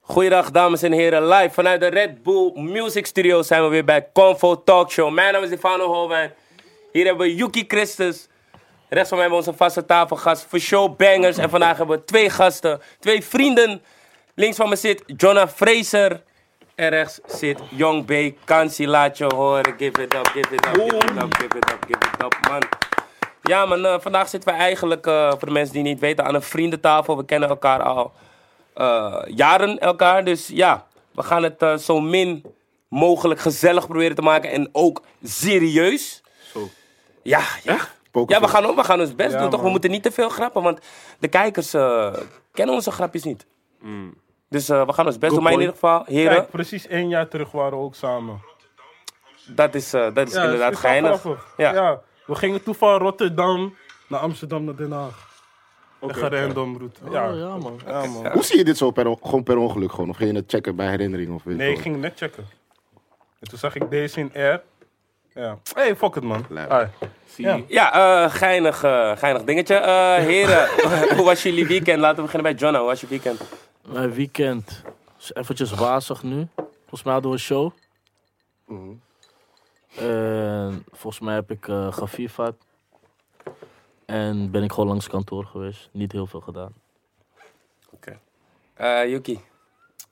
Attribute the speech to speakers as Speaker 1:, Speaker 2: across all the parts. Speaker 1: Goeiedag dames en heren, live vanuit de Red Bull Music Studio zijn we weer bij Convo Talk Show. Mijn naam is Stefano Holwijn. Hier hebben we Yuki Christus. Rechts van mij hebben we onze vaste tafelgast voor showbangers. En vandaag hebben we twee gasten, twee vrienden. Links van me zit Jonna Fraser. En rechts zit Young B. Kansi, laat je horen. Give it up, give it up, give it up, give it up, give it up, man. Ja, man, eh, vandaag zitten we eigenlijk, eh, voor de mensen die niet weten, aan een vriendentafel. We kennen elkaar al eh, jaren elkaar. Dus ja, we gaan het eh, zo min mogelijk gezellig proberen te maken. En ook serieus.
Speaker 2: Zo.
Speaker 1: Ja, ja.
Speaker 2: Pokerface.
Speaker 1: Ja, we gaan, we gaan ons best
Speaker 2: Ja,
Speaker 1: doen, toch? We
Speaker 2: man.
Speaker 1: moeten niet te veel grappen, want de kijkers eh, kennen onze grapjes niet. Dus eh, we gaan ons best doen. Maar in ieder
Speaker 2: Mm. point.
Speaker 1: geval, heren,
Speaker 3: Kijk, precies één jaar terug waren we ook samen.
Speaker 1: dat is, eh, dat is
Speaker 3: Ja,
Speaker 1: inderdaad
Speaker 3: het is wel
Speaker 1: geinig.
Speaker 3: grappig.
Speaker 1: Ja.
Speaker 3: Ja. we gingen toen van Rotterdam naar Amsterdam naar Den Haag. Echt een random route. Ja,
Speaker 2: Oh, ja, man.
Speaker 3: Ja, man.
Speaker 2: Hoe zie je dit zo per, on- gewoon per ongeluk? Gewoon? Of ging je het checken bij herinnering? Of weet
Speaker 3: Nee, ik
Speaker 2: wel?
Speaker 3: ging net checken. En toen zag ik deze in R. Ja. Hey, fuck it, man.
Speaker 2: Lijp.
Speaker 3: Ai. Ja.
Speaker 1: Ja, eh, geinig, eh, geinig dingetje. Eh, heren, hoe was jullie weekend? Laten we beginnen bij Johnno. Hoe was je weekend?
Speaker 4: Mijn weekend is eventjes wazig nu. Volgens mij hadden we een show. En volgens mij heb ik eh geviervat. En ben ik gewoon langs kantoor geweest. Niet heel veel gedaan.
Speaker 1: Eh, Yuki.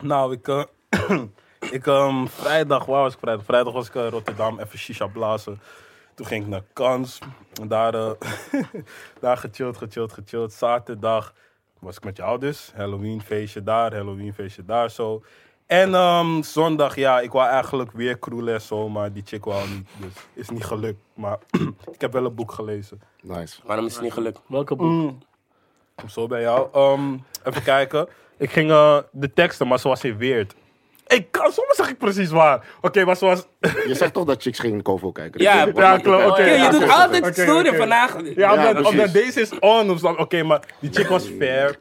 Speaker 3: Nou, ik... eh, ik ehm, vrijdag, waar was ik vrijdag? Vrijdag was ik in Rotterdam, even shisha blazen. Toen ging ik naar Kans. En daar, eh, daar gechilled, gechilled, gechilled. Zaterdag was ik met jou dus. Halloween feestje daar, Halloween feestje daar zo. En ehm, zondag, ja, ik wou eigenlijk weer kroelen en zo, maar die chick wou niet. Dus is niet gelukt. Maar ik heb wel een boek gelezen.
Speaker 2: Nice.
Speaker 1: Waarom is het niet gelukt?
Speaker 4: Welke boek?
Speaker 3: Kom zo bij jou. Ehm, even kijken. Ik ging eh, de teksten, maar ze was in weird. Ik kan, soms zeg ik precies waar. Oké, maar ze was.
Speaker 2: Je zegt toch dat chicks geen Kovo kijken?
Speaker 1: Ja,
Speaker 2: Wat
Speaker 3: ja,
Speaker 2: maakt het
Speaker 3: klopt,
Speaker 2: uit?
Speaker 3: oké.
Speaker 1: Kill, je
Speaker 3: ja,
Speaker 1: doet
Speaker 3: oké,
Speaker 1: altijd
Speaker 3: oké,
Speaker 1: story
Speaker 3: oké.
Speaker 1: vandaag.
Speaker 3: Ja,
Speaker 2: Ja,
Speaker 3: omdat, omdat
Speaker 2: precies.
Speaker 3: deze is on. of zo. Oké, maar die chick was fair.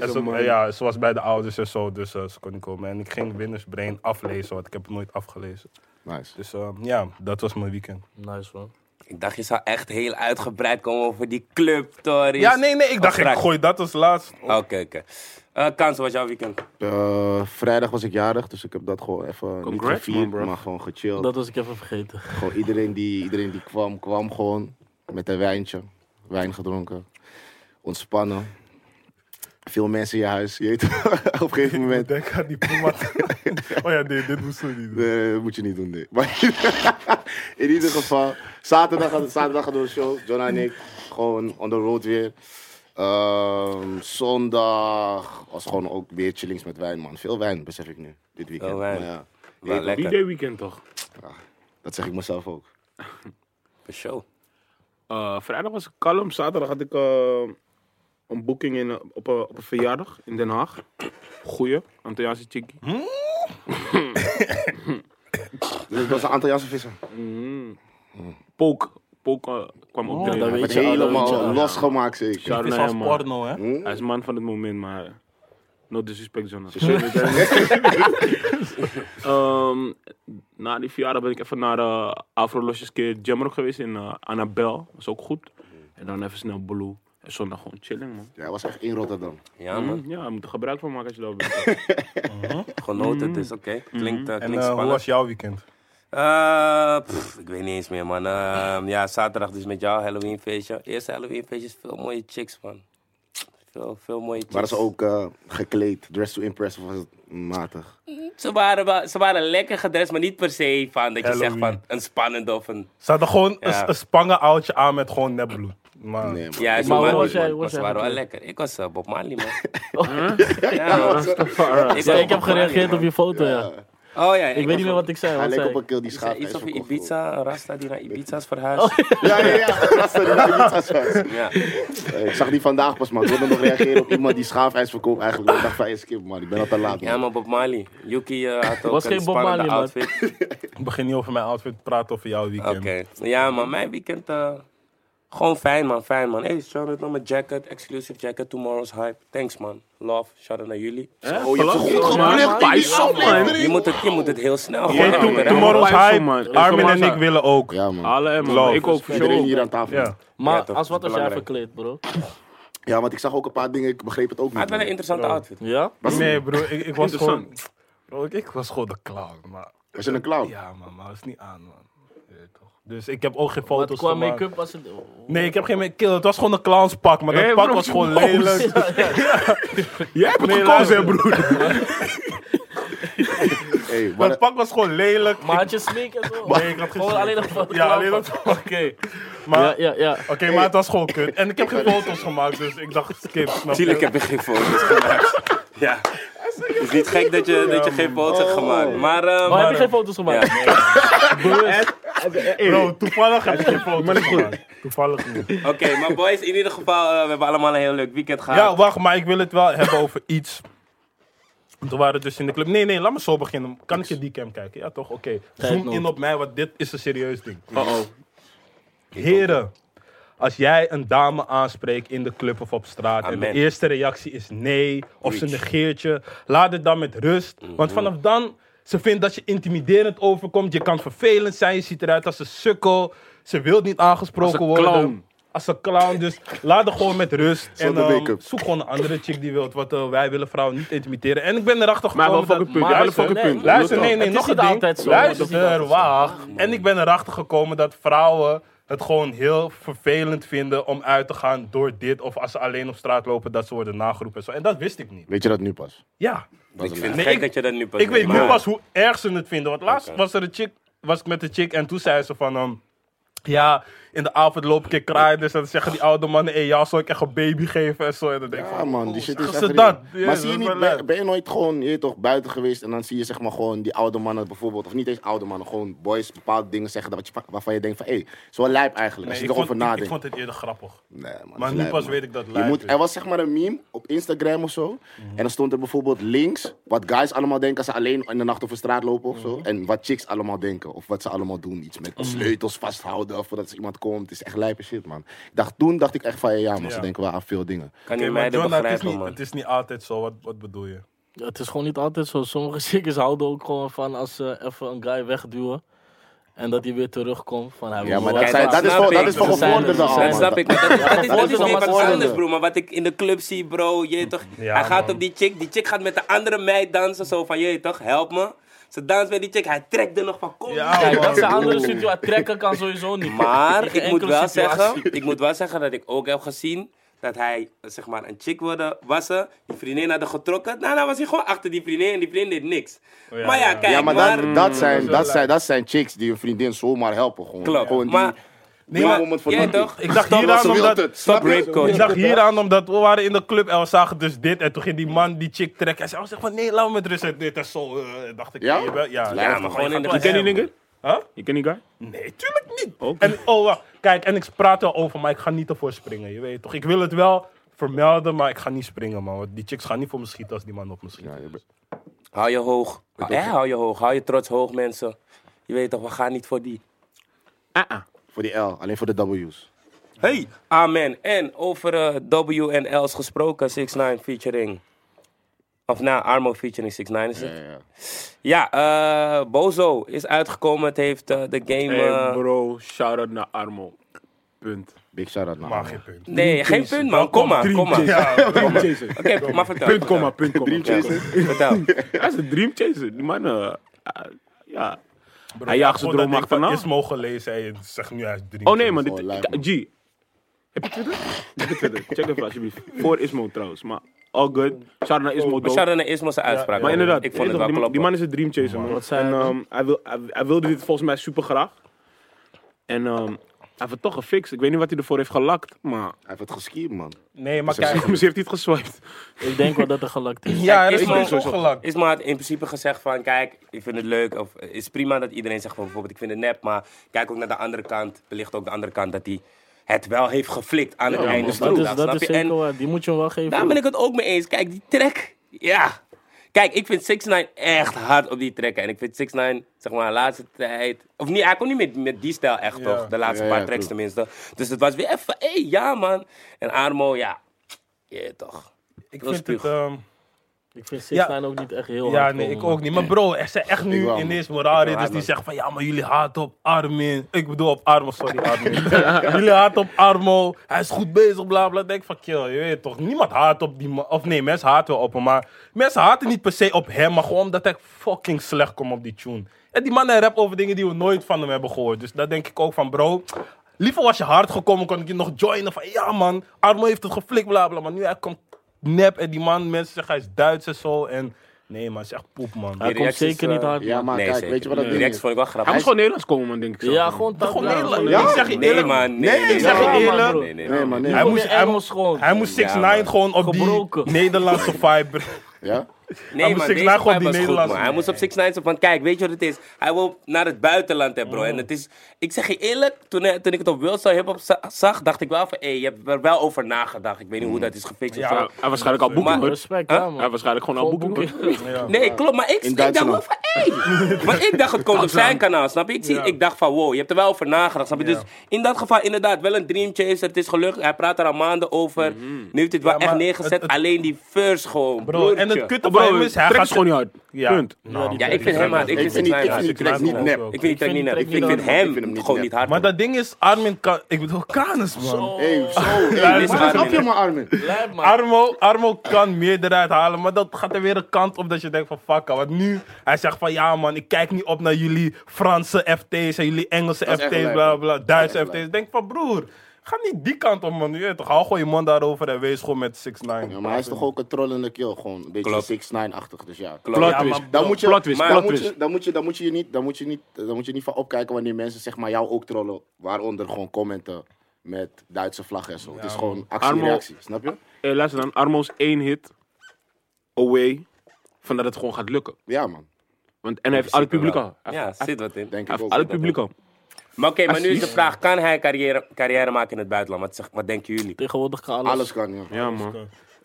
Speaker 3: En ze, ja, ze was bij de ouders en zo, dus eh, ze kon niet komen. En ik ging Winners Brain aflezen, want ik heb het nooit afgelezen.
Speaker 2: Nice.
Speaker 3: Dus eh, ja, dat was mijn weekend.
Speaker 4: Nice man.
Speaker 1: Ik dacht, je zou echt heel uitgebreid komen over die club, Tories.
Speaker 3: Ja, nee, nee, ik dacht, ik
Speaker 1: Afspraak.
Speaker 3: gooi dat als laatst.
Speaker 1: Oké, oké. Eh, Kans, hoe was jouw weekend?
Speaker 2: Eh, vrijdag was ik jarig, dus ik heb dat gewoon even niet
Speaker 5: Congrats,
Speaker 2: gevierd,
Speaker 5: man, bro.
Speaker 2: maar gewoon gechilled.
Speaker 4: Dat was ik even vergeten.
Speaker 3: Ah,
Speaker 2: Gewoon iedereen die, iedereen die kwam, kwam gewoon met een wijntje. Wijn gedronken. Ontspannen. Veel mensen in je huis. Je weet, op een gegeven moment
Speaker 3: Denk aan die Puma. oh ja, nee, dit moesten we niet doen.
Speaker 2: Nee, moet je niet doen, nee. Maar in ieder geval, zaterdag, hadden- zaterdag hadden we een show. John en ik, gewoon on the road weer. Ehm, zondag was gewoon ook weer chillings met wijn, man. Veel wijn, besef ik nu, dit weekend.
Speaker 1: Veel wijn.
Speaker 2: Maar ja,
Speaker 1: Wel
Speaker 2: Hey,
Speaker 1: lekker.
Speaker 5: DJ weekend toch?
Speaker 2: dat zeg ik mezelf ook.
Speaker 1: Voor show.
Speaker 5: Eh, vrijdag was ik kalm, zaterdag had ik eh, een boeking in, eh, op, een, op een verjaardag in Den Haag. Goeie, Antilliaanse chickie.
Speaker 2: Dus het was een aantal jassen vissen.
Speaker 5: Pook, Pook eh, kwam op
Speaker 4: dat
Speaker 2: Ik
Speaker 4: weet
Speaker 2: werd
Speaker 4: je al, dat
Speaker 2: helemaal
Speaker 4: weet je al.
Speaker 2: losgemaakt, zeker.
Speaker 5: Shout
Speaker 3: Het is
Speaker 5: naar
Speaker 3: als
Speaker 5: hem, man.
Speaker 3: porno, hè?
Speaker 5: eh, Hij is man van het moment, maar... eh, No disrespect, Jonas. Ehm, na die verjaardag ben ik even naar eh Afro Losjes keer Jammer geweest in eh, Annabel. Dat is ook goed. En dan even snel Blue. En zondag gewoon chilling, man.
Speaker 2: Ja, hij was echt in Rotterdam.
Speaker 1: Ja,
Speaker 3: Mm.
Speaker 1: man.
Speaker 5: Ja, je moet er gebruik van maken als je daar bent.
Speaker 1: Genoten, dus oké. Klinkt, eh,
Speaker 3: Mm. En
Speaker 1: klinkt
Speaker 3: eh, hoe
Speaker 1: spannend.
Speaker 3: was jouw weekend?
Speaker 1: Eh, pff, ik weet niet eens meer, man. Eh, ja, zaterdag dus met jou, Halloween feestje. Eerste Halloween feestje is veel mooie chicks, man. Veel, veel mooie chicks.
Speaker 2: Waren ze ook eh, gekleed? Dress to impress of was het matig?
Speaker 1: Ze waren, wel- ze waren lekker gedrest, maar niet per se van dat je
Speaker 3: Halloween.
Speaker 1: zegt van een spannende of een...
Speaker 3: Ze hadden gewoon
Speaker 1: Ja.
Speaker 3: een, een spangen oudje aan met gewoon nepbloed. Maar
Speaker 2: Nee, man.
Speaker 1: Ja, ze
Speaker 4: Maar hoe
Speaker 1: waren,
Speaker 4: was jij- hoe was
Speaker 1: was, ze
Speaker 4: jij
Speaker 1: waren wel
Speaker 4: gekleed?
Speaker 1: lekker. Ik was eh, Bob Marley, man. ja, man. Ik,
Speaker 4: Ja, ik heb
Speaker 1: Bob Marley,
Speaker 4: gereageerd
Speaker 1: man.
Speaker 4: op je foto, ja.
Speaker 1: Oh ja, eh,
Speaker 4: Ik weet niet meer wat ik zei.
Speaker 2: Hij
Speaker 4: Wat
Speaker 2: leek
Speaker 4: zei
Speaker 2: op
Speaker 4: ik?
Speaker 2: een kill die schaap.
Speaker 1: Iets
Speaker 2: is
Speaker 1: over
Speaker 2: verkocht,
Speaker 1: Ibiza, een Rasta die naar Ibiza is verhuisd.
Speaker 4: Oh.
Speaker 2: hoor. Ja, ja, ja. Dat is Ibiza's
Speaker 1: Ja.
Speaker 2: Eh, Ik zag die vandaag pas, man. Ik wilde nog reageren op iemand die schaafijs verkoopt eigenlijk. Ik dacht van, hey, skip, man. Ik ben al te laat,
Speaker 1: ja,
Speaker 2: man.
Speaker 1: maar Bob Marley. Yuki eh, had ook
Speaker 4: Was
Speaker 1: een
Speaker 4: geen Bob
Speaker 1: spannende
Speaker 4: Marley, man.
Speaker 1: outfit.
Speaker 3: ik begin niet over mijn outfit, praat over jouw weekend.
Speaker 1: Oké. Ja, man, mijn weekend. eh, gewoon fijn, man. Fijn, man. Hey, shout out naar mijn jacket. Exclusive jacket. Tomorrow's hype. Thanks, man. Love. Shout out naar jullie.
Speaker 2: Oh, je hebt zo goed geplicht in die
Speaker 5: Pijs op, man.
Speaker 2: aflevering.
Speaker 1: Je moet het, je moet het heel snel
Speaker 3: Hey,
Speaker 1: gewoon
Speaker 3: to-
Speaker 1: doen, hè?
Speaker 3: tomorrow's
Speaker 5: Ja,
Speaker 3: hype.
Speaker 5: man.
Speaker 3: Armin en ik
Speaker 5: Informatie.
Speaker 3: willen ook.
Speaker 2: Ja, man.
Speaker 5: Alle, man.
Speaker 3: Love.
Speaker 5: Ik ook, voor
Speaker 2: Iedereen
Speaker 5: show.
Speaker 2: hier aan tafel.
Speaker 3: Ja.
Speaker 4: Maar
Speaker 1: Ja, toch,
Speaker 4: als wat
Speaker 1: dat
Speaker 4: was
Speaker 1: is
Speaker 4: jij
Speaker 1: belangrijk.
Speaker 4: verkleed, bro?
Speaker 2: Ja, want ik zag ook een paar dingen, ik begreep het ook
Speaker 1: Hij had
Speaker 2: niet.
Speaker 1: wel een
Speaker 2: man.
Speaker 1: interessante outfit.
Speaker 4: Ja?
Speaker 3: Nee, bro, ik, ik was gewoon...
Speaker 5: Interessant.
Speaker 3: Bro, ik, ik was gewoon de clown, maar...
Speaker 2: Was je een clown?
Speaker 3: Ja, man, maar dat is niet aan, man. Je weet toch. Dus ik heb ook geen
Speaker 4: Wat
Speaker 3: foto's
Speaker 4: qua
Speaker 3: gemaakt.
Speaker 4: make-up was het...
Speaker 3: Nee, ik heb geen make Het was gewoon een clownspak, maar dat
Speaker 5: Hey,
Speaker 3: pak
Speaker 5: bro,
Speaker 3: was
Speaker 5: je
Speaker 4: Oh,
Speaker 3: gewoon
Speaker 5: boos.
Speaker 3: lelijk.
Speaker 5: Jij hebt het
Speaker 3: Nee, luister.
Speaker 5: gekozen, hè, broer.
Speaker 2: Hey, maar-
Speaker 3: Dat pak was gewoon lelijk.
Speaker 4: Maar had je smeek en zo?
Speaker 3: Nee, ik had geen
Speaker 4: Gewoon
Speaker 3: zin.
Speaker 4: alleen nog van de
Speaker 3: Ja, alleen
Speaker 4: clownpak.
Speaker 3: dat. Oké.
Speaker 4: Ja,
Speaker 3: Maar...
Speaker 4: ja, ja. Oh,
Speaker 3: Oké, maar het was gewoon kut. En ik heb geen foto's gemaakt, dus ik dacht, skip, snap je?
Speaker 1: Tuurlijk heb je geen foto's gemaakt. Ja. Het is niet gek dat je, dat je geen foto's hebt gemaakt.
Speaker 3: Oh.
Speaker 1: Maar, eh,
Speaker 4: Maar heb
Speaker 1: maar
Speaker 4: je geen foto's gemaakt?
Speaker 1: Ja.
Speaker 3: Bro, toevallig heb ik geen foto's gemaakt. Toevallig niet.
Speaker 1: oké, maar boys, in ieder geval, eh, we hebben allemaal een heel leuk weekend gehad.
Speaker 3: Ja, wacht, maar ik wil het wel hebben over iets. Toen waren we dus in de club. Nee, nee, laat me zo beginnen. Kan ik je die cam kijken? Ja, toch? Oké. Zoom
Speaker 4: nog.
Speaker 3: in op mij, want dit is een serieus ding.
Speaker 5: Oh, oh.
Speaker 3: Heren, als jij een dame aanspreekt in de club of op straat en
Speaker 1: Amen.
Speaker 3: de eerste reactie is nee of ze negeert je, laat het dan met rust.
Speaker 5: Mhm.
Speaker 3: Want vanaf dan, ze vindt dat je intimiderend overkomt, je kan vervelend zijn, je ziet eruit als een sukkel, ze wil niet aangesproken
Speaker 5: Als een
Speaker 3: worden.
Speaker 5: clown.
Speaker 3: Als een clown, dus laat het gewoon met rust. En
Speaker 2: Zonder
Speaker 3: ehm,
Speaker 2: make-up.
Speaker 3: zoek gewoon een andere chick die wilt, want eh, wij willen vrouwen niet intimideren. En ik ben erachter
Speaker 5: Maar wel
Speaker 3: gekomen
Speaker 5: fucking punt.
Speaker 4: maar
Speaker 5: Ja, wel
Speaker 4: luister,
Speaker 5: fucking
Speaker 4: nee,
Speaker 5: punt.
Speaker 3: Luister, nee,
Speaker 5: Luister.
Speaker 3: nee,
Speaker 4: Het
Speaker 3: nog
Speaker 4: is
Speaker 3: een
Speaker 4: niet
Speaker 3: ding.
Speaker 4: altijd zo, het is niet
Speaker 3: Luister,
Speaker 4: altijd zo.
Speaker 3: wacht. En ik ben erachter gekomen dat vrouwen het gewoon heel vervelend vinden om uit te gaan door dit. Of als ze alleen op straat lopen, dat ze worden nageroepen en zo. En dat wist ik niet.
Speaker 2: Weet je dat nu pas?
Speaker 3: Ja.
Speaker 2: Dat is
Speaker 1: Ik vind
Speaker 2: een
Speaker 3: Nee,
Speaker 1: het gek
Speaker 3: ik-
Speaker 1: dat je dat nu pas
Speaker 3: Ik weet nu
Speaker 1: maar-
Speaker 3: pas hoe erg ze het vinden. Want laatst was er een chick, was ik met een chick en toen zei ze van... ehm, ja, in de avond loop ik in kraaien, dus dan zeggen die oude mannen, hey, ja, zal ik echt een baby geven en zo. En dan denk ik
Speaker 2: Ja,
Speaker 3: van,
Speaker 2: man, die shit is
Speaker 3: zeggen
Speaker 2: echt
Speaker 3: ze
Speaker 2: real.
Speaker 3: dat? Ja,
Speaker 2: maar
Speaker 3: dat
Speaker 2: zie je
Speaker 3: is
Speaker 2: niet,
Speaker 3: wel
Speaker 2: ben,
Speaker 3: leuk.
Speaker 2: ben je nooit gewoon, je weet toch, buiten geweest en dan zie je zeg maar gewoon die oude mannen bijvoorbeeld, of niet eens oude mannen, gewoon boys bepaalde dingen zeggen dat wat je, waarvan je denkt van, hé, hey, is wel lijp eigenlijk,
Speaker 3: Nee,
Speaker 2: als
Speaker 3: ik,
Speaker 2: je erover
Speaker 3: vond, ik, ik
Speaker 2: nadenkt.
Speaker 3: vond het eerder grappig.
Speaker 2: Nee, man, dat
Speaker 3: Maar
Speaker 2: is
Speaker 3: nu
Speaker 2: lijp,
Speaker 3: pas
Speaker 2: man.
Speaker 3: weet ik dat
Speaker 2: Je
Speaker 3: lijp
Speaker 2: moet,
Speaker 3: is.
Speaker 2: er was zeg maar een meme op Instagram of zo. En dan stond er bijvoorbeeld links wat guys allemaal denken als ze alleen in de nacht over straat lopen of zo. En wat chicks allemaal denken of wat ze allemaal doen. Iets met sleutels vasthouden voordat er iemand komt. Het is echt lijpe shit, man. Ik dacht, toen dacht ik echt van ja, man, ze
Speaker 3: Ja.
Speaker 2: denken wel aan veel dingen.
Speaker 1: Kan
Speaker 3: Oké,
Speaker 1: je
Speaker 3: maar
Speaker 1: mij
Speaker 3: Jonah, het, is
Speaker 1: begrijpen,
Speaker 3: niet,
Speaker 1: man.
Speaker 3: het is niet altijd zo. Wat, wat bedoel je?
Speaker 4: Ja, Het is gewoon niet altijd zo. Sommige chicks houden ook gewoon van als ze even een guy wegduwen. En dat hij weer terugkomt van hij wil
Speaker 2: Ja, maar
Speaker 4: wel
Speaker 2: dat, zijn,
Speaker 4: wat
Speaker 2: dat, is,
Speaker 4: laten
Speaker 1: snap
Speaker 2: voor,
Speaker 1: ik.
Speaker 2: dat is voor
Speaker 4: Ze zijn-
Speaker 2: gevorderden
Speaker 4: ze
Speaker 2: al.
Speaker 4: zijn-
Speaker 1: Dat
Speaker 2: man.
Speaker 1: snap ik, maar dat, dat is, dat is
Speaker 4: Volgende
Speaker 1: weer wat
Speaker 4: volgende.
Speaker 1: anders, bro. Maar wat ik in de club zie, bro, je weet toch?
Speaker 3: Ja,
Speaker 1: hij gaat
Speaker 3: man.
Speaker 1: op die chick, die chick gaat met de andere meid dansen, zo van, je weet toch, help me. Ze danst met die chick, hij trekt er nog van, kom.
Speaker 3: Ja,
Speaker 1: kijk,
Speaker 4: Kijk, dat
Speaker 1: dat-
Speaker 4: zijn andere situaties. Trekken kan sowieso niet.
Speaker 1: Maar
Speaker 4: In geen
Speaker 1: ik moet,
Speaker 4: enkele
Speaker 1: wel
Speaker 4: situatie.
Speaker 1: zeggen, ik moet wel zeggen dat ik ook heb gezien dat hij, zeg maar, een chick wilde wassen, die vriendin had er getrokken. Nou, dan was hij gewoon achter die vriendin en die vriendin deed niks.
Speaker 3: ja,
Speaker 1: maar ja,
Speaker 3: ja.
Speaker 1: kijk,
Speaker 2: Ja, maar
Speaker 1: maar...
Speaker 2: dat, dat, zijn,
Speaker 3: wel
Speaker 2: dat, zijn, dat zijn chicks die hun vriendin zomaar helpen. Gewoon,
Speaker 1: Klopt.
Speaker 2: gewoon die,
Speaker 1: Maar-
Speaker 2: die
Speaker 1: maar-
Speaker 2: moment voor
Speaker 1: jij
Speaker 2: nothing.
Speaker 1: toch?
Speaker 3: Ik dacht
Speaker 2: Stop,
Speaker 3: hieraan
Speaker 2: want ze wil
Speaker 3: omdat-
Speaker 2: het.
Speaker 1: Stop
Speaker 2: Snap je?
Speaker 1: rape coach.
Speaker 3: Ik dacht hieraan omdat we waren in de club en we zagen dus dit. En toen ging die man die chick trekken. Hij zei, oh, zeg van nee, laat me met rust. En dit en zo. eh, dacht ik,
Speaker 2: Ja?
Speaker 3: nee, wel- ja,
Speaker 2: Ja,
Speaker 1: maar gewoon in de
Speaker 5: Je
Speaker 1: club.
Speaker 5: kent die nigger?
Speaker 3: Huh?
Speaker 5: Je kent die guy?
Speaker 3: Nee, tuurlijk niet.
Speaker 5: Ook
Speaker 3: En oh, wacht. Kijk, en ik praat er over, maar ik ga niet ervoor springen. Je weet toch? Ik wil het wel vermelden, maar ik ga niet springen, man. Want die chicks gaan niet voor me schieten als die man op me schiet.
Speaker 2: Ja, je bent-
Speaker 1: Hou je hoog. Hè, hou je hoog. Hou je trots hoog, mensen. Je weet toch, we gaan niet voor die.
Speaker 5: Ah,
Speaker 2: Voor die L, alleen voor de W's.
Speaker 1: Hey, amen. En over eh, W en L's gesproken, 6 9 featuring. Of nou, Armo featuring 6 9 is het.
Speaker 2: Ja, ja.
Speaker 1: Ja, eh, Bozo is uitgekomen. Het heeft eh, de game. eh,
Speaker 5: Hey bro, shout out naar Armo. Punt.
Speaker 2: Big shout-out naar
Speaker 3: Maar
Speaker 2: hem.
Speaker 3: geen punt.
Speaker 1: nee, geen punt, man. Oh, Kom maar, kom maar. Oké,
Speaker 5: Dream chaser.
Speaker 1: maar vertel.
Speaker 5: Punt, komma, punt, komma.
Speaker 2: Dream
Speaker 5: punt,
Speaker 2: chaser.
Speaker 1: vertel. vertel.
Speaker 5: komma. Hij is een dream chaser. Die man, eh, eh, ja.
Speaker 3: Bro,
Speaker 5: Hij jaagt zijn
Speaker 3: gewoon dat ding
Speaker 5: droom
Speaker 3: van
Speaker 5: achterna.
Speaker 3: Is mogen lezen en je zegt nu hij is drie.
Speaker 5: Oh nee, man. Dit,
Speaker 2: Oh, lijp, man.
Speaker 5: G. Heb je Twitter? Heb je Twitter? Check even alsjeblieft. Voor Ismo trouwens, maar all good. Shout out naar Ismo,
Speaker 1: Maar
Speaker 5: dope.
Speaker 1: Oh, shout-out naar Ismo zijn uitspraak.
Speaker 5: Maar
Speaker 1: man.
Speaker 5: inderdaad,
Speaker 1: ik vond het
Speaker 5: die,
Speaker 1: wel
Speaker 5: man-
Speaker 1: kloppen.
Speaker 5: die man is een dreamchaser, man.
Speaker 4: Wat zei
Speaker 5: En,
Speaker 4: hij dan?
Speaker 5: ehm, hij, wil, hij, hij wilde dit volgens mij super graag. En ehm, hij heeft het toch gefixt. Ik weet niet wat hij ervoor heeft gelakt, maar
Speaker 2: Hij heeft het geskierd, man.
Speaker 3: Nee, maar
Speaker 5: hij
Speaker 3: kijk.
Speaker 5: heeft hij het geswiped.
Speaker 4: Ik denk wel dat er gelakt is.
Speaker 3: Ja,
Speaker 1: Kijk,
Speaker 3: er is
Speaker 1: Ismo-
Speaker 3: maar zo gelakt.
Speaker 1: Isma had in principe gezegd van, kijk, ik vind het leuk. Of eh, is prima dat iedereen zegt van, bijvoorbeeld, ik vind het nep. Maar kijk ook naar de andere kant. Wellicht ook de andere kant dat hij het wel heeft geflikt aan het einde van
Speaker 4: Dat
Speaker 1: de
Speaker 4: is,
Speaker 1: dag.
Speaker 4: dat
Speaker 1: snap
Speaker 4: is
Speaker 1: je? En
Speaker 4: zeker waar. Die moet je hem wel geven.
Speaker 1: daar ben ik het ook mee eens. Kijk, die track, ja. Kijk, ik vind 6 9 echt hard op die track. En ik vind 6 9 zeg maar, de laatste tijd... Of niet, hij komt niet met, met die stijl echt, toch? De laatste
Speaker 2: Ja, ja,
Speaker 1: paar tracks
Speaker 2: true.
Speaker 1: tenminste. Dus het was weer even, hé, hey, ja, man. En Armo, ja. Ja, toch.
Speaker 3: Ik
Speaker 1: Dat is
Speaker 3: vind het...
Speaker 1: puur.
Speaker 3: ehm,
Speaker 4: Ik vind 6
Speaker 3: Ja.
Speaker 4: ix ook niet echt heel
Speaker 3: Ja,
Speaker 4: hard
Speaker 3: nee, ik
Speaker 4: komen,
Speaker 3: ook niet. Maar bro, er zijn echt
Speaker 2: Ik
Speaker 3: nu
Speaker 2: wel,
Speaker 3: ineens
Speaker 2: Ik
Speaker 3: Morari
Speaker 2: wel,
Speaker 3: dus die
Speaker 2: man.
Speaker 3: zeggen van ja, maar jullie haat op Armin. Ik bedoel op Armo, sorry Armin. jullie haat op Armo. Hij is goed bezig, bla bla. Ik Denk van kill, je weet toch. Niemand haat op die man. Of nee, mensen haten wel op hem. Maar mensen haten niet per se op hem, maar gewoon omdat hij fucking slecht komt op die tune. En die man hij rapt over dingen die we nooit van hem hebben gehoord. Dus daar denk ik ook van bro. Liever was je hard gekomen, kon ik je nog joinen. Van ja man, Armo heeft het geflikt, bla bla. Maar nu hij komt nep en die man, mensen zeggen hij is Duits en zo. En nee man, het is echt poep man.
Speaker 4: Hij komt
Speaker 1: reacties,
Speaker 4: zeker
Speaker 1: eh,
Speaker 4: niet hard.
Speaker 2: Ja, maar
Speaker 1: nee,
Speaker 2: kijk,
Speaker 1: zeker.
Speaker 2: weet je wat dat
Speaker 1: Die
Speaker 2: ding
Speaker 1: reacties vond
Speaker 2: is?
Speaker 1: ik wel grappig.
Speaker 5: Hij moet gewoon Nederlands komen, man, denk ik.
Speaker 4: man.
Speaker 5: zo.
Speaker 4: Ja, gewoon Ah, dat.
Speaker 3: Gewoon
Speaker 4: ja,
Speaker 3: Nederland.
Speaker 2: Ja?
Speaker 3: Ik zeg je
Speaker 1: Nee,
Speaker 3: eerlijk.
Speaker 1: man.
Speaker 2: Nee,
Speaker 1: Nee, nee,
Speaker 2: ik zeg je
Speaker 1: man,
Speaker 3: eerlijk.
Speaker 1: Nee, nee,
Speaker 2: Nee,
Speaker 1: man.
Speaker 2: maar nee.
Speaker 3: Hij
Speaker 2: man.
Speaker 3: moest,
Speaker 4: Gewoon
Speaker 3: hij,
Speaker 4: Engels
Speaker 3: moest-
Speaker 4: gewoon.
Speaker 3: hij moest 6
Speaker 1: Ja,
Speaker 3: 9
Speaker 1: man.
Speaker 3: gewoon op
Speaker 4: Gebroken.
Speaker 3: die Nederlandse vibe.
Speaker 2: Ja?
Speaker 3: Hij
Speaker 1: Nee,
Speaker 3: moest
Speaker 1: man,
Speaker 3: Six
Speaker 1: deze
Speaker 3: Nine gewoon
Speaker 1: vibe
Speaker 3: die
Speaker 1: was goed,
Speaker 3: Nederlandse-
Speaker 1: man. Hij moest op Six Nine zo van, kijk, weet je wat het is? Hij wil naar het buitenland, hè,
Speaker 3: Oh.
Speaker 1: bro. En het is, ik zeg je eerlijk, toen, eh, toen ik het op Wilson Hip-Hop za- zag, dacht ik wel van, hé, je hebt er wel over nagedacht. Ik weet niet hoe dat is gefixt of
Speaker 3: Hmm. Ja,
Speaker 1: zo.
Speaker 5: Hij hij waarschijnlijk al boeken,
Speaker 1: Maar-
Speaker 5: hoor.
Speaker 4: Respect,
Speaker 1: Huh?
Speaker 4: ja, man.
Speaker 5: Hij waarschijnlijk gewoon al
Speaker 4: Gewoon
Speaker 5: boeken,
Speaker 4: boeken.
Speaker 5: hoor.
Speaker 1: Nee, klopt, maar ik, ik dacht wel
Speaker 2: Duitsland.
Speaker 1: van, hé. Want ik dacht, het komt op zijn kanaal, snap je? Ik, zie, ik dacht van, wow, je hebt er wel over nagedacht, snap je? Dus in dat geval inderdaad, wel een dreamchaser, het is gelukt. Hij praat er al maanden over. Nu heeft hij het wel
Speaker 3: Mhm. Ja,
Speaker 1: echt
Speaker 3: maar
Speaker 1: neergezet.
Speaker 3: het- het-
Speaker 1: alleen die first gewoon,
Speaker 3: Bro, en het
Speaker 1: broertje.
Speaker 3: kutte
Speaker 5: Oh,
Speaker 3: van
Speaker 5: bro,
Speaker 3: hem is, hij
Speaker 5: trek
Speaker 3: gaat
Speaker 5: is gewoon niet hard.
Speaker 3: Ja.
Speaker 5: Punt.
Speaker 3: Nou,
Speaker 1: Ja, ik vind hem hard. Ik
Speaker 2: Ik
Speaker 1: vind
Speaker 2: vind die-
Speaker 1: Six
Speaker 2: ik
Speaker 1: Nine
Speaker 2: vind die
Speaker 1: hard.
Speaker 2: track niet nep.
Speaker 1: Ik vind die track niet nep. Ik vind,
Speaker 2: niet nep.
Speaker 1: hem
Speaker 2: Ik vind hem niet
Speaker 1: gewoon
Speaker 2: nep.
Speaker 1: niet hard.
Speaker 3: Maar
Speaker 1: man.
Speaker 3: dat ding is, Armin kan... Ik bedoel, Kranus, man.
Speaker 2: Hey, zo. Hey,
Speaker 1: dit is
Speaker 2: maar dat snap
Speaker 1: Armin.
Speaker 2: je maar, Armin.
Speaker 4: Lijp, man.
Speaker 3: Armo, Armo kan meer eruit halen, maar dat gaat er weer een kant op dat je denkt van fuck. Want nu, hij zegt van ja man, ik kijk niet op naar jullie Franse FT's en jullie Engelse
Speaker 2: Dat is echt
Speaker 3: FT's,
Speaker 2: lijp.
Speaker 3: bla bla,
Speaker 2: Dat
Speaker 3: Duitse
Speaker 2: is echt
Speaker 3: FT's. Ik Denk van broer, ga niet die kant op man, je weet toch, hou gewoon je mond daarover en wees gewoon met 6 9
Speaker 2: Ja, maar hij is toch ook een trollende kill, gewoon een beetje
Speaker 1: Klopt.
Speaker 2: 6 9 achtig dus ja.
Speaker 1: Plot
Speaker 3: Ja,
Speaker 1: twist.
Speaker 3: maar
Speaker 2: Dan moet je,
Speaker 5: Plot twist,
Speaker 2: maar
Speaker 5: plot
Speaker 2: dan moet
Speaker 5: twist.
Speaker 2: je, dan moet je, dan moet je je niet, dan moet je niet, dan moet je niet van opkijken wanneer mensen zeg maar jou ook trollen, waaronder gewoon commenten met Duitse vlaggen en zo. het is gewoon actie en
Speaker 5: Armo-
Speaker 2: reactie, snap je?
Speaker 5: Hey, Eh, luister dan, Armo's één hit away van dat het gewoon gaat lukken.
Speaker 2: Ja man,
Speaker 5: Want, en hij heeft al het publiek al. Hij
Speaker 1: Ja,
Speaker 5: heeft- hij
Speaker 1: zit wat in.
Speaker 2: denk
Speaker 5: hij
Speaker 2: ik
Speaker 5: heeft
Speaker 2: ook.
Speaker 5: al het publiek al.
Speaker 1: Maar oké, maar nu is de
Speaker 5: Alsjeblieft.
Speaker 1: vraag: kan hij carrière, carrière maken in het buitenland? Wat, zeg, wat denken jullie?
Speaker 4: Tegenwoordig kan alles.
Speaker 2: Alles kan, ja.
Speaker 5: Ja, man.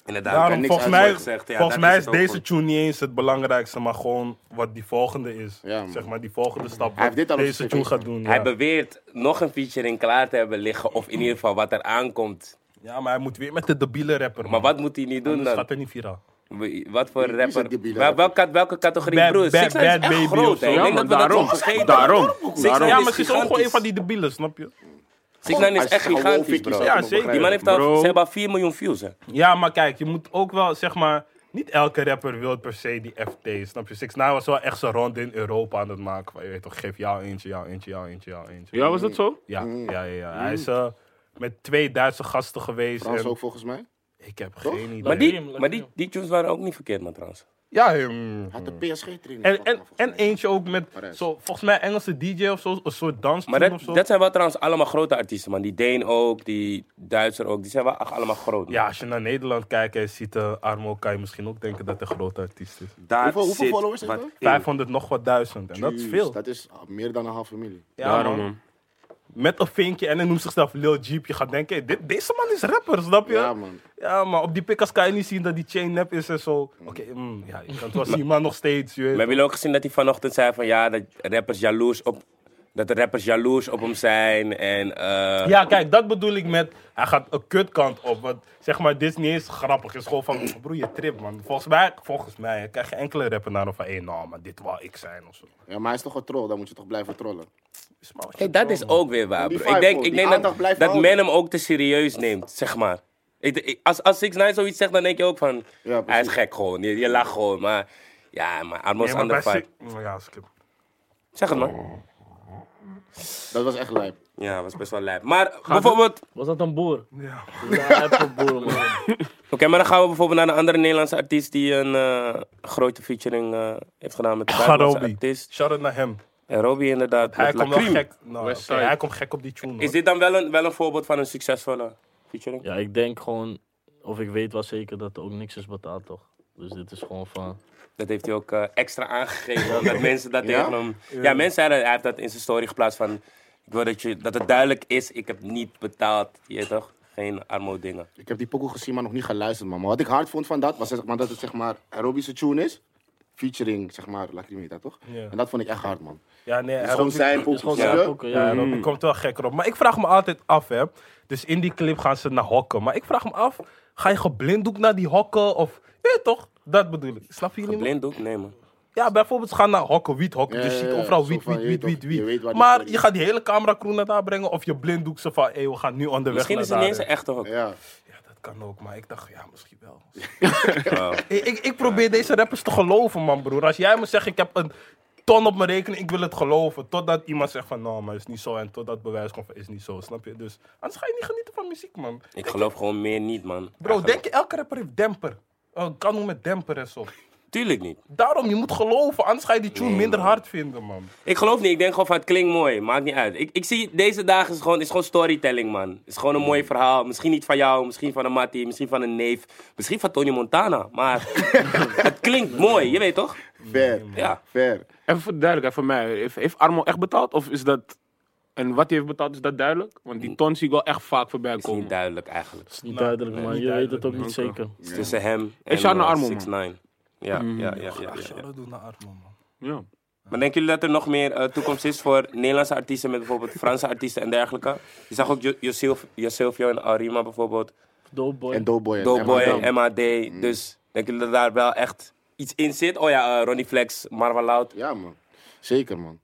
Speaker 1: Inderdaad, Nou, ik heb
Speaker 3: Daarom,
Speaker 1: niks
Speaker 3: volgens
Speaker 1: uit
Speaker 3: mij,
Speaker 1: mooi gezegd. Ja,
Speaker 3: volgens
Speaker 1: dat
Speaker 3: mij is
Speaker 1: het ook
Speaker 3: deze
Speaker 1: goed.
Speaker 3: tune niet eens het belangrijkste, maar gewoon wat die volgende is.
Speaker 2: Ja, man.
Speaker 3: zeg maar die volgende stap.
Speaker 2: heeft dit al
Speaker 3: wat
Speaker 2: op
Speaker 3: deze
Speaker 2: zijn
Speaker 3: tune
Speaker 2: cv.
Speaker 3: gaat doen. Ja.
Speaker 1: Hij beweert nog een featuring klaar te hebben liggen, of in ieder geval wat er aankomt.
Speaker 3: Ja, maar hij moet weer met de debiele rapper.
Speaker 1: Maar
Speaker 3: man.
Speaker 1: wat moet hij niet doen
Speaker 3: Anders
Speaker 1: dan?
Speaker 3: gaat er niet viraal.
Speaker 1: Wat voor
Speaker 2: Wie is het
Speaker 1: rapper?
Speaker 2: debiele
Speaker 1: Wel-
Speaker 2: rapper?
Speaker 1: welke, welke categorie?
Speaker 3: Bad-
Speaker 1: Broer,
Speaker 3: bad-
Speaker 1: Six Nine is
Speaker 3: bad
Speaker 1: echt
Speaker 3: baby
Speaker 1: groot,
Speaker 3: of zo.
Speaker 1: hè. Ik
Speaker 5: Ja,
Speaker 1: denk
Speaker 5: man,
Speaker 1: dat we dat
Speaker 5: daarom.
Speaker 1: soms vergeten.
Speaker 5: Daarom.
Speaker 1: Six
Speaker 5: Daarom.
Speaker 1: Nine
Speaker 3: Ja,
Speaker 1: is
Speaker 3: maar ze is ook gewoon
Speaker 1: gigantisch.
Speaker 3: een van die debielen, snap je?
Speaker 1: Six Nine
Speaker 2: Hij
Speaker 1: is echt
Speaker 2: gewoon
Speaker 1: gigantisch,
Speaker 2: fikkie,
Speaker 1: bro.
Speaker 2: zou ik
Speaker 3: Ja,
Speaker 2: nog
Speaker 3: zeker.
Speaker 1: Die
Speaker 2: begrijpen.
Speaker 1: man heeft al,
Speaker 5: Bro.
Speaker 1: ze hebben al 4 miljoen views, hè.
Speaker 3: Ja, maar kijk, je moet ook wel, zeg maar, niet elke rapper wil per se die FT, snap je? 6 was wel echt zo'n rond in Europa aan het maken. Van, je weet toch, geef jou eentje, jou eentje, jou eentje, jou eentje.
Speaker 5: Ja, was dat zo?
Speaker 3: Ja,
Speaker 1: Mm.
Speaker 3: ja, ja. ja. Hij is eh, met twee Duitse gasten geweest.
Speaker 2: Frans
Speaker 3: En
Speaker 2: ook volgens mij.
Speaker 3: ik heb
Speaker 2: Toch?
Speaker 3: geen idee.
Speaker 1: Maar die,
Speaker 4: Laat
Speaker 1: maar
Speaker 4: zien
Speaker 1: die, die tunes waren ook niet verkeerd, man, trouwens.
Speaker 3: Ja, hem.
Speaker 2: Had de PSG training.
Speaker 3: En, en, en eentje ook met,
Speaker 2: Parijs.
Speaker 3: zo, volgens mij, Engelse DJ of zo, een soort dans
Speaker 1: Maar
Speaker 3: of
Speaker 1: dat,
Speaker 3: zo.
Speaker 1: dat zijn wel trouwens allemaal grote artiesten, man. Die Deen ook, die Duitser ook. Die zijn wel echt allemaal groot. man.
Speaker 3: Ja, als je naar Nederland kijkt en je ziet eh, Armo, kan je misschien ook denken dat hij een grote artiest is.
Speaker 1: Daar
Speaker 2: Hoeveel- hoeveel
Speaker 1: zit
Speaker 2: followers heeft
Speaker 1: wat
Speaker 2: hij?
Speaker 1: in.
Speaker 3: 500 nog wat duizend. En dat is veel.
Speaker 2: Dat is meer dan een halve miljoen.
Speaker 3: Ja,
Speaker 5: Daarom,
Speaker 3: man.
Speaker 5: man.
Speaker 3: Met een vinkje en hij noemt zichzelf Lil Jeep. Je gaat denken, hey, dit, deze man is rapper, snap je?
Speaker 2: Ja man.
Speaker 3: Ja, maar op die pikkas kan je niet zien dat die chain nep is en zo. Oké, mm, ja, je kan het wel zien, maar nog steeds, je weet.
Speaker 1: We hebben jullie ook gezien dat hij vanochtend zei van ja, dat rappers jaloers op, dat de rappers jaloers op hem zijn. En eh,
Speaker 3: Ja, kijk, dat bedoel ik met, hij gaat een kutkant op. Want zeg maar, dit is niet eens grappig. Het is gewoon van, broer, je trip, man. Volgens mij, volgens mij, krijg je enkele rapper naar van, hé, nou, maar dit wou ik zijn of zo.
Speaker 2: Ja, maar hij is toch een troll, dan moet je toch blijven trollen.
Speaker 3: Is maar wat je
Speaker 1: hey, dat
Speaker 3: wil,
Speaker 1: is
Speaker 3: man.
Speaker 1: ook weer waar.
Speaker 2: Die
Speaker 1: Bro.
Speaker 2: vibe
Speaker 1: Ik denk,
Speaker 2: ook,
Speaker 1: ik
Speaker 2: die
Speaker 1: denk
Speaker 2: aandacht
Speaker 1: dat,
Speaker 2: blijft
Speaker 1: dat
Speaker 2: houden.
Speaker 1: men hem ook te serieus neemt, zeg maar. Ik, ik- als, als Six Nine zoiets zegt, dan denk je ook van
Speaker 2: Ja,
Speaker 1: hij is
Speaker 2: precies.
Speaker 1: gek gewoon. Je, je lacht gewoon, maar ja, maar Armo is
Speaker 3: Nee, maar
Speaker 1: ander
Speaker 3: bij
Speaker 1: vibe.
Speaker 3: Sik- Ja, skip.
Speaker 1: Zeg het man.
Speaker 2: Dat was echt lijp.
Speaker 1: Ja, was best wel lijp. Maar bijvoorbeeld,
Speaker 4: Was dat een boer?
Speaker 3: Ja.
Speaker 4: Ja, hij heeft een boer, man.
Speaker 1: oké, maar dan gaan we bijvoorbeeld naar een andere Nederlandse artiest die een eh, grote featuring eh, heeft gedaan met de Nederlandse
Speaker 3: Garobi.
Speaker 1: artiest.
Speaker 3: Shout-out naar hem.
Speaker 1: En Robbie inderdaad.
Speaker 3: Hij
Speaker 1: met La
Speaker 3: komt wel
Speaker 1: Crime.
Speaker 3: gek. Nou, oké,
Speaker 5: Westside.
Speaker 3: hij komt gek op die tune. hoor.
Speaker 1: Is dit dan wel een, wel een voorbeeld van een succesvolle featuring?
Speaker 4: Ja, ik denk gewoon, of ik weet wel zeker dat er ook niks is betaald, toch? Dus dit is gewoon van.
Speaker 1: Dat heeft hij ook eh, extra aangegeven, omdat mensen dat
Speaker 2: Ja?
Speaker 1: tegen hem... Ja, mensen zeiden, hij heeft dat in zijn story geplaatst van... Ik wil dat, je, dat het duidelijk is, ik heb niet betaald. Je weet toch? Geen armo dingen.
Speaker 2: Ik heb die pokoe gezien, maar nog niet geluisterd, man. Maar wat ik hard vond van dat, was zeg maar, dat het zeg maar aerobische tune is. Featuring, zeg maar, Lacrimita, toch?
Speaker 3: Ja.
Speaker 2: En dat vond ik echt hard, man.
Speaker 3: Ja,
Speaker 2: Het
Speaker 3: nee, hij
Speaker 2: is gewoon
Speaker 3: roept-
Speaker 2: zijn
Speaker 4: Het is
Speaker 2: pokoe.
Speaker 4: gewoon
Speaker 2: snap
Speaker 4: zijn
Speaker 2: je?
Speaker 4: boeken,
Speaker 3: Ja,
Speaker 4: ja.
Speaker 3: Rob, die komt wel gekker op. Maar ik vraag me altijd af, hè. Dus in die clip gaan ze naar hokken. Maar ik vraag me af, ga je geblinddoek naar die hokken? Of, weet je toch? Dat bedoel ik. Snap je jullie? me?
Speaker 1: Blinddoek? Nee, man.
Speaker 3: Ja, bijvoorbeeld ze gaan naar hokken, wiet, hokken.
Speaker 2: Ja,
Speaker 3: dus
Speaker 2: ja,
Speaker 3: je
Speaker 2: ja.
Speaker 3: ziet overal
Speaker 2: Zo
Speaker 3: wiet,
Speaker 2: van,
Speaker 3: wiet,
Speaker 2: je
Speaker 3: wiet,
Speaker 2: weet
Speaker 3: wiet,
Speaker 2: toch, je weet
Speaker 3: wiet.
Speaker 2: waar die voor
Speaker 3: Maar
Speaker 2: is.
Speaker 3: je gaat die hele cameracrew naar daar brengen of je blinddoek ze van, hé, we gaan nu onderweg
Speaker 1: Misschien
Speaker 3: naar
Speaker 1: is het niet eens
Speaker 3: daar.
Speaker 1: een echte hok.
Speaker 2: Ja.
Speaker 3: Ja, dat kan ook, maar ik dacht, ja, misschien wel. ik, ik, ik probeer deze rappers te geloven, man, broer. Als jij me zegt, ik heb een ton op mijn rekening, ik wil het geloven. Totdat iemand zegt van, nou, maar is niet zo. En totdat bewijs komt van, is niet zo, snap je? Dus anders ga je niet genieten van muziek, man.
Speaker 1: Ik geloof gewoon meer niet, man.
Speaker 3: Bro, denk je, elke rapper heeft demper. Oh, kan Kanoe met demper en zo.
Speaker 1: Tuurlijk niet.
Speaker 3: Daarom, je moet geloven, anders ga je die tune minder hard vinden, man.
Speaker 1: Ik geloof niet. Ik denk gewoon van het klinkt mooi. Maakt niet uit. Ik, ik zie deze dagen is gewoon, is gewoon storytelling, man. Is gewoon een
Speaker 5: Mm.
Speaker 1: mooi verhaal. Misschien niet van jou, misschien van een Mattie, misschien van een neef. Misschien van Tony Montana. Maar het klinkt mooi, je weet toch?
Speaker 2: Ver.
Speaker 4: Mm.
Speaker 1: Ja.
Speaker 2: Ver.
Speaker 5: Even voor de duidelijkheid voor mij. Heeft, heeft Armo echt betaald? Of is dat... En wat hij heeft betaald, is dat duidelijk? Want die ton zie ik wel echt vaak voorbij
Speaker 1: Is niet
Speaker 5: komen.
Speaker 1: duidelijk eigenlijk.
Speaker 4: is niet duidelijk, man. Je weet het ook niet zeker.
Speaker 1: Het is tussen hem en
Speaker 5: zou naar
Speaker 1: eh,
Speaker 5: Armo, man. Mm.
Speaker 1: 6ix9ine. Ja, ja, ja, ja, ja.
Speaker 3: Shout-out doen naar Armo, man.
Speaker 5: Ja.
Speaker 1: Maar denken jullie dat er nog meer eh, toekomst is voor Nederlandse artiesten met bijvoorbeeld Franse artiesten en dergelijke? Je zag ook Jo- Josilf- Josilvio en Arima bijvoorbeeld.
Speaker 4: Doughboy.
Speaker 2: En Doughboy. en
Speaker 1: Doughboy,
Speaker 2: Eminem.
Speaker 1: MAD. Dus denken jullie dat daar wel echt iets in zit? Oh ja, eh, Ronnie Flex, Marwa Loud.
Speaker 2: Ja, man. Zeker, man.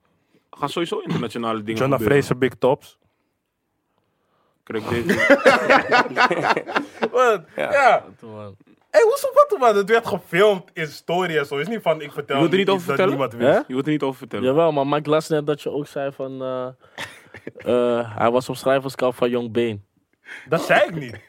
Speaker 5: Gaan sowieso internationale dingen
Speaker 3: Jonah
Speaker 5: gebeuren.
Speaker 3: Fraser, Big Tops.
Speaker 5: Krijg deze.
Speaker 3: Wat? Ja.
Speaker 4: Toen, man.
Speaker 3: Hé, hoezo wat man? Het werd gefilmd in story en zo. Het is niet van ik vertel
Speaker 5: Je wilt er niet
Speaker 3: iets
Speaker 5: over
Speaker 3: dat
Speaker 5: vertellen?
Speaker 3: niemand wist.
Speaker 4: Hè?
Speaker 5: Je moet er niet over vertellen.
Speaker 4: Jawel, maar Mike las net dat je ook zei van... eh, eh, hij was op schrijverskamp van Young Bane.
Speaker 3: Dat zei ik niet.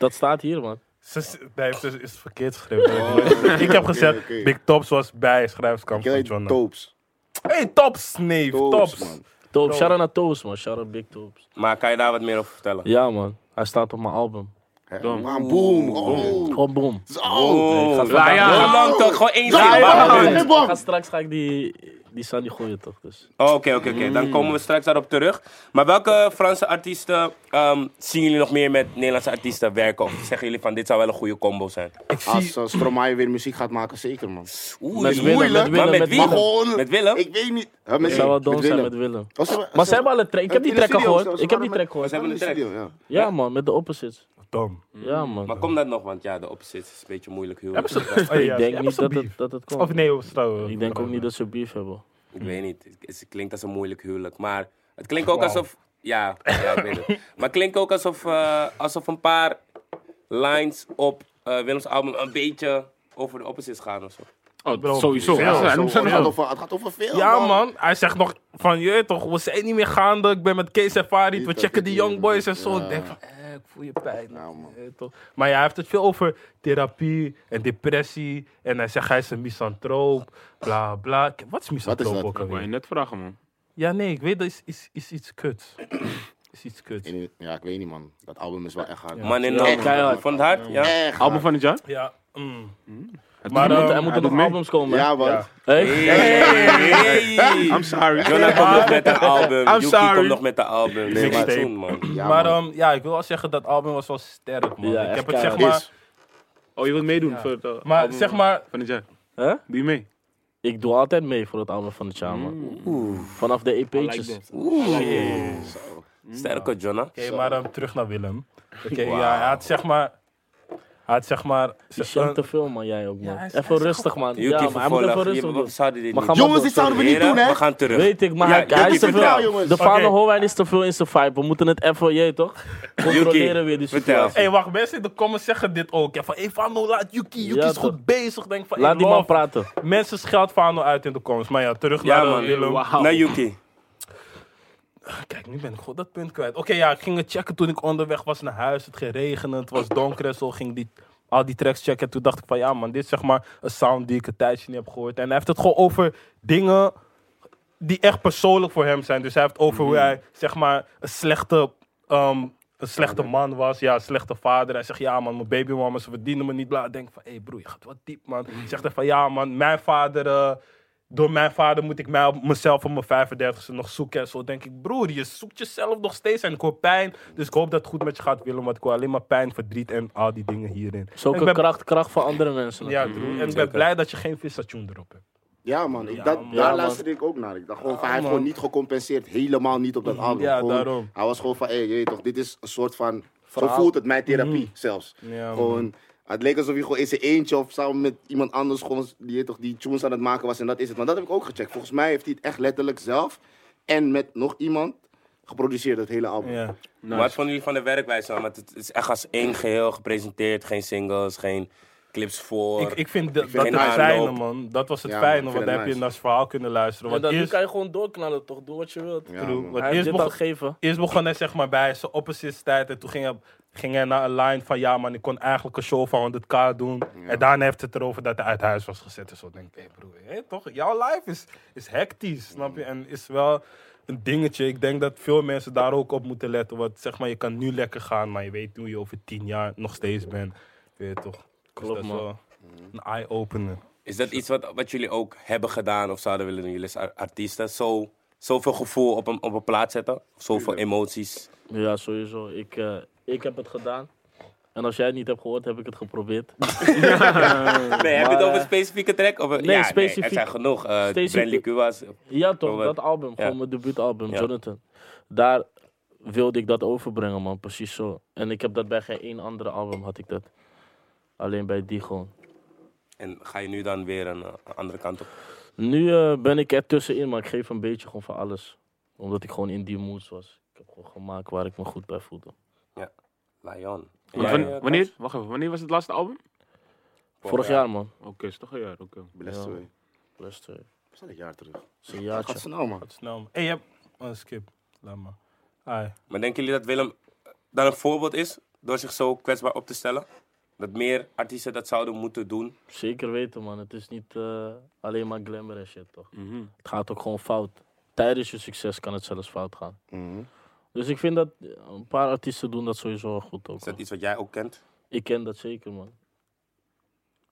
Speaker 4: Dat staat hier, man.
Speaker 3: Ze, nee, ze is verkeerd geschreven. ik heb gezegd,
Speaker 2: oké, oké.
Speaker 3: Big Tops was bij schrijverskamp
Speaker 2: Ik
Speaker 3: van
Speaker 2: heet
Speaker 4: eh,
Speaker 3: John.
Speaker 2: Toops.
Speaker 3: Hé, Tops, nee,
Speaker 2: Toops,
Speaker 3: Tops.
Speaker 2: man.
Speaker 4: Toop, shout out naar Toos, man. Shout out Big Toops.
Speaker 1: Maar kan je daar wat meer over vertellen?
Speaker 4: Ja, man. Hij staat op mijn album.
Speaker 2: Hè? Maar boom. Oh.
Speaker 4: Gewoon boom.
Speaker 2: Oh.
Speaker 1: Oh,
Speaker 5: Ja, ja.
Speaker 1: Heel lang toch? Gewoon één zin.
Speaker 2: Ja,
Speaker 1: Waarom?
Speaker 2: ja,
Speaker 4: Ik
Speaker 2: ja. Bam.
Speaker 4: ga straks ga ik die, die Sandy gooien, toch? Dus.
Speaker 1: Oh, Oké, oké, oké. Dan komen we straks daarop terug. Maar welke Franse artiesten ehm, zien jullie nog meer met Nederlandse artiesten werken? Of zeggen jullie van dit zou wel een goede combo zijn?
Speaker 3: Ik zie...
Speaker 2: Als eh, Stromae weer muziek gaat maken, zeker, man.
Speaker 1: Oeh,
Speaker 4: Met
Speaker 1: dit is
Speaker 4: Willem,
Speaker 1: moeilijk.
Speaker 4: met
Speaker 1: maar
Speaker 4: Willem,
Speaker 1: met
Speaker 4: met
Speaker 1: wie?
Speaker 2: Maar
Speaker 4: Willem.
Speaker 2: gewoon...
Speaker 1: Met Willem?
Speaker 2: Ik weet niet. Huh, met,
Speaker 4: Ik zou wel
Speaker 2: met
Speaker 4: dom zijn
Speaker 2: Willem.
Speaker 4: met Willem.
Speaker 2: Oh, hebben-
Speaker 4: Maar ze hebben al een track. Ik heb die
Speaker 2: in de
Speaker 4: track al
Speaker 2: studio,
Speaker 4: gehoord.
Speaker 2: ze-
Speaker 4: Ik
Speaker 2: ze
Speaker 4: heb die
Speaker 2: waren
Speaker 4: track gehoord.
Speaker 1: Ze hebben een
Speaker 2: met-
Speaker 1: track.
Speaker 2: in de studio,
Speaker 4: Ja, man. Met de opposites.
Speaker 3: Tom.
Speaker 4: Ja, man.
Speaker 1: Maar kom dat nog, want ja, de opposite is een beetje moeilijk huwelijk.
Speaker 3: Oh, ja,
Speaker 4: Ik
Speaker 3: hebben
Speaker 4: denk
Speaker 3: ze
Speaker 4: niet dat
Speaker 3: beef?
Speaker 4: het, dat het komt.
Speaker 3: Of nee, of zo.
Speaker 4: Ik denk ook niet dat ze beef hebben.
Speaker 1: Ik weet niet. Het- Het klinkt als een moeilijk huwelijk. Maar het klinkt ook alsof. Ja, ja, ik weet het. Maar het klinkt ook alsof, eh, alsof een paar lines op eh, Willems album een beetje over de opposites gaan of zo.
Speaker 5: Oh, sowieso.
Speaker 2: Ja,
Speaker 5: Ja,
Speaker 2: zo,
Speaker 5: hij noemt ze
Speaker 2: het, gaat
Speaker 5: wel.
Speaker 2: over, Oh, het gaat over veel,
Speaker 3: Ja, man. Hij zegt nog van, je weet toch, we zijn niet meer gaande. Ik ben met Kees en Farid. We
Speaker 2: dat
Speaker 3: checken
Speaker 2: ik
Speaker 3: die
Speaker 2: hier-
Speaker 3: young boys en zo.
Speaker 2: Ja.
Speaker 3: Ik denk van, eh, ik voel je pijn.
Speaker 2: Ja, man.
Speaker 3: Eh, toch. Maar ja, hij heeft het veel over therapie en depressie. En hij zegt, hij is een misantroop. Bla, bla. K- Wat is misantroop
Speaker 2: dat?
Speaker 3: ook
Speaker 5: Ik wou je
Speaker 3: alweer?
Speaker 5: net vragen, man.
Speaker 3: Ja, nee, ik weet, dat is, is, is iets kuts. is iets kuts.
Speaker 2: In- Ja, ik weet niet, man. Dat album is wel echt hard.
Speaker 1: Man in
Speaker 4: Ja,
Speaker 1: de
Speaker 4: keihard.
Speaker 1: Vond het hard? Ja.
Speaker 2: Echt hard.
Speaker 5: Album van het jaar?
Speaker 3: Ja, mm. ehm,
Speaker 4: Maar
Speaker 3: doet-
Speaker 4: eh,
Speaker 3: hij
Speaker 4: er moeten
Speaker 5: doet
Speaker 4: nog
Speaker 5: mee.
Speaker 4: albums komen. hè?
Speaker 2: Ja, man.
Speaker 3: Ja.
Speaker 4: Hey.
Speaker 1: Hey!
Speaker 5: I'm sorry.
Speaker 1: Jonah komt nog met een album.
Speaker 5: I'm
Speaker 1: Yuki
Speaker 5: sorry.
Speaker 1: komt nog met een album. Nee, maar
Speaker 3: Mixtape.
Speaker 1: toen, man.
Speaker 2: Ja,
Speaker 3: maar
Speaker 4: eh,
Speaker 2: man.
Speaker 3: ehm, ja, ik wil wel zeggen, dat album was wel sterk, man.
Speaker 4: Ja,
Speaker 3: ik
Speaker 4: echt
Speaker 3: heb het zeg
Speaker 4: keihard.
Speaker 3: maar...
Speaker 2: Is.
Speaker 5: Oh, je wilt meedoen voor het eh,
Speaker 3: Maar
Speaker 5: album
Speaker 3: zeg maar,
Speaker 5: van het jaar?
Speaker 4: Hè?
Speaker 5: Doe je mee?
Speaker 4: Ik doe altijd mee voor het album van het jaar, man. Vanaf de E EP'tjes.
Speaker 1: Sterke Jonah.
Speaker 3: Oké, maar ehm, terug naar Willem. Oké, ja, hij had zeg maar... Hij had zeg maar...
Speaker 4: Je
Speaker 3: zeg-
Speaker 4: shamt te veel, man. Jij ook, man.
Speaker 3: hij is- hij
Speaker 4: even
Speaker 3: is
Speaker 4: rustig, man.
Speaker 1: Yuki
Speaker 4: Ja, maar hij moet even
Speaker 1: vervolg.
Speaker 4: rustig
Speaker 1: Je- We
Speaker 4: doen.
Speaker 1: zouden dit
Speaker 4: Maar
Speaker 1: niet
Speaker 4: gaan
Speaker 1: doen.
Speaker 4: we
Speaker 2: Jongens, dit
Speaker 4: door.
Speaker 2: zouden we niet
Speaker 1: Heren,
Speaker 2: doen,
Speaker 1: we
Speaker 2: hè?
Speaker 1: gaan terug.
Speaker 4: Weet ik, maar
Speaker 1: Ja,
Speaker 4: hij,
Speaker 1: Yuki,
Speaker 4: hij is te
Speaker 1: vertel,
Speaker 4: veel.
Speaker 2: jongens.
Speaker 4: De Fano
Speaker 3: Oké.
Speaker 4: Hoewijn is te veel in zijn vibe. We moeten het even, jij toch? Controleren weer die
Speaker 1: Vertel.
Speaker 4: situatie.
Speaker 3: Hé, Eh, wacht, mensen in de comments zeggen dit ook. Ja, van, hé, Fano, laat Yuki, Yuki
Speaker 4: Ja,
Speaker 3: is
Speaker 4: toch.
Speaker 3: goed bezig. Denk van,
Speaker 4: Laat
Speaker 3: hey,
Speaker 4: die man
Speaker 3: love.
Speaker 4: praten.
Speaker 3: Mensen scheldt Fano uit in de comments. Maar ja, terug
Speaker 1: Ja,
Speaker 3: naar eh,
Speaker 1: man.
Speaker 3: Willem.
Speaker 1: Naar Yuki.
Speaker 3: Kijk, nu ben ik gewoon dat punt kwijt. Oké, ja, ik ging het checken toen ik onderweg was naar huis. Het ging regenen, het was donker en zo. Ging die, al die tracks checken. En toen dacht ik van, ja man, dit is zeg maar een sound die ik een tijdje niet heb gehoord. En hij heeft het gewoon over dingen die echt persoonlijk voor hem zijn. Dus hij heeft over hoe hij, zeg maar, een slechte... ehm, een slechte man was, ja, een slechte vader. Hij zegt, ja man, mijn babymama, ze verdienen me niet. Bla. Ik denk van, hé hey broer, je gaat wat diep man. Zegt hij van, ja man, mijn vader... eh, door mijn vader moet ik mij op mezelf op mijn 35e nog zoeken. En zo denk ik, broer, je zoekt jezelf nog steeds. En ik hoor pijn. Dus ik hoop dat het goed met je gaat, Willem. Want ik hoor alleen maar pijn, verdriet en al die dingen hierin. En
Speaker 4: Zulke
Speaker 3: ik ben,
Speaker 4: kracht, kracht voor andere mensen.
Speaker 3: Ja, broer, en ik ben blij dat je geen visstation erop hebt.
Speaker 2: Ja, man. Ik, dat, daar
Speaker 4: man.
Speaker 2: luisterde ik ook naar. Ik dacht gewoon van, hij heeft
Speaker 3: man.
Speaker 2: gewoon niet gecompenseerd. Helemaal niet op dat album.
Speaker 3: Ja,
Speaker 2: Gewoon,
Speaker 3: daarom.
Speaker 2: Hij was gewoon van, hé, je weet toch, dit is een soort van... Zo voelt het, mijn therapie zelfs.
Speaker 3: Ja, man.
Speaker 2: gewoon... Het leek alsof hij gewoon in zijn eentje of samen met iemand anders gewoon die, je toch, die tunes aan het maken was en dat is het. Maar dat heb ik ook gecheckt. Volgens mij heeft hij het echt letterlijk zelf en met nog iemand geproduceerd, het hele album.
Speaker 3: Ja.
Speaker 1: Maar Wat vonden jullie van de werkwijze? dan? Want het is echt als één geheel gepresenteerd. Geen singles, geen clips voor.
Speaker 3: Ik, ik vind, de-
Speaker 1: vind
Speaker 3: dat
Speaker 1: het
Speaker 3: het
Speaker 1: nice.
Speaker 3: fijne, man. Dat was het
Speaker 2: Ja, man, ik
Speaker 3: fijne,
Speaker 2: vind
Speaker 3: want
Speaker 2: het
Speaker 3: dan heb je
Speaker 2: nice.
Speaker 3: naar het verhaal kunnen luisteren.
Speaker 4: Maar
Speaker 3: Want
Speaker 4: dan nu
Speaker 3: eerst,
Speaker 4: kan je gewoon doorknallen, toch? Doe wat je wilt.
Speaker 2: Ja,
Speaker 3: True.
Speaker 2: man.
Speaker 3: Want
Speaker 4: Hij heeft
Speaker 3: eerst,
Speaker 4: dit al
Speaker 3: begon,
Speaker 4: gegeven.
Speaker 3: eerst begon hij zeg maar bij zijn oppositiestijd en toen ging hij, ging hij naar een line van ja man, ik kon eigenlijk een show van 100k doen. En daarna heeft het erover dat hij uit huis was gezet en zo. Dan denk ik, hé broer, hé, toch? Jouw life is, is hectisch, snap je? En is wel een dingetje. Ik denk dat veel mensen daar ook op moeten letten. Want zeg maar, je kan nu lekker gaan, maar je weet hoe je over tien jaar nog steeds bent. Weet je toch? Dus
Speaker 4: Klopt,
Speaker 3: dat is
Speaker 4: man.
Speaker 3: wel
Speaker 2: Mm.
Speaker 3: Een eye-opener.
Speaker 1: Is dat iets wat, wat jullie ook hebben gedaan of zouden willen doen? Jullie als ar- artiesten zo, zoveel gevoel op een, op een plaat zetten? Zoveel emoties?
Speaker 4: Ja, sowieso. Ik, eh, ik heb het gedaan. En als jij het niet hebt gehoord, heb ik het geprobeerd.
Speaker 1: Nee, heb je het
Speaker 4: Maar,
Speaker 1: over een
Speaker 4: eh,
Speaker 1: specifieke track? Of, een-
Speaker 4: nee,
Speaker 1: ja, Nee,
Speaker 4: specifiek-
Speaker 1: er zijn genoeg. eh
Speaker 4: specifiek-
Speaker 1: Brandley Cuba's.
Speaker 4: Ja,
Speaker 1: Oh,
Speaker 4: toch,
Speaker 1: wat-
Speaker 4: dat album,
Speaker 1: ja.
Speaker 4: gewoon mijn debuutalbum,
Speaker 1: Ja.
Speaker 4: Jonathan. Daar wilde ik dat overbrengen, man, precies zo. En ik heb dat bij geen één andere album, had ik dat. Alleen bij die gewoon.
Speaker 1: En ga je nu dan weer een eh, andere kant op?
Speaker 4: Nu eh, ben ik er tussenin, maar ik geef een beetje gewoon van alles. Omdat ik gewoon in die mood was. Ik heb gewoon gemaakt waar ik me goed bij voelde.
Speaker 1: Lion. En
Speaker 5: Want
Speaker 1: jij, eh,
Speaker 5: wan-
Speaker 1: Kans?
Speaker 5: Wanneer? Wacht even, wanneer was het laatste album?
Speaker 4: Vorig
Speaker 1: jaar.
Speaker 4: jaar, man.
Speaker 5: Oké, is toch een jaar, oké.
Speaker 2: Blessed
Speaker 4: Ja.
Speaker 2: way.
Speaker 4: Best, eh,
Speaker 2: Dat is al een jaar terug.
Speaker 4: is een
Speaker 2: Wat
Speaker 4: jaartje.
Speaker 2: gaat snel, man.
Speaker 3: Wat snel, man. Hé, je hebt... Oh, skip. Laat maar. Ai.
Speaker 1: Maar denken jullie dat Willem eh, dan een voorbeeld is door zich zo kwetsbaar op te stellen? Dat meer artiesten dat zouden moeten doen?
Speaker 4: Zeker weten, man. Het is niet eh, alleen maar glamour en shit, toch?
Speaker 2: Mhm.
Speaker 4: Het gaat ook gewoon fout. Tijdens je succes kan het zelfs fout gaan.
Speaker 2: Mhm.
Speaker 4: Dus ik vind dat eh, een paar artiesten doen dat sowieso wel goed ook.
Speaker 1: Is dat
Speaker 4: man.
Speaker 1: iets wat jij ook kent?
Speaker 4: Ik ken dat zeker, man.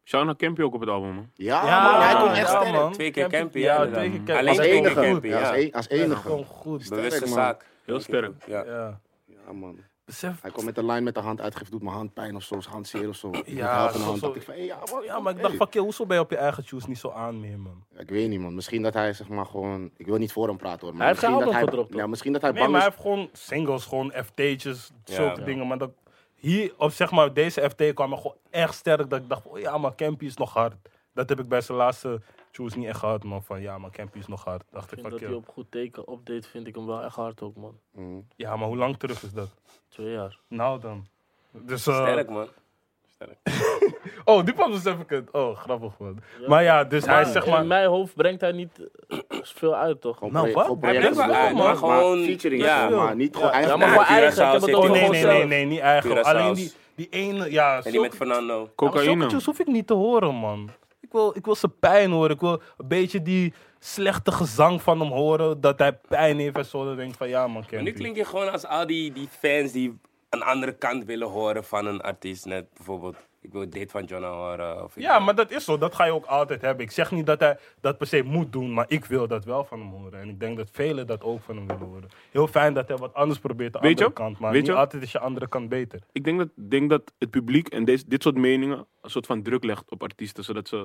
Speaker 5: Shauna Campy ook op het album, man.
Speaker 2: Ja, man, hij doet echt
Speaker 3: Ah, ja,
Speaker 2: sterk.
Speaker 3: man.
Speaker 1: Twee keer Campy, ja,
Speaker 3: ja.
Speaker 1: inderdaad.
Speaker 3: twee keer Campy.
Speaker 1: Alleen
Speaker 2: Als
Speaker 1: Campy,
Speaker 2: enige.
Speaker 1: Campy,
Speaker 2: Ja, als,
Speaker 1: ja.
Speaker 2: e- als
Speaker 3: Dat is gewoon
Speaker 2: enige.
Speaker 3: goed.
Speaker 1: Bewuste
Speaker 2: man. Eh,
Speaker 1: zaak.
Speaker 5: Heel sterk.
Speaker 1: Ja.
Speaker 3: Ja.
Speaker 2: Ja, man.
Speaker 3: Besef.
Speaker 2: Hij kwam met een lijn met de hand uitgeeft, doet mijn hand pijn of zo, zijn hand zeer of zo. Ik
Speaker 3: Ja,
Speaker 2: had een
Speaker 3: zo-
Speaker 2: hand.
Speaker 3: zo-
Speaker 2: dacht ik van, hey, ja, man,
Speaker 3: Oh, Ja, maar ik
Speaker 2: hey.
Speaker 3: dacht, fuck je, hoezo ben je op je eigen shoes niet zo aan meer, man?
Speaker 2: Ja, Ik weet niet, man. Misschien dat hij zeg maar gewoon. Ik wil niet voor hem praten hoor. Maar
Speaker 4: Hij heeft geen
Speaker 2: misschien dat
Speaker 4: album
Speaker 2: hij,
Speaker 4: gedropt, toch?
Speaker 2: Ja, misschien dat hij
Speaker 3: Nee,
Speaker 2: bang
Speaker 3: maar hij
Speaker 2: is.
Speaker 3: heeft gewoon singles, gewoon FT'tjes,
Speaker 1: Ja,
Speaker 3: zulke
Speaker 1: ja.
Speaker 3: dingen. Maar dat, hier, op zeg maar, deze FT kwam er gewoon echt sterk. Dat ik dacht, oh ja, maar Campy is nog hard. Dat heb ik bij zijn laatste shoes niet echt gehad, man. Van ja, maar Campy is nog hard. Dacht
Speaker 4: Ik
Speaker 3: ik,
Speaker 4: vind
Speaker 3: fuck
Speaker 4: dat hij
Speaker 3: je.
Speaker 4: op goed teken update, vind ik hem wel echt hard ook, man.
Speaker 3: Ja, maar hoe lang terug is dat?
Speaker 4: Twee jaar.
Speaker 3: Nou dan. Dus, eh,
Speaker 1: Sterk, man. Sterk.
Speaker 3: oh, die kwam dus even kut. Oh, grappig, man. Maar ja, dus hij is zeg
Speaker 4: In
Speaker 3: maar...
Speaker 4: mijn hoofd brengt hij niet eh, veel uit, toch?
Speaker 2: Gewoon
Speaker 3: Nou,
Speaker 2: pro-
Speaker 3: wat?
Speaker 2: gewoon
Speaker 3: Hij
Speaker 2: projecten
Speaker 1: brengt wel
Speaker 2: doen,
Speaker 1: uit, maar gewoon-
Speaker 2: featuring.
Speaker 1: ja.
Speaker 2: Ja, maar niet gewoon
Speaker 4: Ja,
Speaker 2: eigen.
Speaker 4: maar
Speaker 2: Ja,
Speaker 4: gewoon
Speaker 1: Curaçao
Speaker 4: eigen. Ik heb het
Speaker 1: zit
Speaker 4: over
Speaker 3: Oh,
Speaker 1: er
Speaker 3: nee,
Speaker 4: gewoon
Speaker 3: nee,
Speaker 4: zelf.
Speaker 3: nee, nee, niet eigenlijk.
Speaker 1: Curaçao's.
Speaker 3: Alleen die, die ene, ja.
Speaker 1: En die
Speaker 3: zulke-
Speaker 1: met Fernando.
Speaker 3: Ja, maar
Speaker 5: Cocaïne.
Speaker 3: Zulke tunes hoef ik niet te horen, man. Ik wil, ik wil zijn pijn horen. Ik wil een beetje die slechte gezang van hem horen. Dat hij pijn heeft en zo. Dan denk ik van, ja man,
Speaker 1: Maar nu
Speaker 3: Campy.
Speaker 1: klink je gewoon als al die, die fans die een andere kant willen horen van een artiest. Net bijvoorbeeld, ik wil dit van Jonna horen. Of ik
Speaker 3: Ja,
Speaker 1: wil-
Speaker 3: maar dat is zo. Dat ga je ook altijd hebben. Ik zeg niet dat hij dat per se moet doen. Maar ik wil dat wel van hem horen. En ik denk dat velen dat ook van hem willen horen. Heel fijn dat hij wat anders probeert. De
Speaker 5: Weet je?
Speaker 3: andere kant. Maar
Speaker 5: Weet
Speaker 3: niet
Speaker 5: je? Dus
Speaker 3: altijd is je andere kant beter.
Speaker 5: Ik denk dat, denk dat het publiek en deze, dit soort meningen een soort van druk legt op artiesten, zodat ze dus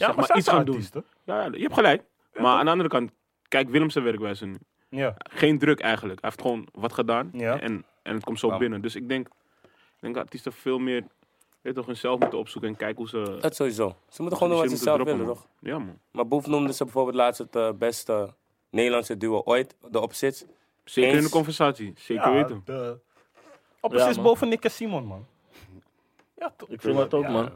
Speaker 3: Ja,
Speaker 5: zeg
Speaker 3: maar
Speaker 5: maar,
Speaker 3: zijn
Speaker 5: iets
Speaker 3: ze
Speaker 5: gaan doen.
Speaker 3: artiesten?
Speaker 5: Ja, ja, je hebt gelijk. maar aan de andere kant, kijk Willem zijn werkwijze nu.
Speaker 3: Ja.
Speaker 5: Geen druk eigenlijk. Hij heeft gewoon wat gedaan
Speaker 3: Ja.
Speaker 5: en, en het komt zo
Speaker 1: Bam.
Speaker 5: binnen. Dus ik denk, ik denk dat artiesten veel meer weet toch, hunzelf moeten opzoeken en kijken hoe ze... hoe ze
Speaker 1: Dat sowieso. Ze moeten
Speaker 5: die
Speaker 1: gewoon doen wat
Speaker 5: shit
Speaker 1: ze
Speaker 5: moeten
Speaker 1: zelf
Speaker 5: droppen,
Speaker 1: willen,
Speaker 5: man.
Speaker 1: toch?
Speaker 5: Ja, man.
Speaker 1: Maar Boef noemde ze bijvoorbeeld laatst het eh, beste Nederlandse duo ooit, de opzits.
Speaker 5: Zeker
Speaker 1: Eens.
Speaker 5: in de conversatie. Zeker
Speaker 3: Ja,
Speaker 5: weten.
Speaker 3: de- Oh,
Speaker 4: Ja,
Speaker 3: precies
Speaker 4: man.
Speaker 3: boven Nick en Simon, man. Ja, toch.
Speaker 4: Ik vind dat ook, man.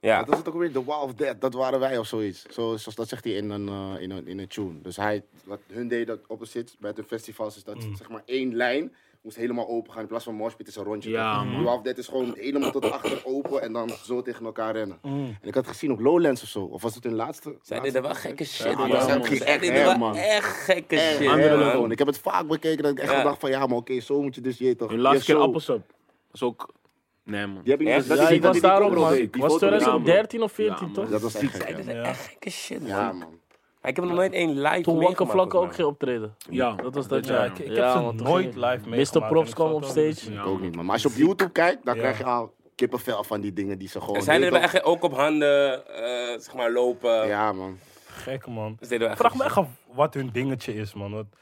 Speaker 1: Ja,
Speaker 2: Dat is het ook weer, The Wall of Death, dat waren wij of zoiets. Zo, zoals dat zegt hij in een, eh, in een, in een tune. Dus hij, wat hun deed dat opposite bij de festivals, is dat
Speaker 4: Mm.
Speaker 2: zeg maar één lijn moest helemaal open gaan. In plaats van moshpit is een rondje.
Speaker 5: Ja,
Speaker 2: toch?
Speaker 5: man.
Speaker 2: The Wall of Death is gewoon helemaal tot achter open en dan zo tegen elkaar rennen.
Speaker 4: Mm.
Speaker 2: En ik had gezien op Lowlands of zo, of was het hun laatste?
Speaker 1: zij
Speaker 2: laatste
Speaker 1: deden wel gekke shit,
Speaker 2: maar
Speaker 1: man.
Speaker 2: dat
Speaker 1: Zij
Speaker 2: ging echt
Speaker 1: deden
Speaker 2: her,
Speaker 1: wel
Speaker 2: man.
Speaker 1: echt gekke shit,
Speaker 2: Echt, hè,
Speaker 1: man.
Speaker 2: gewoon. Ik heb het vaak bekeken dat ik echt
Speaker 1: Ja.
Speaker 2: dacht van ja, maar oké, zo moet je dus je toch.
Speaker 5: Hun laatste
Speaker 2: je
Speaker 5: keer
Speaker 2: show.
Speaker 5: appelsap. Dat is ook... Nee, man.
Speaker 2: Die heb je
Speaker 1: Ja,
Speaker 2: niet gezien, dat
Speaker 4: ja,
Speaker 2: is
Speaker 4: ik
Speaker 2: niet dat
Speaker 4: was
Speaker 2: hij die
Speaker 4: daar ook,
Speaker 2: combo
Speaker 4: man.
Speaker 2: deed.
Speaker 4: Ik
Speaker 2: Die
Speaker 4: was
Speaker 2: foto-
Speaker 4: 2013 of 14,
Speaker 5: Ja, man.
Speaker 4: toch?
Speaker 2: Dat was echt
Speaker 1: Zij
Speaker 2: gek,
Speaker 1: deden echt gekke shit, man.
Speaker 2: Ja, man.
Speaker 1: Ik heb nog nooit één live
Speaker 4: Toen
Speaker 1: meegemaakt,
Speaker 4: Wakker Vlakken ook
Speaker 1: volgens
Speaker 4: geen optreden.
Speaker 5: Ja,
Speaker 4: Dat was dat
Speaker 5: Ja,
Speaker 4: jaar.
Speaker 3: ik, ik
Speaker 4: Ja,
Speaker 3: heb
Speaker 4: man,
Speaker 3: ze
Speaker 4: toen
Speaker 3: nooit
Speaker 4: ging-
Speaker 3: live meegemaakt.
Speaker 4: Mr. Props
Speaker 3: en
Speaker 4: kwam op
Speaker 3: zat
Speaker 4: stage.
Speaker 3: wel-
Speaker 2: Ik
Speaker 5: Ja,
Speaker 2: ook
Speaker 5: man.
Speaker 2: niet, man. Maar als je op YouTube kijkt, dan
Speaker 3: Ja.
Speaker 2: krijg je al kippenvel van die dingen die ze gewoon...
Speaker 1: mij. Zij
Speaker 2: weet
Speaker 1: deden wel
Speaker 2: toch?
Speaker 1: echt ook op handen, eh, zeg maar, lopen.
Speaker 2: Ja, man.
Speaker 3: Gek, man.
Speaker 1: Ze deden wel echt
Speaker 3: Vraag me
Speaker 1: gekke
Speaker 3: echt af wat hun dingetje is, man. Want,
Speaker 4: Ja,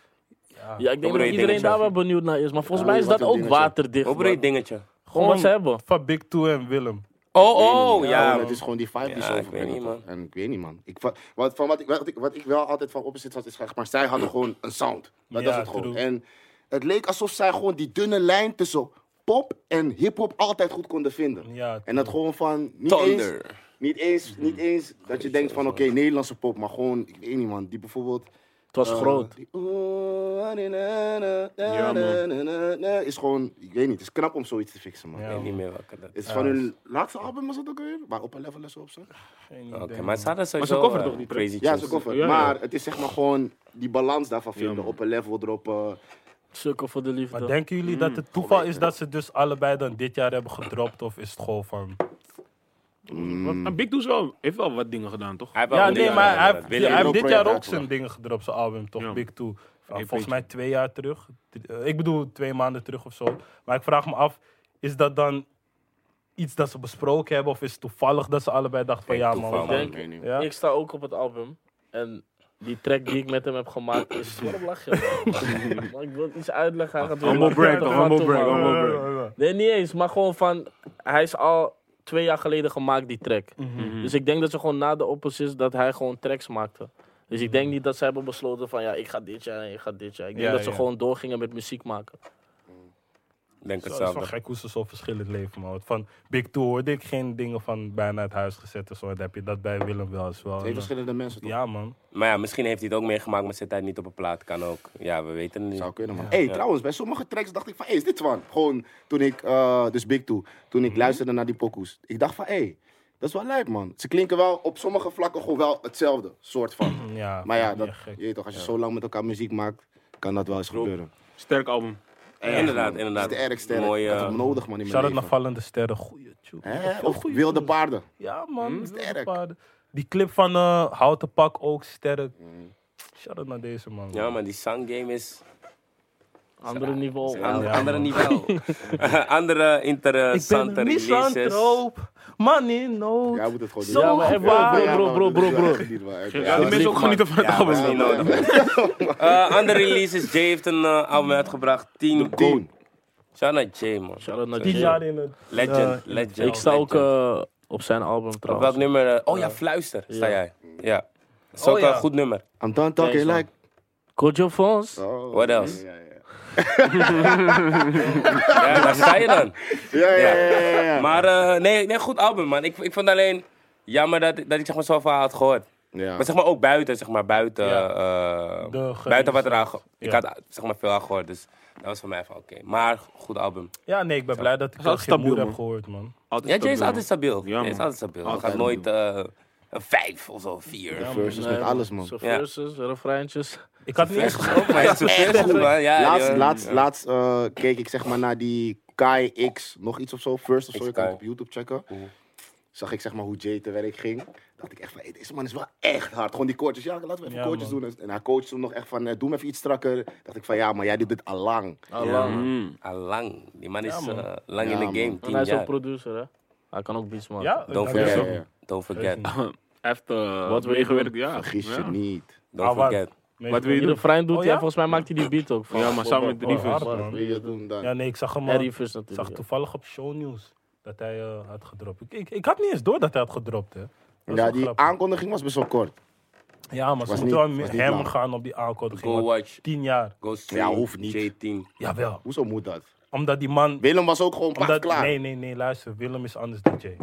Speaker 4: ik denk
Speaker 1: Hoe
Speaker 4: dat
Speaker 1: bedoel je
Speaker 4: iedereen
Speaker 1: dingetje?
Speaker 4: daar wel benieuwd naar is. Maar volgens mij is
Speaker 2: wat
Speaker 4: dat
Speaker 2: een
Speaker 4: ook
Speaker 2: dingetje.
Speaker 4: waterdicht.
Speaker 1: shit. Hoe bedoel je
Speaker 4: man.
Speaker 1: dingetje?
Speaker 4: Gewoon wat ze hebben.
Speaker 3: Van Big Two en Willem.
Speaker 1: Oh,
Speaker 2: Ik weet niet,
Speaker 1: oh, ja.
Speaker 2: Het is gewoon die vibe die
Speaker 1: Ja,
Speaker 2: ze
Speaker 1: ik
Speaker 2: overbrengen.
Speaker 1: weet niet,
Speaker 2: toch? En ik weet niet, man. Ik, va- wat, van wat, ik, wat, ik, wat ik wel altijd van opzit was, is zeg maar, zij hadden gewoon een sound. Dat
Speaker 3: Ja,
Speaker 2: was het gewoon.
Speaker 3: true.
Speaker 2: En het leek alsof zij gewoon die dunne lijn tussen pop en hip-hop altijd goed konden vinden.
Speaker 3: Ja, Mhm.
Speaker 2: en dat gewoon van. Niet
Speaker 1: Thunder.
Speaker 2: Eens, niet eens, niet eens dat je denkt van oké, Nederlandse pop, maar gewoon, ik weet niet, man. Die bijvoorbeeld.
Speaker 4: Het was
Speaker 2: eh,
Speaker 4: groot.
Speaker 2: die- Oh, Is gewoon, ik weet niet, het is knap om zoiets te fixen, man.
Speaker 3: Ja.
Speaker 1: Ik weet niet meer welke dat
Speaker 2: Het
Speaker 1: is.
Speaker 2: is van hun laatste album, was dat ook weer? Waar op een level is zo op zijn?
Speaker 3: Geen
Speaker 1: Oké,
Speaker 3: idee,
Speaker 1: maar ze hadden sowieso...
Speaker 5: cover
Speaker 1: eh,
Speaker 5: toch die
Speaker 1: Crazy
Speaker 2: Ja,
Speaker 1: Tunes.
Speaker 2: ze koffer.
Speaker 5: Ja, ja.
Speaker 2: Maar het is zeg maar gewoon die balans daarvan vinden.
Speaker 5: man.
Speaker 2: op een level erop. eh,
Speaker 4: Sukkel voor de liefde.
Speaker 3: Maar denken jullie dat het toeval is dat ze dus allebei dan dit jaar hebben gedropt? Of is het gewoon van...
Speaker 5: Want, maar Big Doe's wel, heeft wel wat dingen gedaan, toch?
Speaker 1: Hij heeft wel
Speaker 3: Ja,
Speaker 1: wat
Speaker 3: nee,
Speaker 1: dingen
Speaker 3: maar
Speaker 1: gedaan,
Speaker 3: hij
Speaker 1: dat
Speaker 3: heeft,
Speaker 1: wil
Speaker 3: hij
Speaker 1: ik ook.
Speaker 3: heeft
Speaker 2: ook
Speaker 3: dit
Speaker 2: project
Speaker 3: jaar ook
Speaker 2: uitgebracht.
Speaker 3: zijn dingen gedropt, zijn album, toch?
Speaker 5: Ja.
Speaker 3: Big Two. Van,
Speaker 5: Een
Speaker 3: volgens
Speaker 5: beetje.
Speaker 3: mij twee jaar terug. Drie- eh, Ik bedoel, twee maanden terug of zo. Maar ik vraag me af, is dat dan iets dat ze besproken hebben? Of is het toevallig dat ze allebei dachten van
Speaker 1: Ik
Speaker 3: ja,
Speaker 1: toeval,
Speaker 3: man. we
Speaker 1: man.
Speaker 2: ik
Speaker 4: denk-
Speaker 2: weet niet.
Speaker 3: gaan- Ja?
Speaker 4: Ik sta ook op het album. En die track die ik met hem heb gemaakt is... Waarom lach je? Maar ik wil iets uitleggen. Hij gaat weer
Speaker 5: Humble
Speaker 4: lachen.
Speaker 5: break,
Speaker 4: Hij gaat
Speaker 5: humble
Speaker 4: toe,
Speaker 5: break,
Speaker 4: man.
Speaker 5: humble break.
Speaker 4: Nee, niet eens. Maar gewoon van... Hij is al twee jaar geleden gemaakt, die track. Dus ik denk dat ze gewoon na de oppositie dat hij gewoon tracks maakte. Dus ik denk niet dat ze hebben besloten van ja, ik ga dit jaar en ik ga dit jaar. Ik denk
Speaker 3: Ja,
Speaker 4: dat ze
Speaker 3: ja.
Speaker 4: gewoon doorgingen met muziek maken.
Speaker 1: Ik denk
Speaker 3: Het is wel
Speaker 1: hetzelfde.
Speaker 3: gek hoe ze zo verschillend leven, man. Want Van Big Two hoorde ik geen dingen van bijna het huis gezet en zo. En dan heb je dat bij Willem wel eens wel.
Speaker 2: Twee
Speaker 3: En, eh,
Speaker 2: verschillende mensen toch?
Speaker 3: Ja, man.
Speaker 1: Maar ja, misschien heeft hij het ook meegemaakt, maar zit hij niet op een plaat. Kan ook. Ja, we weten het niet.
Speaker 2: Zou kunnen, man. Hey, trouwens, bij sommige tracks dacht ik van, hé, is dit van? Gewoon toen ik, eh, dus Big Two, toen ik luisterde naar die pokoes. Ik dacht van, hé, dat is wel lijp, man. Ze klinken wel op sommige vlakken gewoon wel hetzelfde, soort van.
Speaker 3: Ja,
Speaker 2: maar ja,
Speaker 3: niet
Speaker 2: dat,
Speaker 3: echt gek.
Speaker 2: je weet toch, als je zo lang met elkaar muziek maakt, kan dat wel eens gebeuren.
Speaker 5: Sterk album.
Speaker 1: Eh, inderdaad, inderdaad.
Speaker 2: Het is erg sterk.
Speaker 1: Mooi,
Speaker 2: dat
Speaker 1: eh,
Speaker 2: heb ik nodig, man, in mijn
Speaker 3: Shout-out naar
Speaker 2: leven.
Speaker 3: Vallende Sterren. Goeie tune.
Speaker 2: Hè?
Speaker 3: Veel
Speaker 2: Of
Speaker 3: goeie
Speaker 2: wilde
Speaker 3: tunes.
Speaker 2: paarden.
Speaker 3: Ja, man. wilde
Speaker 2: Sterk.
Speaker 3: paarden. Die clip van eh Houten Pak ook sterk. Shout-out naar deze man.
Speaker 1: Ja, maar die sound game is...
Speaker 4: Andere niveau.
Speaker 1: Ander-
Speaker 3: ja,
Speaker 1: andere niveau. andere
Speaker 3: ik ben
Speaker 1: interessante
Speaker 3: een
Speaker 1: releases.
Speaker 3: misantroop. Man in nood.
Speaker 2: Jij moet het gewoon
Speaker 3: Zo
Speaker 2: doen.
Speaker 4: Ja, maar
Speaker 3: gevaar.
Speaker 4: bro, bro, bro, bro, bro.
Speaker 5: Ja, die
Speaker 1: dat is
Speaker 5: mensen ook
Speaker 1: lief,
Speaker 5: genieten
Speaker 1: man.
Speaker 5: van het
Speaker 1: Ja,
Speaker 5: album.
Speaker 1: dat is niet nodig. Eh, andere releases. Jay heeft een eh, album uitgebracht. 10.
Speaker 2: Koen.
Speaker 1: Shout naar Jay, man.
Speaker 4: Shout-out naar
Speaker 3: Tien
Speaker 4: Jay.
Speaker 3: jaar in het...
Speaker 1: Legend,
Speaker 3: eh,
Speaker 1: legend.
Speaker 4: Ik sta ook
Speaker 1: legend.
Speaker 4: eh, op zijn album
Speaker 1: Op welk
Speaker 4: trouwens.
Speaker 1: nummer? eh, oh ja, Fluister sta
Speaker 4: Ja.
Speaker 1: jij. Ja. Dat is ook
Speaker 3: Oh ja.
Speaker 1: een goed nummer.
Speaker 2: I'm done talking
Speaker 4: Thanks, man.
Speaker 2: like...
Speaker 4: Kojo Fons.
Speaker 2: Oh,
Speaker 1: What else?
Speaker 2: Ja, ja,
Speaker 1: Ja, daar sta je dan.
Speaker 2: ja. ja, ja, ja, ja.
Speaker 1: Maar eh, nee, nee, goed album, man. Ik, ik vond alleen jammer dat, dat ik zeg maar, zoveel had gehoord.
Speaker 2: Ja.
Speaker 1: Maar zeg maar ook buiten, zeg maar, buiten,
Speaker 3: Ja.
Speaker 1: eh,
Speaker 3: De geniet-
Speaker 1: buiten wat er aan... ge- Ik
Speaker 3: Ja.
Speaker 1: had zeg maar veel aan gehoord, dus dat was voor mij van oké. Maar goed album.
Speaker 3: Ja, nee, ik ben blij dat ik
Speaker 5: Zo
Speaker 3: dat geen
Speaker 5: stabiel,
Speaker 3: moer heb
Speaker 5: man.
Speaker 3: gehoord, man.
Speaker 5: Altijd
Speaker 1: Ja, Jay is
Speaker 5: stabiel,
Speaker 1: altijd stabiel.
Speaker 5: Ja,
Speaker 1: Jay is
Speaker 5: man.
Speaker 1: altijd stabiel. Hij
Speaker 5: Altijd
Speaker 1: gaat nooit eh, een vijf of zo, vier. Ja,
Speaker 2: Versus met alles, man.
Speaker 4: Zo
Speaker 1: Ja.
Speaker 4: verses, refreintjes.
Speaker 3: Ik had niet eens
Speaker 1: ook, maar het is echt goed, man. Ja,
Speaker 2: Laatst,
Speaker 1: ja.
Speaker 2: laatst, laatst eh, keek ik zeg maar naar die Kai X, nog iets of zo, First of zo, je kan het op YouTube checken. Zag ik zeg maar hoe Jay te werk ging. Dacht ik echt van, hey, deze man is wel echt hard. Gewoon die coaches, ja, laten we even
Speaker 3: Ja,
Speaker 2: coaches
Speaker 3: man.
Speaker 2: doen. En hij coachte toen nog echt van, eh, doe hem even iets strakker. Dacht ik van, ja, maar jij doet dit al lang.
Speaker 4: Alang.
Speaker 5: Mm.
Speaker 1: Al lang. Die man is
Speaker 3: Ja, man.
Speaker 1: eh, lang
Speaker 2: Ja,
Speaker 1: in
Speaker 2: man.
Speaker 1: de game.
Speaker 4: En hij
Speaker 1: Tien
Speaker 4: is ook
Speaker 1: jaar.
Speaker 4: producer, hè? Hij kan ook beats maken.
Speaker 3: Ja,
Speaker 1: Don't
Speaker 3: dat
Speaker 2: Ja,
Speaker 1: Ja,
Speaker 3: is
Speaker 2: ja,
Speaker 3: ook-
Speaker 1: forget. Don't forget.
Speaker 5: Echt, eh,
Speaker 4: Wat wil je
Speaker 5: meegewerkt, ja.
Speaker 2: Vergis je
Speaker 5: Ja.
Speaker 2: niet.
Speaker 1: Don't
Speaker 3: Ah, wat?
Speaker 1: forget.
Speaker 3: Nee,
Speaker 5: Wat wil je
Speaker 4: Die
Speaker 5: doen?
Speaker 4: refrein doet
Speaker 3: Oh,
Speaker 4: hij,
Speaker 3: ja?
Speaker 4: volgens mij maakt hij die beat ook.
Speaker 5: Ja, maar samen met
Speaker 3: Oh, hard,
Speaker 5: Rivers.
Speaker 3: man.
Speaker 2: Wil je doen dan?
Speaker 3: Ja, nee, ik zag hem
Speaker 4: En
Speaker 3: al.
Speaker 4: Rivers
Speaker 3: Ik zag
Speaker 4: natuurlijk.
Speaker 3: toevallig op shownieuws dat hij eh, had gedropt. Ik, ik, ik had niet eens door dat hij had gedropt, hè. Dat was
Speaker 2: Ja,
Speaker 3: wel
Speaker 2: die
Speaker 3: grappig.
Speaker 2: aankondiging was best wel kort.
Speaker 3: Ja, maar ze
Speaker 2: was
Speaker 3: moeten
Speaker 2: niet-
Speaker 3: wel
Speaker 2: was
Speaker 3: met
Speaker 2: niet
Speaker 3: hem
Speaker 2: lang.
Speaker 3: gaan op die aankondiging.
Speaker 1: Go
Speaker 3: want
Speaker 1: watch.
Speaker 3: Tien jaar.
Speaker 1: Go
Speaker 2: Ja,
Speaker 1: stream.
Speaker 2: hoeft niet.
Speaker 1: J10.
Speaker 3: Jawel.
Speaker 2: Hoezo moet dat?
Speaker 3: Omdat die man...
Speaker 2: Willem was ook gewoon pas
Speaker 3: Omdat,
Speaker 2: klaar.
Speaker 3: nee, nee, nee, luister. Willem is anders dan Jay.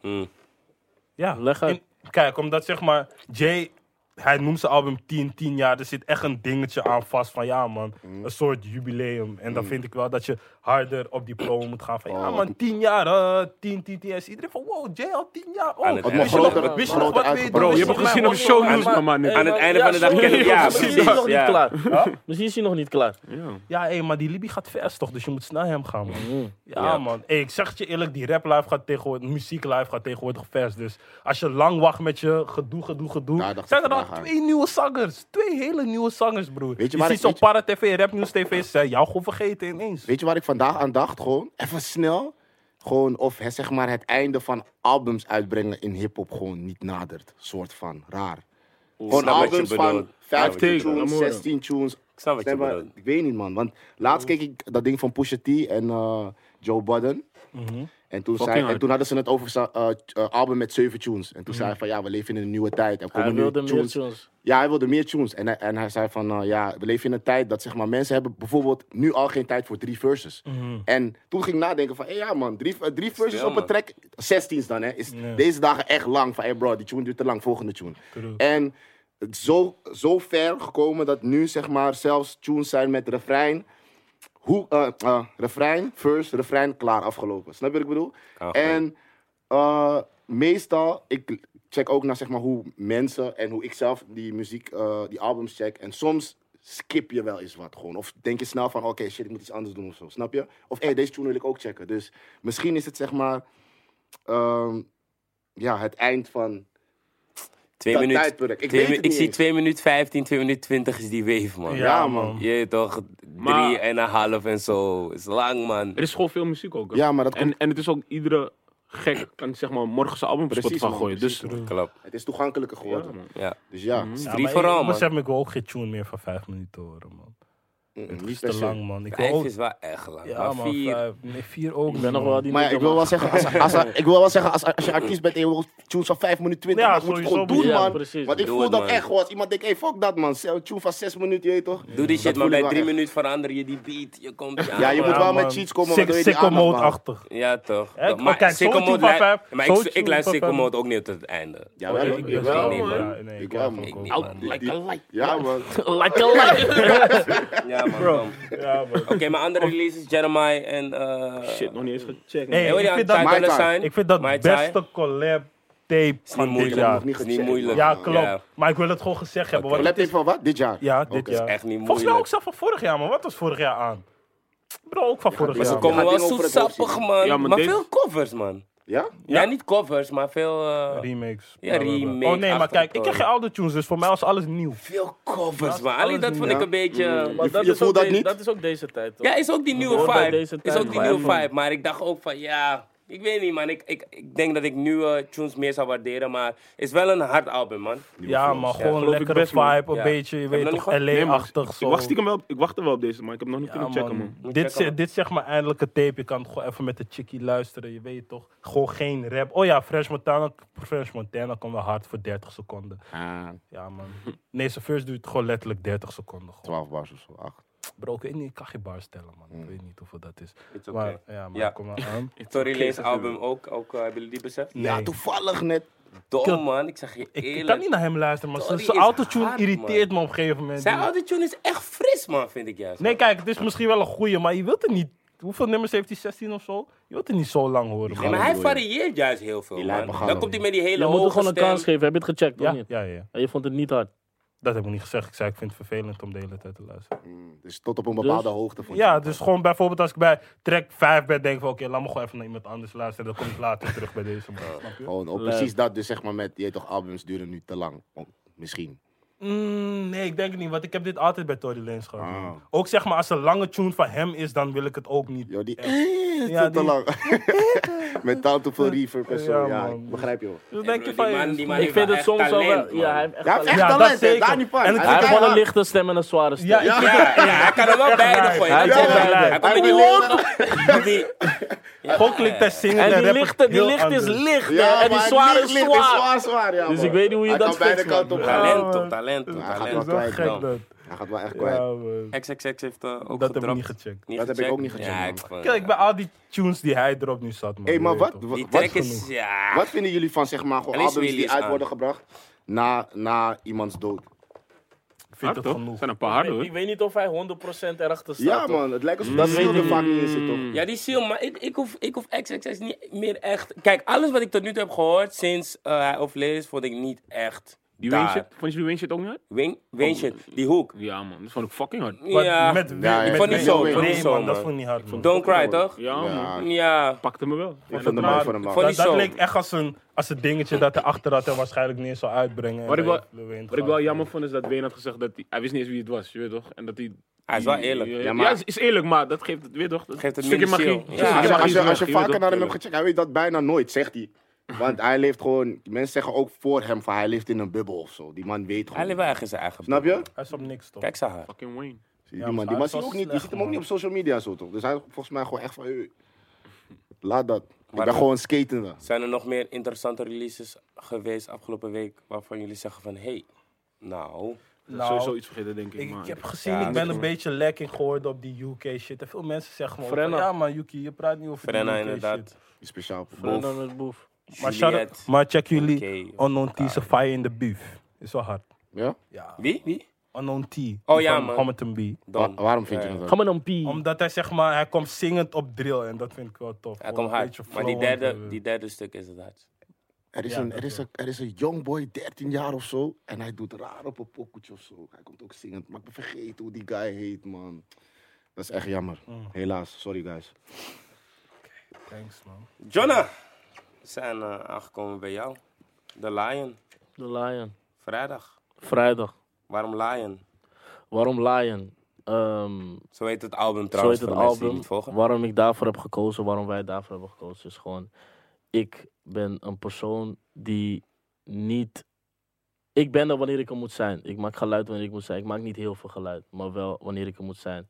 Speaker 1: Hmm.
Speaker 3: Ja.
Speaker 4: Leg uit.
Speaker 3: in- kijk, omdat zeg maar... Jay, hij noemt zijn album 10, 10 jaar. Er zit echt een dingetje aan vast van... Ja man,
Speaker 2: Hmm.
Speaker 3: een soort jubileum. En dan vind ik wel dat je harder op die promo moet gaan. Van ja
Speaker 2: Oh.
Speaker 3: man, 10 jaar. eh 10, 10, 10. En iedereen van wow, Jay al 10 jaar.
Speaker 1: Aan
Speaker 3: Oh,
Speaker 1: het
Speaker 2: Wat nog
Speaker 3: wist
Speaker 1: einde.
Speaker 3: je nog-
Speaker 2: groter,
Speaker 3: wist je nog
Speaker 2: groter
Speaker 3: wat
Speaker 2: uitgebracht.
Speaker 3: weet doen?
Speaker 5: Bro, je hebt
Speaker 3: Wist
Speaker 5: het gezien
Speaker 3: nog
Speaker 5: op
Speaker 3: wat weet doen?
Speaker 5: shownieuws, man. man.
Speaker 1: Aan het einde van de dag ken ik- ja,
Speaker 4: Misschien is hij
Speaker 1: precies,
Speaker 4: nog niet
Speaker 1: ja.
Speaker 4: klaar.
Speaker 3: Huh?
Speaker 4: Misschien is hij nog niet klaar.
Speaker 3: Ja, hé, maar die Libi gaat vers toch, dus je moet snel hem gaan, man.
Speaker 2: Mhm.
Speaker 3: Ja,
Speaker 1: Ja.
Speaker 3: man. Hé, ik zeg het je eerlijk, die rap live gaat tegenwoordig, muziek live gaat tegenwoordig vers. Dus als je lang wacht met je gedoe, gedoe, gedoe,
Speaker 2: Daar dacht
Speaker 3: zijn
Speaker 2: ik
Speaker 3: er al
Speaker 2: vandaag aan.
Speaker 3: twee nieuwe zangers. Twee hele nieuwe zangers, broer.
Speaker 2: Weet je
Speaker 3: je
Speaker 2: waar
Speaker 3: ziet
Speaker 2: ik-
Speaker 3: zo'n
Speaker 2: weet je-
Speaker 3: Para TV, Rap News TV, ze zijn jou gewoon vergeten ineens.
Speaker 2: Weet je waar ik vandaag aan dacht? Gewoon even snel. Gewoon of hè, zeg maar het einde van albums uitbrengen in hip-hop gewoon niet nadert. Soort van raar. gewoon
Speaker 1: snap wat je
Speaker 2: albums van
Speaker 1: bedoelt.
Speaker 5: Ja,
Speaker 2: 15
Speaker 5: ik snap wat
Speaker 2: tunes,
Speaker 5: je bedoelt.
Speaker 2: 16 tunes.
Speaker 1: Ik snap wat je
Speaker 2: Zeg maar,
Speaker 1: bedoelt.
Speaker 2: ik weet niet man. Want laatst keek ik dat ding van Pusha T en eh Joe Budden.
Speaker 4: Mhm.
Speaker 2: En toen, zei,
Speaker 5: Fucking
Speaker 2: en toen hadden ze het over zijn eh, eh, album met zeven tunes. En toen zei hij van ja, we leven in een nieuwe tijd. Er komen
Speaker 4: Mhm. Hij
Speaker 2: nu
Speaker 4: wilde meer tunes.
Speaker 2: Ja, hij wilde meer tunes. En hij, en hij zei van, eh, ja, we leven in een tijd dat zeg maar, mensen hebben bijvoorbeeld nu al geen tijd voor drie verses. En toen ging ik nadenken van, hé, ja man, drie, eh, drie verses
Speaker 1: Stil,
Speaker 2: op een
Speaker 1: man.
Speaker 2: track, 16 dan hè, is deze dagen echt lang. Van, hé bro, die tune duurt te lang, volgende tune. En het is zo, zo ver gekomen dat nu zeg maar zelfs tunes zijn met refrein, hoe, eh, eh, refrein, first, refrein, klaar, afgelopen. Snap je wat ik bedoel?
Speaker 1: Kan gewoon.
Speaker 2: En eh, meestal, ik check ook naar zeg maar, hoe mensen en hoe ik zelf die muziek, eh, die albums check. En soms skip je wel eens wat gewoon. Of denk je snel van, oké, shit, ik moet iets anders doen of zo. Snap je? Of, hé, deze tune wil ik ook checken. Dus misschien is het zeg maar, ehm, ja, het eind van
Speaker 1: Twee
Speaker 2: dat
Speaker 1: minuten.
Speaker 2: tijdperk. Ik
Speaker 1: twee
Speaker 2: weet
Speaker 1: mi-
Speaker 2: het niet
Speaker 1: zie
Speaker 2: eens.
Speaker 1: 2 minuten 15, 2 minuten 20 is die wave, man.
Speaker 2: Ja, man.
Speaker 1: Je weet toch,
Speaker 5: Maar-
Speaker 1: drie en een half en zo. Is lang, man.
Speaker 5: Er is gewoon veel muziek ook. hè.
Speaker 2: Ja, maar dat
Speaker 5: en,
Speaker 2: komt-
Speaker 5: en het is ook iedere gek kan zeg maar morgen zijn album op
Speaker 2: Precies,
Speaker 5: Spotify
Speaker 2: man,
Speaker 5: gooien. Dus
Speaker 1: Klopt.
Speaker 2: Het is toegankelijker geworden.
Speaker 1: Ja. Mhm.
Speaker 2: dus ja,
Speaker 1: Het is
Speaker 3: Ja,
Speaker 1: drie
Speaker 3: maar
Speaker 1: vooral,
Speaker 3: ik
Speaker 1: man.
Speaker 3: besef me, ik wil ook geen tune meer van vijf minuten horen, man.
Speaker 2: mm,
Speaker 3: Het
Speaker 2: niet
Speaker 3: is
Speaker 2: per
Speaker 3: te
Speaker 2: se.
Speaker 3: lang, man. Ik
Speaker 1: Vijf
Speaker 3: wil-
Speaker 1: is wel echt lang.
Speaker 3: Ja,
Speaker 1: maar
Speaker 3: man,
Speaker 1: vier.
Speaker 3: vijf. Nee, vier ook.
Speaker 4: Ik ben nog wel die
Speaker 2: Maar ja, ik wil wel zeggen, als, als, als- ik wil wel zeggen als, als je artiest bent en je wil tunes van 5 minuten 20,
Speaker 3: Ja,
Speaker 2: dan moet je het gewoon
Speaker 3: sowieso,
Speaker 2: doen,
Speaker 4: man. Ja,
Speaker 2: man.
Speaker 4: precies.
Speaker 2: Want ik
Speaker 1: Doe
Speaker 2: voel
Speaker 1: het,
Speaker 2: dat
Speaker 1: man.
Speaker 2: echt gewoon. Als iemand denkt, hey, fuck dat, man. Een tune van 6 minuten, je weet toch?
Speaker 1: Doe die shit,
Speaker 2: Dat
Speaker 1: maar
Speaker 2: voel
Speaker 1: bij
Speaker 2: ik
Speaker 1: drie
Speaker 2: wel echt.
Speaker 1: minuten verander je die beat. Je komt
Speaker 2: Ja, je moet wel
Speaker 3: man.
Speaker 2: met cheats komen,
Speaker 3: Sick-
Speaker 2: waardoor je die
Speaker 3: sicko
Speaker 2: aandacht
Speaker 3: mode
Speaker 2: behoudt.
Speaker 3: achtig.
Speaker 1: Ja, toch.
Speaker 3: Hè,
Speaker 1: Dat-
Speaker 3: maar kijk,
Speaker 1: Sicko
Speaker 3: zo'n
Speaker 1: Mode
Speaker 3: tune van
Speaker 1: lij-
Speaker 3: vijf-
Speaker 1: Maar
Speaker 3: zo'n
Speaker 1: ik, ik
Speaker 3: tune
Speaker 1: luister
Speaker 3: van
Speaker 1: Sicko
Speaker 3: vijf.
Speaker 1: Mode ook niet tot het einde.
Speaker 2: Ja, wel, ik, ik
Speaker 1: wel,
Speaker 2: wel,
Speaker 1: man.
Speaker 3: Ja, nee,
Speaker 2: Ik
Speaker 3: ik
Speaker 2: wel,
Speaker 3: hou
Speaker 2: man.
Speaker 3: van
Speaker 1: Ik
Speaker 3: coke.
Speaker 1: niet, man.
Speaker 2: Die- Ja, man.
Speaker 4: Like a light.
Speaker 1: Ja, man. kom. Oké,
Speaker 3: Ja, man.
Speaker 1: mijn andere releases, Jeremiah en... eh
Speaker 5: shit, nog niet eens gecheckt.
Speaker 3: Nee,
Speaker 1: Hey, wil je
Speaker 3: ik
Speaker 1: aan
Speaker 3: vind
Speaker 1: Ty
Speaker 3: dat,
Speaker 2: Mike-
Speaker 1: Dolla
Speaker 2: Ty.
Speaker 1: Sign?
Speaker 3: ik vind dat
Speaker 1: Mike Ty?
Speaker 3: beste collab tape
Speaker 1: Is niet
Speaker 3: van dit
Speaker 1: moeilijk.
Speaker 3: jaar.
Speaker 2: nog niet
Speaker 1: Is niet
Speaker 2: gecheckt,
Speaker 1: moeilijk.
Speaker 3: Ja, klopt.
Speaker 1: Ja.
Speaker 3: Maar ik wil het gewoon gezegd hebben.
Speaker 1: Oké.
Speaker 3: want
Speaker 2: Collab tape van wat? Dit jaar?
Speaker 3: Ja, dit
Speaker 2: Oké.
Speaker 3: jaar.
Speaker 1: Echt niet
Speaker 3: Volgens mij ook
Speaker 1: moeilijk.
Speaker 3: zelf van vorig jaar, man. Wat was vorig jaar aan? Bro, ook van vorig
Speaker 2: maar
Speaker 3: jaar.
Speaker 2: ze
Speaker 3: man.
Speaker 2: komen-
Speaker 1: Komen
Speaker 2: gaat
Speaker 1: wel
Speaker 2: dingen over het
Speaker 1: zoetsappig,
Speaker 2: hoofd zien.
Speaker 1: man.
Speaker 5: Ja,
Speaker 1: maar
Speaker 5: maar dit-
Speaker 1: veel covers, man.
Speaker 2: Ja?
Speaker 1: Ja, niet covers, maar veel... eh,
Speaker 3: Remakes.
Speaker 1: Ja, remake
Speaker 3: Oh nee, maar kijk, ik
Speaker 1: achterkomen.
Speaker 3: ken geen oude tunes, dus voor mij was alles nieuw.
Speaker 1: veel covers, man.
Speaker 3: alles
Speaker 1: Alleen dat
Speaker 3: niet,
Speaker 1: vond ik
Speaker 2: ja.
Speaker 1: een beetje...
Speaker 4: Maar
Speaker 2: Je-
Speaker 4: dat
Speaker 2: je
Speaker 4: is
Speaker 2: voelt
Speaker 4: ook
Speaker 2: dat
Speaker 4: de-
Speaker 2: niet?
Speaker 4: Dat is ook deze tijd, toch?
Speaker 1: Ja, is ook die nieuwe
Speaker 4: hoort bij
Speaker 1: vibe.
Speaker 4: deze
Speaker 1: Is
Speaker 4: tijd,
Speaker 1: ook die
Speaker 4: man.
Speaker 1: nieuwe vibe. Maar ik dacht ook van ja, ik weet niet man. Ik, ik, ik denk dat ik nieuwe tunes meer zou waarderen. Maar is wel een hard album man.
Speaker 3: Ja, maar gewoon
Speaker 5: geloof ik
Speaker 3: lekkere
Speaker 5: best, man.
Speaker 3: vibe, een
Speaker 1: Ja.
Speaker 3: beetje, je
Speaker 1: Heb je
Speaker 3: weet
Speaker 1: nog
Speaker 3: toch,
Speaker 1: niet gehad?
Speaker 5: Nee, maar
Speaker 3: LA-achtig zo.
Speaker 5: Ik wacht, stiekem wel, ik wacht er wel op deze, maar ik heb hem nog niet
Speaker 3: Ja,
Speaker 5: kunnen checken, man.
Speaker 1: Moet
Speaker 3: Dit,
Speaker 1: checken,
Speaker 3: is-
Speaker 1: man.
Speaker 3: dit is zeg maar eindelijke tape. Je kan gewoon even met de chickie luisteren. Je weet toch? Gewoon geen rap. Oh ja, Fresh Montana, Fresh Montana kan wel hard voor 30 seconden.
Speaker 2: Ah,
Speaker 3: Ja, man. Nee, zijn first duurt gewoon letterlijk 30 seconden. Gewoon.
Speaker 2: 12 bars of zo, 8.
Speaker 3: Bro, ik weet niet, ik kan geen bar stellen, man. Ik weet niet hoeveel dat is.
Speaker 1: It's
Speaker 3: Maar eh,
Speaker 1: okay.
Speaker 3: ja, maar
Speaker 1: Hmm. Ja.
Speaker 3: kom maar aan.
Speaker 1: Tory Lanez album ook. ook eh, hebben jullie die beseft?
Speaker 3: Nee.
Speaker 2: Ja, toevallig net.
Speaker 1: Dom man, ik zeg je
Speaker 3: ik, ik
Speaker 1: eerlijk.
Speaker 3: kan niet naar hem luisteren, maar
Speaker 1: Sorry,
Speaker 3: zijn- zijn
Speaker 1: is
Speaker 3: autotune
Speaker 1: hard,
Speaker 3: irriteert me op een gegeven moment.
Speaker 1: Zijn oude tune is echt fris man, vind ik juist.
Speaker 3: Nee, kijk, het is misschien wel een goeie, maar je wilt er niet... Hoeveel nummers heeft hij? 16 of zo? Je wilt er niet zo lang horen,
Speaker 1: Nee,
Speaker 3: man.
Speaker 1: maar hij
Speaker 2: Bedoel je?
Speaker 1: varieert juist heel veel
Speaker 2: Die
Speaker 1: man.
Speaker 2: lijpe gaan
Speaker 1: Dan
Speaker 2: ook.
Speaker 1: komt hij met die hele
Speaker 4: Je moet
Speaker 1: hoge
Speaker 4: hem gewoon een
Speaker 1: stem.
Speaker 4: kans geven. Heb je het gecheckt, of
Speaker 3: Ja,
Speaker 4: niet?
Speaker 3: ja, ja.
Speaker 4: En je vond het niet hard.
Speaker 3: Dat heb ik niet gezegd. Ik zei, ik vind het vervelend om de hele tijd te luisteren.
Speaker 2: Dus tot op een bepaalde hoogte vond je
Speaker 3: Ja,
Speaker 2: het.
Speaker 3: dus gewoon bijvoorbeeld als ik bij track 5 ben, denk ik van oké, laat me gewoon even naar iemand anders luisteren. Dan kom ik later terug bij deze man. Snap je?
Speaker 2: Gewoon, ook precies dat. Dus zeg maar met, je weet toch, albums duren nu te lang. Oh, Misschien.
Speaker 3: Mm, nee, ik denk het niet, want ik heb dit altijd bij Tory Lanez gehad.
Speaker 2: Ah.
Speaker 3: Ook zeg maar als een lange tune van hem is, dan wil ik het ook niet.
Speaker 2: Yo, die eh,
Speaker 3: Ja,
Speaker 2: tot te
Speaker 3: die-
Speaker 2: lang. Met taal te veel reverb en zo.
Speaker 3: Ja,
Speaker 2: Ja,
Speaker 3: man.
Speaker 2: ik begrijp je wel.
Speaker 3: Dus
Speaker 1: Hey,
Speaker 3: denk
Speaker 1: bro,
Speaker 3: je
Speaker 1: die
Speaker 3: van
Speaker 1: man-
Speaker 3: je.
Speaker 1: die
Speaker 3: is-
Speaker 1: man-
Speaker 4: Ik vind het
Speaker 1: echt
Speaker 4: soms wel
Speaker 1: talent,
Speaker 4: wel...
Speaker 1: man.
Speaker 4: Ja, hij heeft echt
Speaker 2: Hij heeft
Speaker 4: talent.
Speaker 2: echt
Speaker 3: Ja, dat
Speaker 2: talent, hè.
Speaker 3: zeker.
Speaker 2: daar niet van.
Speaker 3: En het-
Speaker 4: Hij
Speaker 2: heeft
Speaker 4: heeft
Speaker 2: echt
Speaker 4: gewoon een
Speaker 2: talent.
Speaker 4: lichte stem en een zware stem.
Speaker 3: Ja, ik vind-
Speaker 1: Ja, ja, hij kan er wel beide gooien.
Speaker 4: Hij
Speaker 1: Dat
Speaker 4: kan
Speaker 1: is
Speaker 4: beide.
Speaker 1: waar. Hij komt met die
Speaker 2: Hij
Speaker 1: hoge- met die-
Speaker 3: Gewoon klinkt hij zingen
Speaker 4: En die
Speaker 3: rappen
Speaker 4: lichte, die
Speaker 3: heel
Speaker 4: lichte is
Speaker 3: anders.
Speaker 4: licht, hè,
Speaker 2: Ja,
Speaker 4: en die
Speaker 2: maar
Speaker 4: zware
Speaker 2: licht,
Speaker 4: is
Speaker 2: licht, is
Speaker 4: zwaar.
Speaker 2: zwaar, zwaar, ja,
Speaker 4: Dus
Speaker 2: man.
Speaker 4: ik weet niet hoe je
Speaker 2: Hij
Speaker 4: dat
Speaker 2: kan beide
Speaker 4: fixt, man.
Speaker 2: kanten op gaan.
Speaker 3: Ja,
Speaker 1: Talent,
Speaker 3: man.
Speaker 1: toch, talent, toch,
Speaker 2: Hij gaat
Speaker 3: Dat
Speaker 1: talent.
Speaker 3: is wel
Speaker 2: kwijt,
Speaker 3: gek
Speaker 2: man.
Speaker 3: dat.
Speaker 2: Hij gaat wel echt kwijt.
Speaker 3: Ja, man.
Speaker 1: XXX heeft eh, ook
Speaker 3: Dat heb ik
Speaker 1: gedropt.
Speaker 3: niet gecheckt.
Speaker 2: Dat heb ik ook niet gecheckt,
Speaker 1: Ja,
Speaker 2: man.
Speaker 1: ik vond-
Speaker 3: Kijk, bij al die tunes die hij erop nu zat, man.
Speaker 2: Hé,
Speaker 3: je
Speaker 2: maar
Speaker 3: weet
Speaker 2: wat,
Speaker 3: toch.
Speaker 1: Die
Speaker 2: wat,
Speaker 1: track
Speaker 2: wat,
Speaker 1: is, ja...
Speaker 2: wat vinden jullie van zeg maar, gewoon
Speaker 1: Alice
Speaker 2: albums die
Speaker 1: Wheelies
Speaker 2: uit
Speaker 1: aan.
Speaker 2: worden gebracht na, na iemands dood?
Speaker 3: Ik vind
Speaker 5: Hard,
Speaker 3: het
Speaker 5: toch?
Speaker 3: genoeg.
Speaker 5: zijn een paar harde, hoor.
Speaker 4: Ik weet niet of hij 100% erachter staat.
Speaker 2: Ja,
Speaker 4: hoor.
Speaker 2: man, het lijkt alsof dat ziel er vaak niet in zit, toch?
Speaker 1: Ja, die ziel, maar ik, ik, hoef, ik hoef XXX niet meer echt... Kijk, alles wat ik tot nu toe heb gehoord sinds eh, hij overleden is, vond ik niet echt
Speaker 5: Die Wayne shit,
Speaker 1: daar.
Speaker 5: vond je die Wayne shit ook niet hard?
Speaker 1: Wing, wing shit, die hoek.
Speaker 5: Ja, man, dat vond ik fucking hard.
Speaker 3: Wat,
Speaker 1: Ja,
Speaker 3: Met,
Speaker 2: Ja, ja,
Speaker 3: met,
Speaker 2: ik
Speaker 1: vond
Speaker 3: met-
Speaker 1: niet zo,
Speaker 3: nee,
Speaker 1: ik vond niet zo,
Speaker 3: man, dat
Speaker 1: man.
Speaker 3: vond ik niet hard, man.
Speaker 1: Don't Cry, toch?
Speaker 5: Ja, man.
Speaker 2: Ja, ik
Speaker 1: Ja,
Speaker 5: Pakte me wel. Ja,
Speaker 2: vind
Speaker 5: dat
Speaker 2: hem mooi
Speaker 5: raar.
Speaker 2: voor hem, man.
Speaker 1: vond
Speaker 3: Dat,
Speaker 1: niet
Speaker 3: dat
Speaker 1: zo.
Speaker 3: klinkt echt als een, als een dingetje dat hij achter had en waarschijnlijk niet eens zou uitbrengen.
Speaker 5: Wat ik wel- Wat ik wel
Speaker 3: jammer
Speaker 5: jammer vond is dat Wayne had gezegd dat hij, hij wist niet eens wie het was, je weet toch? En dat hij...
Speaker 1: Hij is wel eerlijk.
Speaker 5: Ja,
Speaker 2: Ja,
Speaker 5: ja,
Speaker 2: maar-
Speaker 5: is, is eerlijk, maar dat geeft het, weet toch? Dat
Speaker 1: Geeft het
Speaker 5: stukje
Speaker 1: meer ziel.
Speaker 5: magie.
Speaker 1: Ja.
Speaker 5: Stukje
Speaker 1: Als
Speaker 2: Als
Speaker 5: magie
Speaker 2: je, als
Speaker 5: is
Speaker 2: je,
Speaker 5: weg,
Speaker 2: als je
Speaker 5: je weet
Speaker 2: vaker
Speaker 5: toch?
Speaker 2: naar hem hebt gecheckt, hij weet dat bijna nooit, zegt hij. Want hij leeft gewoon, mensen zeggen ook voor hem van hij leeft in een bubbel of zo. Die man weet
Speaker 1: hij
Speaker 2: gewoon.
Speaker 1: leeft wel ergens zijn eigen...
Speaker 2: Snap je?
Speaker 3: Hij is op niks, toch?
Speaker 1: Kijk ze haar.
Speaker 5: Fucking Wayne.
Speaker 2: Die
Speaker 3: Ja,
Speaker 2: man,
Speaker 3: maar
Speaker 2: die
Speaker 3: hij
Speaker 2: man
Speaker 3: is
Speaker 2: zie je ook
Speaker 3: wel
Speaker 2: niet, je
Speaker 3: slecht,
Speaker 2: ziet hem ook
Speaker 3: man.
Speaker 2: niet op social media zo toch? Dus hij is volgens mij gewoon echt van. eh, Laat dat. Ik
Speaker 1: Maar-
Speaker 2: ben gewoon skatende.
Speaker 1: Zijn er nog meer interessante releases geweest afgelopen week waarvan jullie zeggen van hé, hey, nou.
Speaker 3: Nou,
Speaker 5: Sowieso iets vergeten, denk ik.
Speaker 3: Ik,
Speaker 5: maar
Speaker 3: ik heb gezien,
Speaker 1: Ja,
Speaker 3: ik
Speaker 1: dat
Speaker 3: ben
Speaker 1: is
Speaker 3: een beetje lekking geworden op die UK shit. En veel mensen zeggen gewoon,
Speaker 4: Frenna.
Speaker 3: van, ja man Yuki, je praat niet over
Speaker 1: Frenna,
Speaker 3: die UK
Speaker 1: inderdaad.
Speaker 3: shit.
Speaker 2: Iets speciaal. voor
Speaker 4: En
Speaker 1: Boef,
Speaker 4: dan met Boef.
Speaker 3: Maar,
Speaker 1: Juliet.
Speaker 3: shout- maar check jullie
Speaker 1: UK.
Speaker 3: Unknown T's Fire in the Beef. Is wel hard.
Speaker 2: Ja?
Speaker 3: Ja.
Speaker 1: Wie? Wie?
Speaker 3: Unknown T.
Speaker 1: Oh, ja,
Speaker 3: van
Speaker 1: man.
Speaker 3: Hamilton B.
Speaker 2: Wa-
Speaker 1: Dan. eh,
Speaker 2: waarom vind je
Speaker 1: Ja.
Speaker 2: dat?
Speaker 4: Ga maar dan pie.
Speaker 3: Omdat hij zeg maar, hij komt zingend op drill en dat vind ik wel tof.
Speaker 1: Hij
Speaker 3: Gewoon
Speaker 1: komt
Speaker 3: een beetje
Speaker 1: hard. Maar die
Speaker 3: flowend
Speaker 1: derde,
Speaker 3: en-
Speaker 1: die derde stuk is het hard.
Speaker 2: Er is,
Speaker 3: Ja,
Speaker 2: een,
Speaker 3: dat
Speaker 2: er, is
Speaker 3: wel.
Speaker 2: een, er is een young boy, 13 jaar of zo. En hij doet raar op een pokoetje of zo. Hij komt ook zingend. Maar ik ben vergeten hoe die guy heet, man. Dat is echt jammer.
Speaker 3: Mm.
Speaker 2: Helaas. Sorry, guys.
Speaker 3: Thanks man.
Speaker 1: Jonna, we zijn eh, aangekomen bij jou. De Lion,
Speaker 4: De Lion.
Speaker 1: vrijdag.
Speaker 4: Vrijdag.
Speaker 1: Waarom Lion?
Speaker 4: Waarom Lion? Ehm,
Speaker 1: Zo heet het album
Speaker 4: zo
Speaker 1: trouwens,
Speaker 4: heet het
Speaker 1: voor de mensen die
Speaker 4: album.
Speaker 1: niet volgen.
Speaker 4: Waarom ik daarvoor heb gekozen, waarom wij daarvoor hebben gekozen, is gewoon... Ik ben een persoon die niet... Ik ben er wanneer ik er moet zijn. Ik maak geluid wanneer ik moet zijn. Ik maak niet heel veel geluid, maar wel wanneer ik er moet zijn.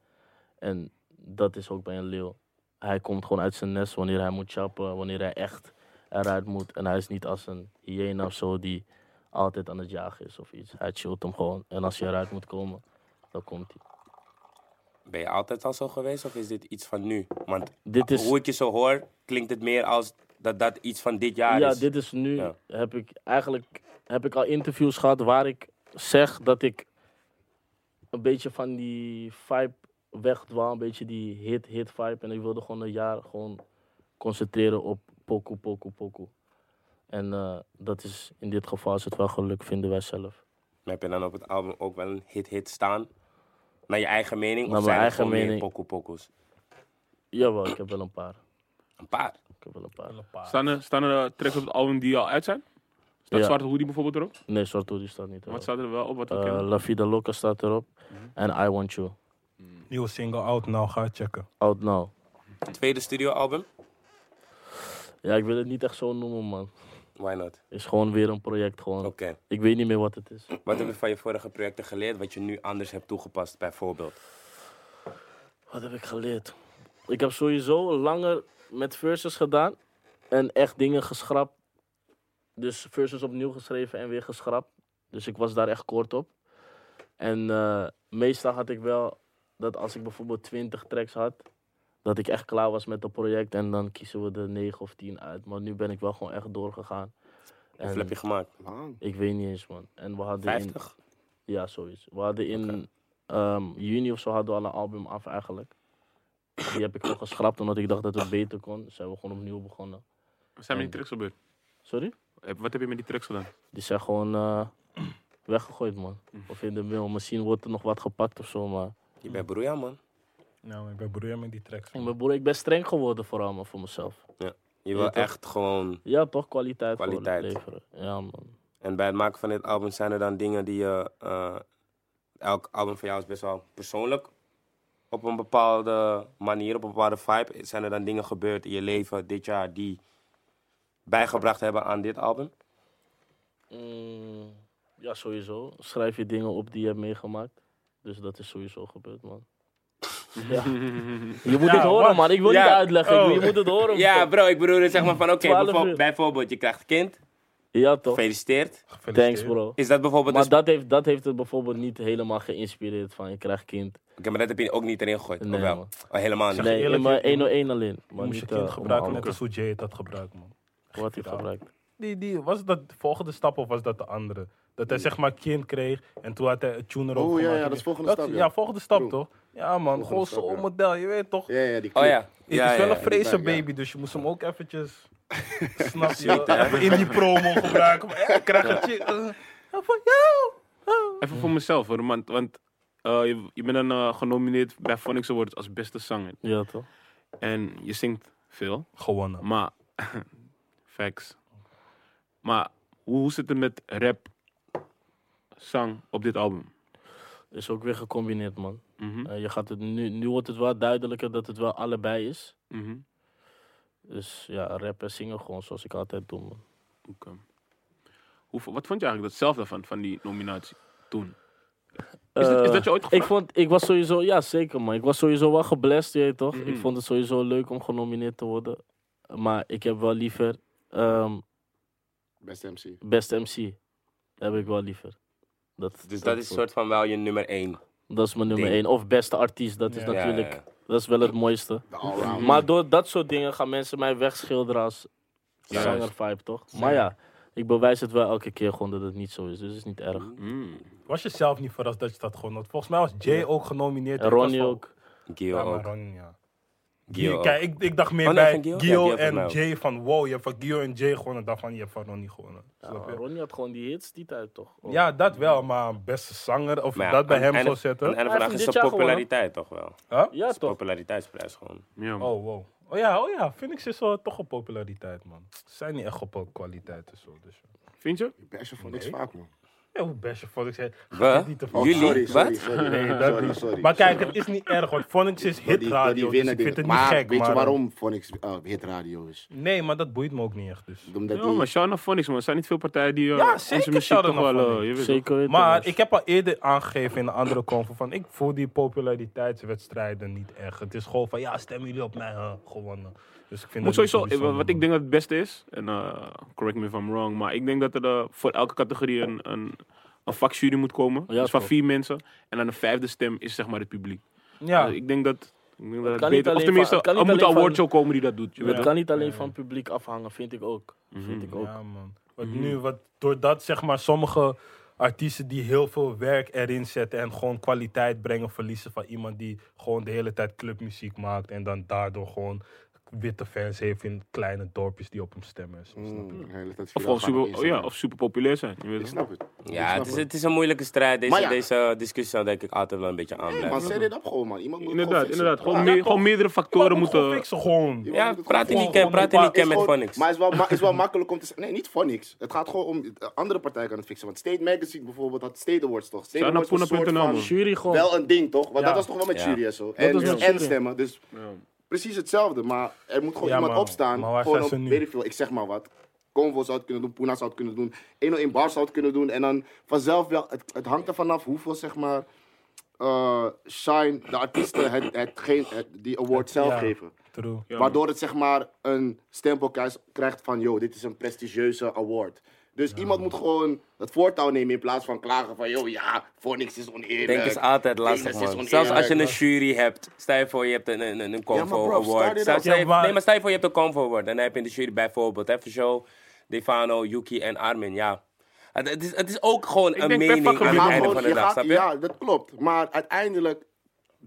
Speaker 4: En dat is ook bij een leeuw. Hij komt gewoon uit zijn nest wanneer hij moet chappen, wanneer hij echt eruit moet. En hij is niet als een hyena of zo die altijd aan het jagen is of iets. Hij chillt hem gewoon. En als hij eruit moet komen, dan komt hij.
Speaker 1: Ben je altijd al zo geweest of is dit iets van nu? Want
Speaker 4: Dit is...
Speaker 1: hoe ik je zo hoor, klinkt het meer als dat dat iets van dit jaar
Speaker 4: ja,
Speaker 1: is.
Speaker 4: dit is nu.
Speaker 1: Ja.
Speaker 4: Heb ik eigenlijk heb ik al interviews gehad waar ik zeg dat ik een beetje van die vibe wegdwaal, een beetje die hit, hit vibe. En ik wilde gewoon een jaar gewoon concentreren op pokoe, pokoe, pokoe. En eh, dat is in dit geval is het wel gelukt, vinden wij zelf.
Speaker 1: Maar Heb je dan op het album ook wel een hit-hit staan? Naar je eigen mening?
Speaker 4: Naar
Speaker 1: of
Speaker 4: mijn
Speaker 1: zijn er
Speaker 4: eigen
Speaker 1: gewoon meer
Speaker 4: mening.
Speaker 1: pokoe-pokoes?
Speaker 4: Jawel, ik heb wel een paar.
Speaker 1: Een paar.
Speaker 4: Ik heb wel een paar.
Speaker 5: Staan er, staan er eh, tracks op het album die al uit zijn? Staat
Speaker 4: Ja.
Speaker 5: Zwarte Hoodie bijvoorbeeld erop?
Speaker 4: Nee, Sartor die staat niet
Speaker 5: Wat
Speaker 4: erop.
Speaker 5: staat er wel op? Wat we
Speaker 4: Eh,
Speaker 5: kennen?
Speaker 4: La Vida Loca staat erop. En I Want You.
Speaker 3: Nieuwe single out nou, ga het checken.
Speaker 4: Out Now.
Speaker 1: Tweede studioalbum?
Speaker 4: Ja, ik wil het niet echt zo noemen, man.
Speaker 1: Why not?
Speaker 4: is gewoon weer een project. Gewoon.
Speaker 1: Oké.
Speaker 4: Ik weet niet meer wat het is.
Speaker 1: Wat heb je van je vorige projecten geleerd wat je nu anders hebt toegepast, bijvoorbeeld?
Speaker 4: Wat heb ik geleerd? Ik heb sowieso langer met verses gedaan. En echt dingen geschrapt. Dus verses opnieuw geschreven en weer geschrapt. Dus ik was daar echt kort op. En eh, meestal had ik wel dat als ik bijvoorbeeld 20 tracks had, dat ik echt klaar was met het project. En dan kiezen we er 9 of 10 uit. Maar nu ben ik wel gewoon echt doorgegaan.
Speaker 1: Hoeveel heb je gemaakt?
Speaker 2: Lang.
Speaker 4: Ik weet niet eens, man. En we hadden in-
Speaker 1: 50?
Speaker 4: Ja, zoiets. We hadden in ehm, juni of zo hadden we al een album af eigenlijk. Die heb ik gewoon geschrapt omdat ik dacht dat het beter kon. Dus zijn we gewoon opnieuw begonnen.
Speaker 5: Wat
Speaker 4: eh,
Speaker 5: zijn met die tracks gebeurd?
Speaker 4: Sorry?
Speaker 5: Heb- Eh, Wat heb je met die tracks gedaan?
Speaker 4: Die zijn gewoon eh, weggegooid, man. Of in de mail. Misschien wordt er nog wat gepakt of zo, maar...
Speaker 1: Je bent broeia, man.
Speaker 3: Nou, ik ben broer met die tracks.
Speaker 4: Ik ben, broer, ik ben streng geworden vooral, man, voor mezelf.
Speaker 1: Je wil
Speaker 4: Ja, toch?
Speaker 1: echt gewoon...
Speaker 4: Ja, toch? Kwaliteit, gewoon
Speaker 1: Kwaliteit.
Speaker 4: leveren. Ja, man.
Speaker 1: En bij het maken van dit album zijn er dan dingen die je... eh, elk album van jou is best wel persoonlijk. Op een bepaalde manier, op een bepaalde vibe. Zijn er dan dingen gebeurd in je leven dit jaar die bijgebracht hebben aan dit album?
Speaker 4: Mm, ja, sowieso. Schrijf je dingen op die je hebt meegemaakt. Dus dat is sowieso gebeurd, man. Ja. Je moet
Speaker 3: Ja,
Speaker 4: het horen,
Speaker 3: wat?
Speaker 4: man. Ik wil
Speaker 1: Ja.
Speaker 4: niet uitleggen.
Speaker 3: Oh.
Speaker 4: Je moet het horen.
Speaker 1: Ja,
Speaker 4: man.
Speaker 1: bro, ik bedoel, zeg maar van oké,
Speaker 4: 12
Speaker 1: bijvo-
Speaker 4: uur.
Speaker 1: bijvoorbeeld, je krijgt kind,
Speaker 4: ja toch?
Speaker 1: gefeliciteerd.
Speaker 4: Thanks, bro.
Speaker 1: Is dat bijvoorbeeld. dus-
Speaker 4: Maar
Speaker 1: een sp-
Speaker 4: dat heeft, dat heeft het bijvoorbeeld niet helemaal geïnspireerd van je krijgt kind.
Speaker 1: Oké, maar dat heb je ook niet erin gegooid.
Speaker 4: Nee,
Speaker 1: of wel?
Speaker 4: man.
Speaker 1: Oh, helemaal niet.
Speaker 4: Nee,
Speaker 3: eerlijk,
Speaker 4: in mijn
Speaker 3: je-
Speaker 4: 101 alleen. Maar
Speaker 3: Moest je
Speaker 4: niet eh,
Speaker 3: kind
Speaker 4: om
Speaker 3: gebruiken, net
Speaker 4: alles
Speaker 3: als hoe Jay het had gebruikt, man.
Speaker 4: Wat hij gebruikt.
Speaker 3: Die, die, was dat de volgende stap of was dat de andere? Dat hij zeg maar kind kreeg en toen had hij een tuner
Speaker 2: Oh,
Speaker 3: over
Speaker 2: ja,
Speaker 3: gemaakt.
Speaker 2: ja, dat is volgende stap, ja.
Speaker 3: volgende stap
Speaker 2: True.
Speaker 3: toch? Ja man, gewoon
Speaker 2: stap,
Speaker 3: zo'n
Speaker 2: ja.
Speaker 3: model, je weet toch?
Speaker 2: Ja, ja, die
Speaker 1: Oh
Speaker 2: clip.
Speaker 1: ja.
Speaker 3: Het
Speaker 1: ja,
Speaker 3: is wel
Speaker 1: ja,
Speaker 3: een Fraser
Speaker 2: die bank, ja.
Speaker 3: baby, dus je moest hem ook eventjes, snap je, even in die promo gebruiken. Maar, eh, ik krijg het je- eh, ja, van jou!
Speaker 5: Even voor mezelf hoor, want, want eh, je, je bent dan eh, genomineerd bij Phonics Awards als beste zanger.
Speaker 4: Ja toch?
Speaker 5: En je zingt veel,
Speaker 3: Gewonnen.
Speaker 5: maar... facts. Maar hoe, hoe zit het met rap, zang op dit album?
Speaker 4: Is ook weer gecombineerd, man.
Speaker 3: Hm?
Speaker 5: Mhm,
Speaker 4: Eh, je gaat het nu, nu wordt het wel duidelijker dat het wel allebei is.
Speaker 5: mhm,
Speaker 4: Dus ja, rap en zingen gewoon zoals ik altijd doe, man.
Speaker 5: oké. Hoe, v- wat vond je eigenlijk dat zelf daarvan, van die nominatie toen? Is, dat, is
Speaker 4: Eh,
Speaker 5: dat je ooit
Speaker 4: Ik
Speaker 5: gevraagd?
Speaker 4: vond, ik was
Speaker 1: Mhm.
Speaker 4: sowieso, ja zeker man. Ik was sowieso wel geblest, je weet toch? Ik vond het sowieso leuk om genomineerd te worden. Eh, Maar ik heb wel liever ehm,
Speaker 2: Beste MC.
Speaker 4: Best MC. Dat heb ik wel liever. Dat,
Speaker 1: Dus dat is soort van wel je nummer één.
Speaker 4: dat is mijn nummer
Speaker 1: ding.
Speaker 4: één. Of beste artiest, dat is
Speaker 3: Ja.
Speaker 4: natuurlijk...
Speaker 1: Ja, ja, Mhm.
Speaker 4: Dat is wel het mooiste.
Speaker 2: De allround.
Speaker 4: Maar door dat soort dingen gaan mensen mij wegschilderen als
Speaker 1: Juist.
Speaker 4: zanger-vibe, toch? Maar ja, ik bewijs het wel elke keer gewoon dat het niet zo is. Dus het is niet erg.
Speaker 1: Mhm.
Speaker 5: Mm.
Speaker 3: Was je zelf niet verrast dat je dat gewoon had? Volgens mij was Jay ook genomineerd.
Speaker 4: En
Speaker 3: Ik was
Speaker 4: Ronnie
Speaker 3: van-
Speaker 4: ook.
Speaker 1: Gio
Speaker 3: Ja, maar
Speaker 1: ook.
Speaker 3: Ronnie, ja.
Speaker 1: Gio ook.
Speaker 3: Kijk, ik, ik dacht meer
Speaker 1: Oh, nee,
Speaker 3: bij
Speaker 1: van Gio?
Speaker 3: Gio,
Speaker 1: Ja, Gio heeft
Speaker 3: en
Speaker 1: mij ook.
Speaker 3: Jay van wow, je hebt van Gio en Jay gewonnen. Ik dacht van, je hebt van Ronnie gewonnen.
Speaker 4: Ja,
Speaker 3: Snap je?
Speaker 4: Ronnie had gewoon die hits die tijd, toch? Oh.
Speaker 3: Ja, dat wel, maar beste zanger, of
Speaker 1: Maar ja,
Speaker 3: dat bij
Speaker 1: aan
Speaker 3: hem
Speaker 1: het
Speaker 3: zo
Speaker 1: einde- Aan
Speaker 3: zetten.
Speaker 1: het einde
Speaker 4: Hij
Speaker 1: van de dag
Speaker 4: heeft
Speaker 1: is
Speaker 4: dit
Speaker 1: de
Speaker 4: jaar gewonnen.
Speaker 1: populariteit toch wel.
Speaker 3: Huh?
Speaker 4: Ja, toch?
Speaker 1: Populariteitsprijs gewoon.
Speaker 5: Ja, man.
Speaker 3: Oh, wow. Oh ja, oh ja, Phoenix is wel toch op populariteit, man. Ze zijn niet echt op eh, kwaliteit en zo. Dus.
Speaker 5: Vind je?
Speaker 2: Best je voor niks vaak, man. Oh,
Speaker 3: Ja, hoe best je Phonix zei.
Speaker 1: We?
Speaker 3: niet te veel.
Speaker 1: Jullie?
Speaker 2: Sorry, sorry,
Speaker 1: Wat?
Speaker 2: sorry.
Speaker 3: Nee, dat
Speaker 2: sorry,
Speaker 3: niet.
Speaker 2: sorry.
Speaker 3: Maar kijk, het is niet erg, want Phonix is
Speaker 2: Door die- door die
Speaker 3: hitradio, dus
Speaker 2: winnen
Speaker 3: ik vind
Speaker 2: dingen.
Speaker 3: het niet
Speaker 2: maar,
Speaker 3: gek.
Speaker 2: Weet je
Speaker 3: maar-
Speaker 2: waarom Phonix eh, hitradio is?
Speaker 3: Nee, maar dat boeit me ook niet echt, dus.
Speaker 2: Omdat
Speaker 5: Ja,
Speaker 2: die...
Speaker 5: maar shout naar Phonics, man. Er zijn niet veel partijen die eh,
Speaker 3: Ja,
Speaker 5: onze
Speaker 3: zeker
Speaker 5: muziek
Speaker 3: shout-out
Speaker 5: toch
Speaker 3: naar
Speaker 5: wel... eh,
Speaker 3: Phonics.
Speaker 5: je dus- weet toch?
Speaker 4: Zeker weten.
Speaker 3: Maar
Speaker 4: man.
Speaker 3: ik heb al eerder aangegeven in een andere convo van ik voel die populariteitswedstrijden niet echt. Het is gewoon van ja, stemmen jullie op mij hè, gewonnen. Dus ik vind
Speaker 5: Moet
Speaker 3: dat niet zo
Speaker 5: sowieso, eh,
Speaker 3: bijzonder,
Speaker 5: wat ik
Speaker 3: man.
Speaker 5: denk dat het beste is, en eh, correct me if I'm wrong, maar ik denk dat er eh, voor elke categorie een, een, een vakjury moet komen.
Speaker 4: Ja,
Speaker 5: dus van
Speaker 4: toch.
Speaker 5: vier mensen. En dan een vijfde stem is zeg maar het publiek.
Speaker 3: Ja,
Speaker 5: Dus ik denk dat, ik denk dat het
Speaker 4: kan niet
Speaker 5: beter... Of
Speaker 4: alleen
Speaker 5: tenminste,
Speaker 4: van- het kan
Speaker 5: er
Speaker 4: niet
Speaker 5: moet een
Speaker 4: alleen van-
Speaker 5: awardshow komen die dat doet. Je weet
Speaker 4: Het
Speaker 5: toch?
Speaker 4: kan niet alleen van publiek afhangen, vind ik ook. Vind ik ook.
Speaker 3: ja man. Want
Speaker 5: Mhm.
Speaker 3: nu, wat, doordat zeg maar sommige artiesten die heel veel werk erin zetten en gewoon kwaliteit brengen, verliezen van iemand die gewoon de hele tijd clubmuziek maakt en dan daardoor gewoon witte fans heeft in kleine dorpjes die op hem stemmen. en zo,
Speaker 5: Mhm.
Speaker 3: snap je?
Speaker 2: Mm, de hele tijd
Speaker 5: Of
Speaker 2: viraal
Speaker 5: gewoon
Speaker 2: gaan op
Speaker 5: super, oh ja,
Speaker 2: Instagram.
Speaker 5: of super populair zijn. Je weet
Speaker 2: Ik
Speaker 5: toch?
Speaker 2: snap het. Ik
Speaker 1: Ja,
Speaker 2: snap
Speaker 1: het is, het is een moeilijke strijd. Deze,
Speaker 2: Maar ja.
Speaker 1: deze discussie zal denk ik altijd wel een beetje
Speaker 2: Nee, maar
Speaker 1: aanblijven.
Speaker 2: zet dit op gewoon, man. Iemand moet het
Speaker 5: Inderdaad,
Speaker 2: gewoon fixen. Ah,
Speaker 5: inderdaad. Gewoon,
Speaker 2: Ja,
Speaker 5: meer-
Speaker 3: ja,
Speaker 5: gewoon
Speaker 3: toch.
Speaker 5: meerdere factoren
Speaker 3: Iemand moet gewoon
Speaker 5: moeten...
Speaker 3: fixen gewoon.
Speaker 2: iemand
Speaker 1: Ja,
Speaker 2: moet het
Speaker 1: praat in
Speaker 2: gewoon
Speaker 1: die ken,
Speaker 2: fixen.
Speaker 1: praat in die
Speaker 2: Maar
Speaker 1: ken
Speaker 2: is
Speaker 1: met
Speaker 2: gewoon-
Speaker 1: Phonics.
Speaker 2: Maar het is wel, ma- is wel makkelijk om te zeggen... Nee, niet voor niks. Het gaat gewoon om... de andere partij kan het fixen. Want State Magazine bijvoorbeeld had State Awards toch? State
Speaker 5: Zou naar
Speaker 2: Awards was een soort
Speaker 5: poena.nl,
Speaker 2: van-
Speaker 5: man.
Speaker 4: Jury gewoon.
Speaker 2: Wel een ding, toch? Want
Speaker 3: Ja.
Speaker 2: dat was toch wel met
Speaker 1: Ja.
Speaker 2: jury en zo.
Speaker 4: was
Speaker 2: En,
Speaker 4: met
Speaker 2: en
Speaker 4: jury.
Speaker 2: stemmen. Dus
Speaker 5: Ja.
Speaker 2: precies hetzelfde. Maar er moet gewoon
Speaker 3: Ja,
Speaker 2: iemand
Speaker 3: maar-
Speaker 2: opstaan.
Speaker 3: maar waar
Speaker 2: gewoon
Speaker 3: zijn ze
Speaker 2: op,
Speaker 3: nu?
Speaker 2: weet ik veel, ik zeg maar wat. Convo zou het kunnen doen, Puna zou het kunnen doen, 101 Bar zou het kunnen doen. En dan vanzelf wel, het, het hangt er vanaf hoeveel zeg maar, eh, shine de artiesten het, hetgeen- het- die award zelf
Speaker 3: Ja.
Speaker 2: geven.
Speaker 3: True.
Speaker 5: Ja,
Speaker 2: Waardoor het zeg maar een stempel krijs- krijgt van, yo, dit is een prestigieuze award. Dus iemand moet gewoon het voortouw nemen in plaats van klagen van, yo, ja, voor niks is oneerlijk.
Speaker 1: Denk is altijd lastig,
Speaker 2: Venus is
Speaker 1: man.
Speaker 2: oneerlijk.
Speaker 1: Zelfs als je een jury hebt. Stel je voor, je hebt een, een, een, een Convo
Speaker 2: Ja, maar bro,
Speaker 1: Award.
Speaker 2: stel je
Speaker 1: Stel-
Speaker 2: dat-
Speaker 1: stel je-
Speaker 3: Ja, maar-
Speaker 1: Nee, maar stel je voor, je hebt een Convo Award. En dan heb je in de jury bijvoorbeeld, hè, Show, Defano, Yuki en Armin, ja. Het, het is, het is ook gewoon een
Speaker 5: denk per
Speaker 1: mening aan
Speaker 5: vakgebied,
Speaker 1: het
Speaker 2: Maar
Speaker 5: man.
Speaker 1: einde
Speaker 2: gewoon,
Speaker 1: van de
Speaker 2: je
Speaker 1: dag,
Speaker 2: gaat-
Speaker 1: snap je?
Speaker 2: Ja, dat klopt. Maar uiteindelijk,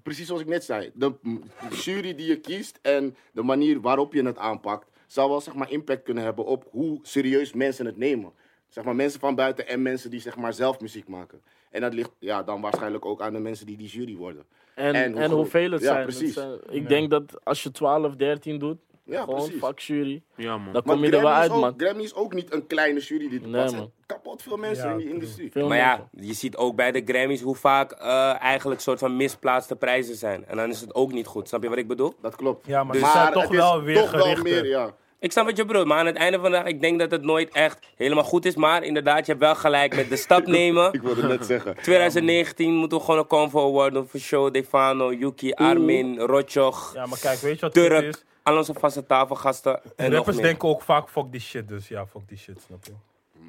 Speaker 2: precies zoals ik net zei, de m- jury die je kiest en de manier waarop je het aanpakt, zou wel zeg maar, impact kunnen hebben op hoe serieus mensen het nemen. Zeg maar mensen van buiten en mensen die zeg maar, zelf muziek maken. En dat ligt ja, dan waarschijnlijk ook aan de mensen die die jury worden.
Speaker 4: En, en,
Speaker 2: hoe goed.
Speaker 4: hoeveel het
Speaker 2: Ja,
Speaker 4: zijn. Het
Speaker 2: precies.
Speaker 4: zijn- ik denk dat als je 12, 13 doet,
Speaker 2: Ja,
Speaker 4: gewoon
Speaker 2: precies.
Speaker 4: fuck jury,
Speaker 5: Ja, man.
Speaker 4: dan
Speaker 2: Maar
Speaker 4: kom je er wel
Speaker 2: Grammy is
Speaker 4: uit,
Speaker 2: ook-
Speaker 4: man.
Speaker 2: Grammy is ook niet een kleine jury. Die,
Speaker 4: Nee,
Speaker 2: dat zijn
Speaker 4: man.
Speaker 2: kapot veel mensen
Speaker 3: Ja,
Speaker 2: in die
Speaker 3: true.
Speaker 2: industrie.
Speaker 4: Veel
Speaker 1: Maar
Speaker 4: mensen.
Speaker 1: ja, je ziet ook bij de Grammys hoe vaak eh, eigenlijk soort van misplaatste prijzen zijn. En dan is het ook niet goed. Snap je wat ik bedoel?
Speaker 2: Dat klopt.
Speaker 3: Ja, maar
Speaker 4: Dus-
Speaker 3: ze zijn toch
Speaker 2: het is
Speaker 3: wel weer
Speaker 2: toch wel
Speaker 3: gerichter.
Speaker 2: meer, ja.
Speaker 1: Ik snap wat je bedoelt, maar aan het einde van de dag, ik denk dat het nooit echt helemaal goed is. Maar inderdaad, je hebt wel gelijk met de stap nemen.
Speaker 2: Ik wilde net zeggen.
Speaker 1: 2019 moeten we gewoon een convo award doen voor Show, Defano, Yuki, Armin, Rotjoch,
Speaker 3: Ja, maar kijk, weet je wat het
Speaker 1: Turk.
Speaker 3: is?
Speaker 1: Al onze vaste tafelgasten. En nog
Speaker 3: Rappers
Speaker 1: meer.
Speaker 3: denken ook vaak fuck die shit, dus ja, fuck die shit, snap je?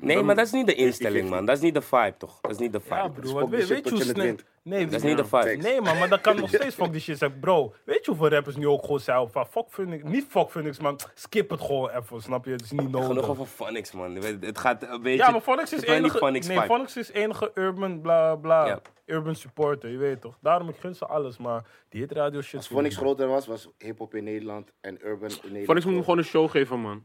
Speaker 1: Nee, maar dat is niet de instelling, man. Dat is niet de vibe, toch? Dat is niet de vibe.
Speaker 3: Ja, broer,
Speaker 2: fuck
Speaker 3: wat
Speaker 2: die
Speaker 3: weet,
Speaker 2: shit
Speaker 3: weet je
Speaker 2: tot
Speaker 3: hoe
Speaker 2: je het
Speaker 3: snel...
Speaker 2: wint.
Speaker 3: Nee,
Speaker 1: Dat is niet de vibe.
Speaker 3: Nee, man, maar dat kan nog steeds fuck die shit zeggen. Bro, weet je hoeveel rappers nu ook gewoon zeggen van fuck Phoenix, niet fuck Phoenix, maar skip het gewoon even, snap je? Het is niet
Speaker 1: Genoeg
Speaker 3: nodig.
Speaker 1: over Phonics, man. Het gaat een beetje...
Speaker 3: Ja, maar Phonics is
Speaker 1: het wordt niet
Speaker 3: enige,
Speaker 1: Phonics
Speaker 3: nee,
Speaker 1: vibe.
Speaker 3: Phonics is enige urban bla bla,
Speaker 1: Ja.
Speaker 3: urban supporter, je weet toch? Daarom, ik gun ze alles, maar die hit radio shit...
Speaker 2: Als Phonics groter was, was hip-hop in Nederland en urban in Nederland.
Speaker 5: Phonics moet hem gewoon een show geven, man.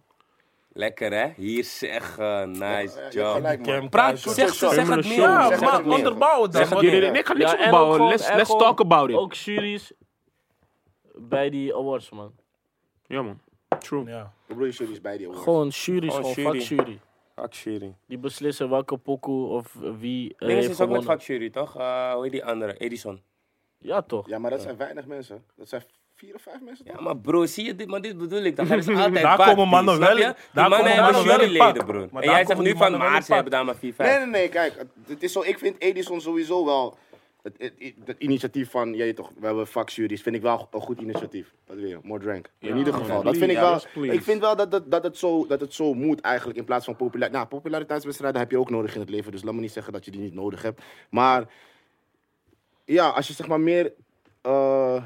Speaker 1: Lekker, hè? Hier zeggen, nice
Speaker 2: Ja, ja,
Speaker 1: job.
Speaker 2: gelijk, man.
Speaker 3: Cam
Speaker 1: Praat,
Speaker 3: Keizer.
Speaker 1: zeg, zeg, zeg het meer.
Speaker 5: Criminal show.
Speaker 3: Ja,
Speaker 1: zeg
Speaker 2: maar
Speaker 1: het meer.
Speaker 3: onderbouw het dan.
Speaker 1: Zeg het
Speaker 3: want-
Speaker 1: meer.
Speaker 5: Nee, nee, ik ga niks
Speaker 4: Ja, en ook
Speaker 5: opbouwen.
Speaker 4: gewoon-
Speaker 5: Let's,
Speaker 4: en
Speaker 5: let's
Speaker 4: gewoon
Speaker 5: talk about it.
Speaker 4: Ook juries bij die awards, man.
Speaker 5: Ja, man. True.
Speaker 3: Ja.
Speaker 2: Ik bedoel, je jury's bij die awards.
Speaker 4: Gewoon juries,
Speaker 1: Gewoon
Speaker 4: gewoon
Speaker 1: jury.
Speaker 4: fuck jury.
Speaker 1: Vakjury.
Speaker 4: Die beslissen welke pokoe of wie eh,
Speaker 1: Dinges
Speaker 4: heeft
Speaker 1: is ook met
Speaker 4: gewonnen.
Speaker 1: vakjury, toch? Eh, hoe heet die andere? Edison.
Speaker 4: Ja, toch?
Speaker 2: Ja, maar dat zijn weinig mensen. Dat zijn vier of vijf mensen.
Speaker 1: Ja,
Speaker 2: toch?
Speaker 1: maar bro, zie je dit? Maar dit bedoel ik. Dan is altijd
Speaker 3: Daar
Speaker 1: vaak
Speaker 3: komen mannen
Speaker 1: die, snap
Speaker 3: wel-
Speaker 1: je? Die
Speaker 3: daar
Speaker 1: mannen
Speaker 3: komen
Speaker 1: hebben
Speaker 3: mannen wel in
Speaker 1: juryleden,
Speaker 3: pak.
Speaker 1: bro.
Speaker 3: Maar
Speaker 1: En
Speaker 3: daar
Speaker 1: jij zegt
Speaker 3: komen
Speaker 1: nu
Speaker 3: die
Speaker 1: van,
Speaker 3: mannen wel
Speaker 1: maar
Speaker 3: in
Speaker 1: ze hebben
Speaker 3: pak.
Speaker 1: daar maar 4, 5.
Speaker 2: Nee, nee, nee, kijk. Het, het is zo, ik vind Edison sowieso wel het, het, het initiatief van, je weet toch, we hebben vakjuries, vind ik wel een goed initiatief. Wat wil je? More drank. in ieder
Speaker 5: man,
Speaker 2: geval. dat
Speaker 5: please.
Speaker 2: vind ik
Speaker 5: Ja,
Speaker 2: wel.
Speaker 5: yes, please.
Speaker 2: ik vind wel dat, dat, dat, het zo, dat het zo moet eigenlijk. In plaats van populariteit. Nou, populariteitswedstrijden heb je ook nodig in het leven. Dus laat me niet zeggen dat je die niet nodig hebt. Maar ja, als je zeg maar meer eh,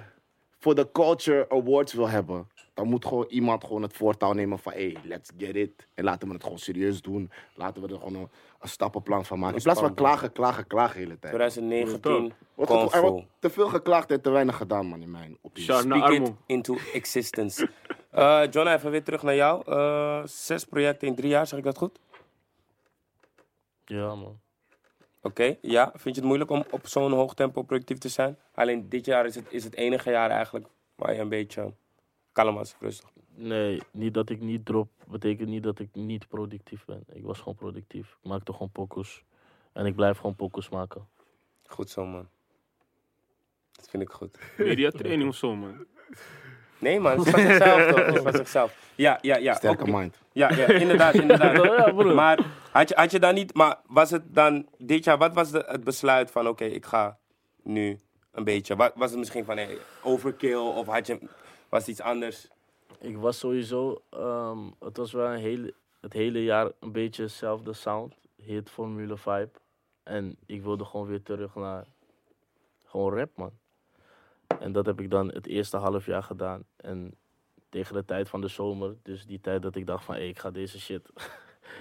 Speaker 2: voor de culture awards wil hebben, dan moet gewoon iemand gewoon het voortouw nemen van hey, let's get it. En laten we het gewoon serieus doen. Laten we er gewoon een, een stappenplan van maken. In plaats van klagen, klagen, klagen de hele tijd.
Speaker 1: 2019.
Speaker 2: Wordt ge- er
Speaker 1: Convo.
Speaker 2: wordt te veel geklaagd en te weinig gedaan, man, in mijn optiek.
Speaker 3: nou,
Speaker 5: Shout naar
Speaker 1: Speak it
Speaker 5: Armo.
Speaker 1: into existence. Eh John, even weer terug naar jou. Eh, zes projecten in drie jaar, zeg ik dat goed?
Speaker 4: Ja, man.
Speaker 1: Oké, ja. Vind je het moeilijk om op zo'n hoog tempo productief te zijn? Alleen dit jaar is het, is het enige jaar eigenlijk waar je een beetje kalm was, rustig.
Speaker 4: Nee, niet dat ik niet drop, betekent niet dat ik niet productief ben. Ik was gewoon productief. Ik maakte gewoon pokus. En ik blijf gewoon pokus maken.
Speaker 1: Goed zo, man. Dat vind ik goed.
Speaker 5: Media training of zo, man.
Speaker 1: Nee, man, het is van zichzelf toch? Het is van zichzelf. Ja, ja, ja.
Speaker 2: Sterke
Speaker 1: oké.
Speaker 2: mind.
Speaker 1: Ja, ja, inderdaad, inderdaad.
Speaker 4: Ja, broer.
Speaker 1: Maar had je, had je dan niet, maar was het dan dit jaar, wat was de, het besluit van oké, ik ga nu een beetje. Wa- was het misschien van hey, overkill of had je, was het iets anders?
Speaker 4: Ik was sowieso, ehm, het was wel een hele, het hele jaar een beetje hetzelfde sound. Hit Formule 5. En ik wilde gewoon weer terug naar gewoon rap, man. En dat heb ik dan het eerste half jaar gedaan. En tegen de tijd van de zomer, dus die tijd dat ik dacht van hé, ik ga deze shit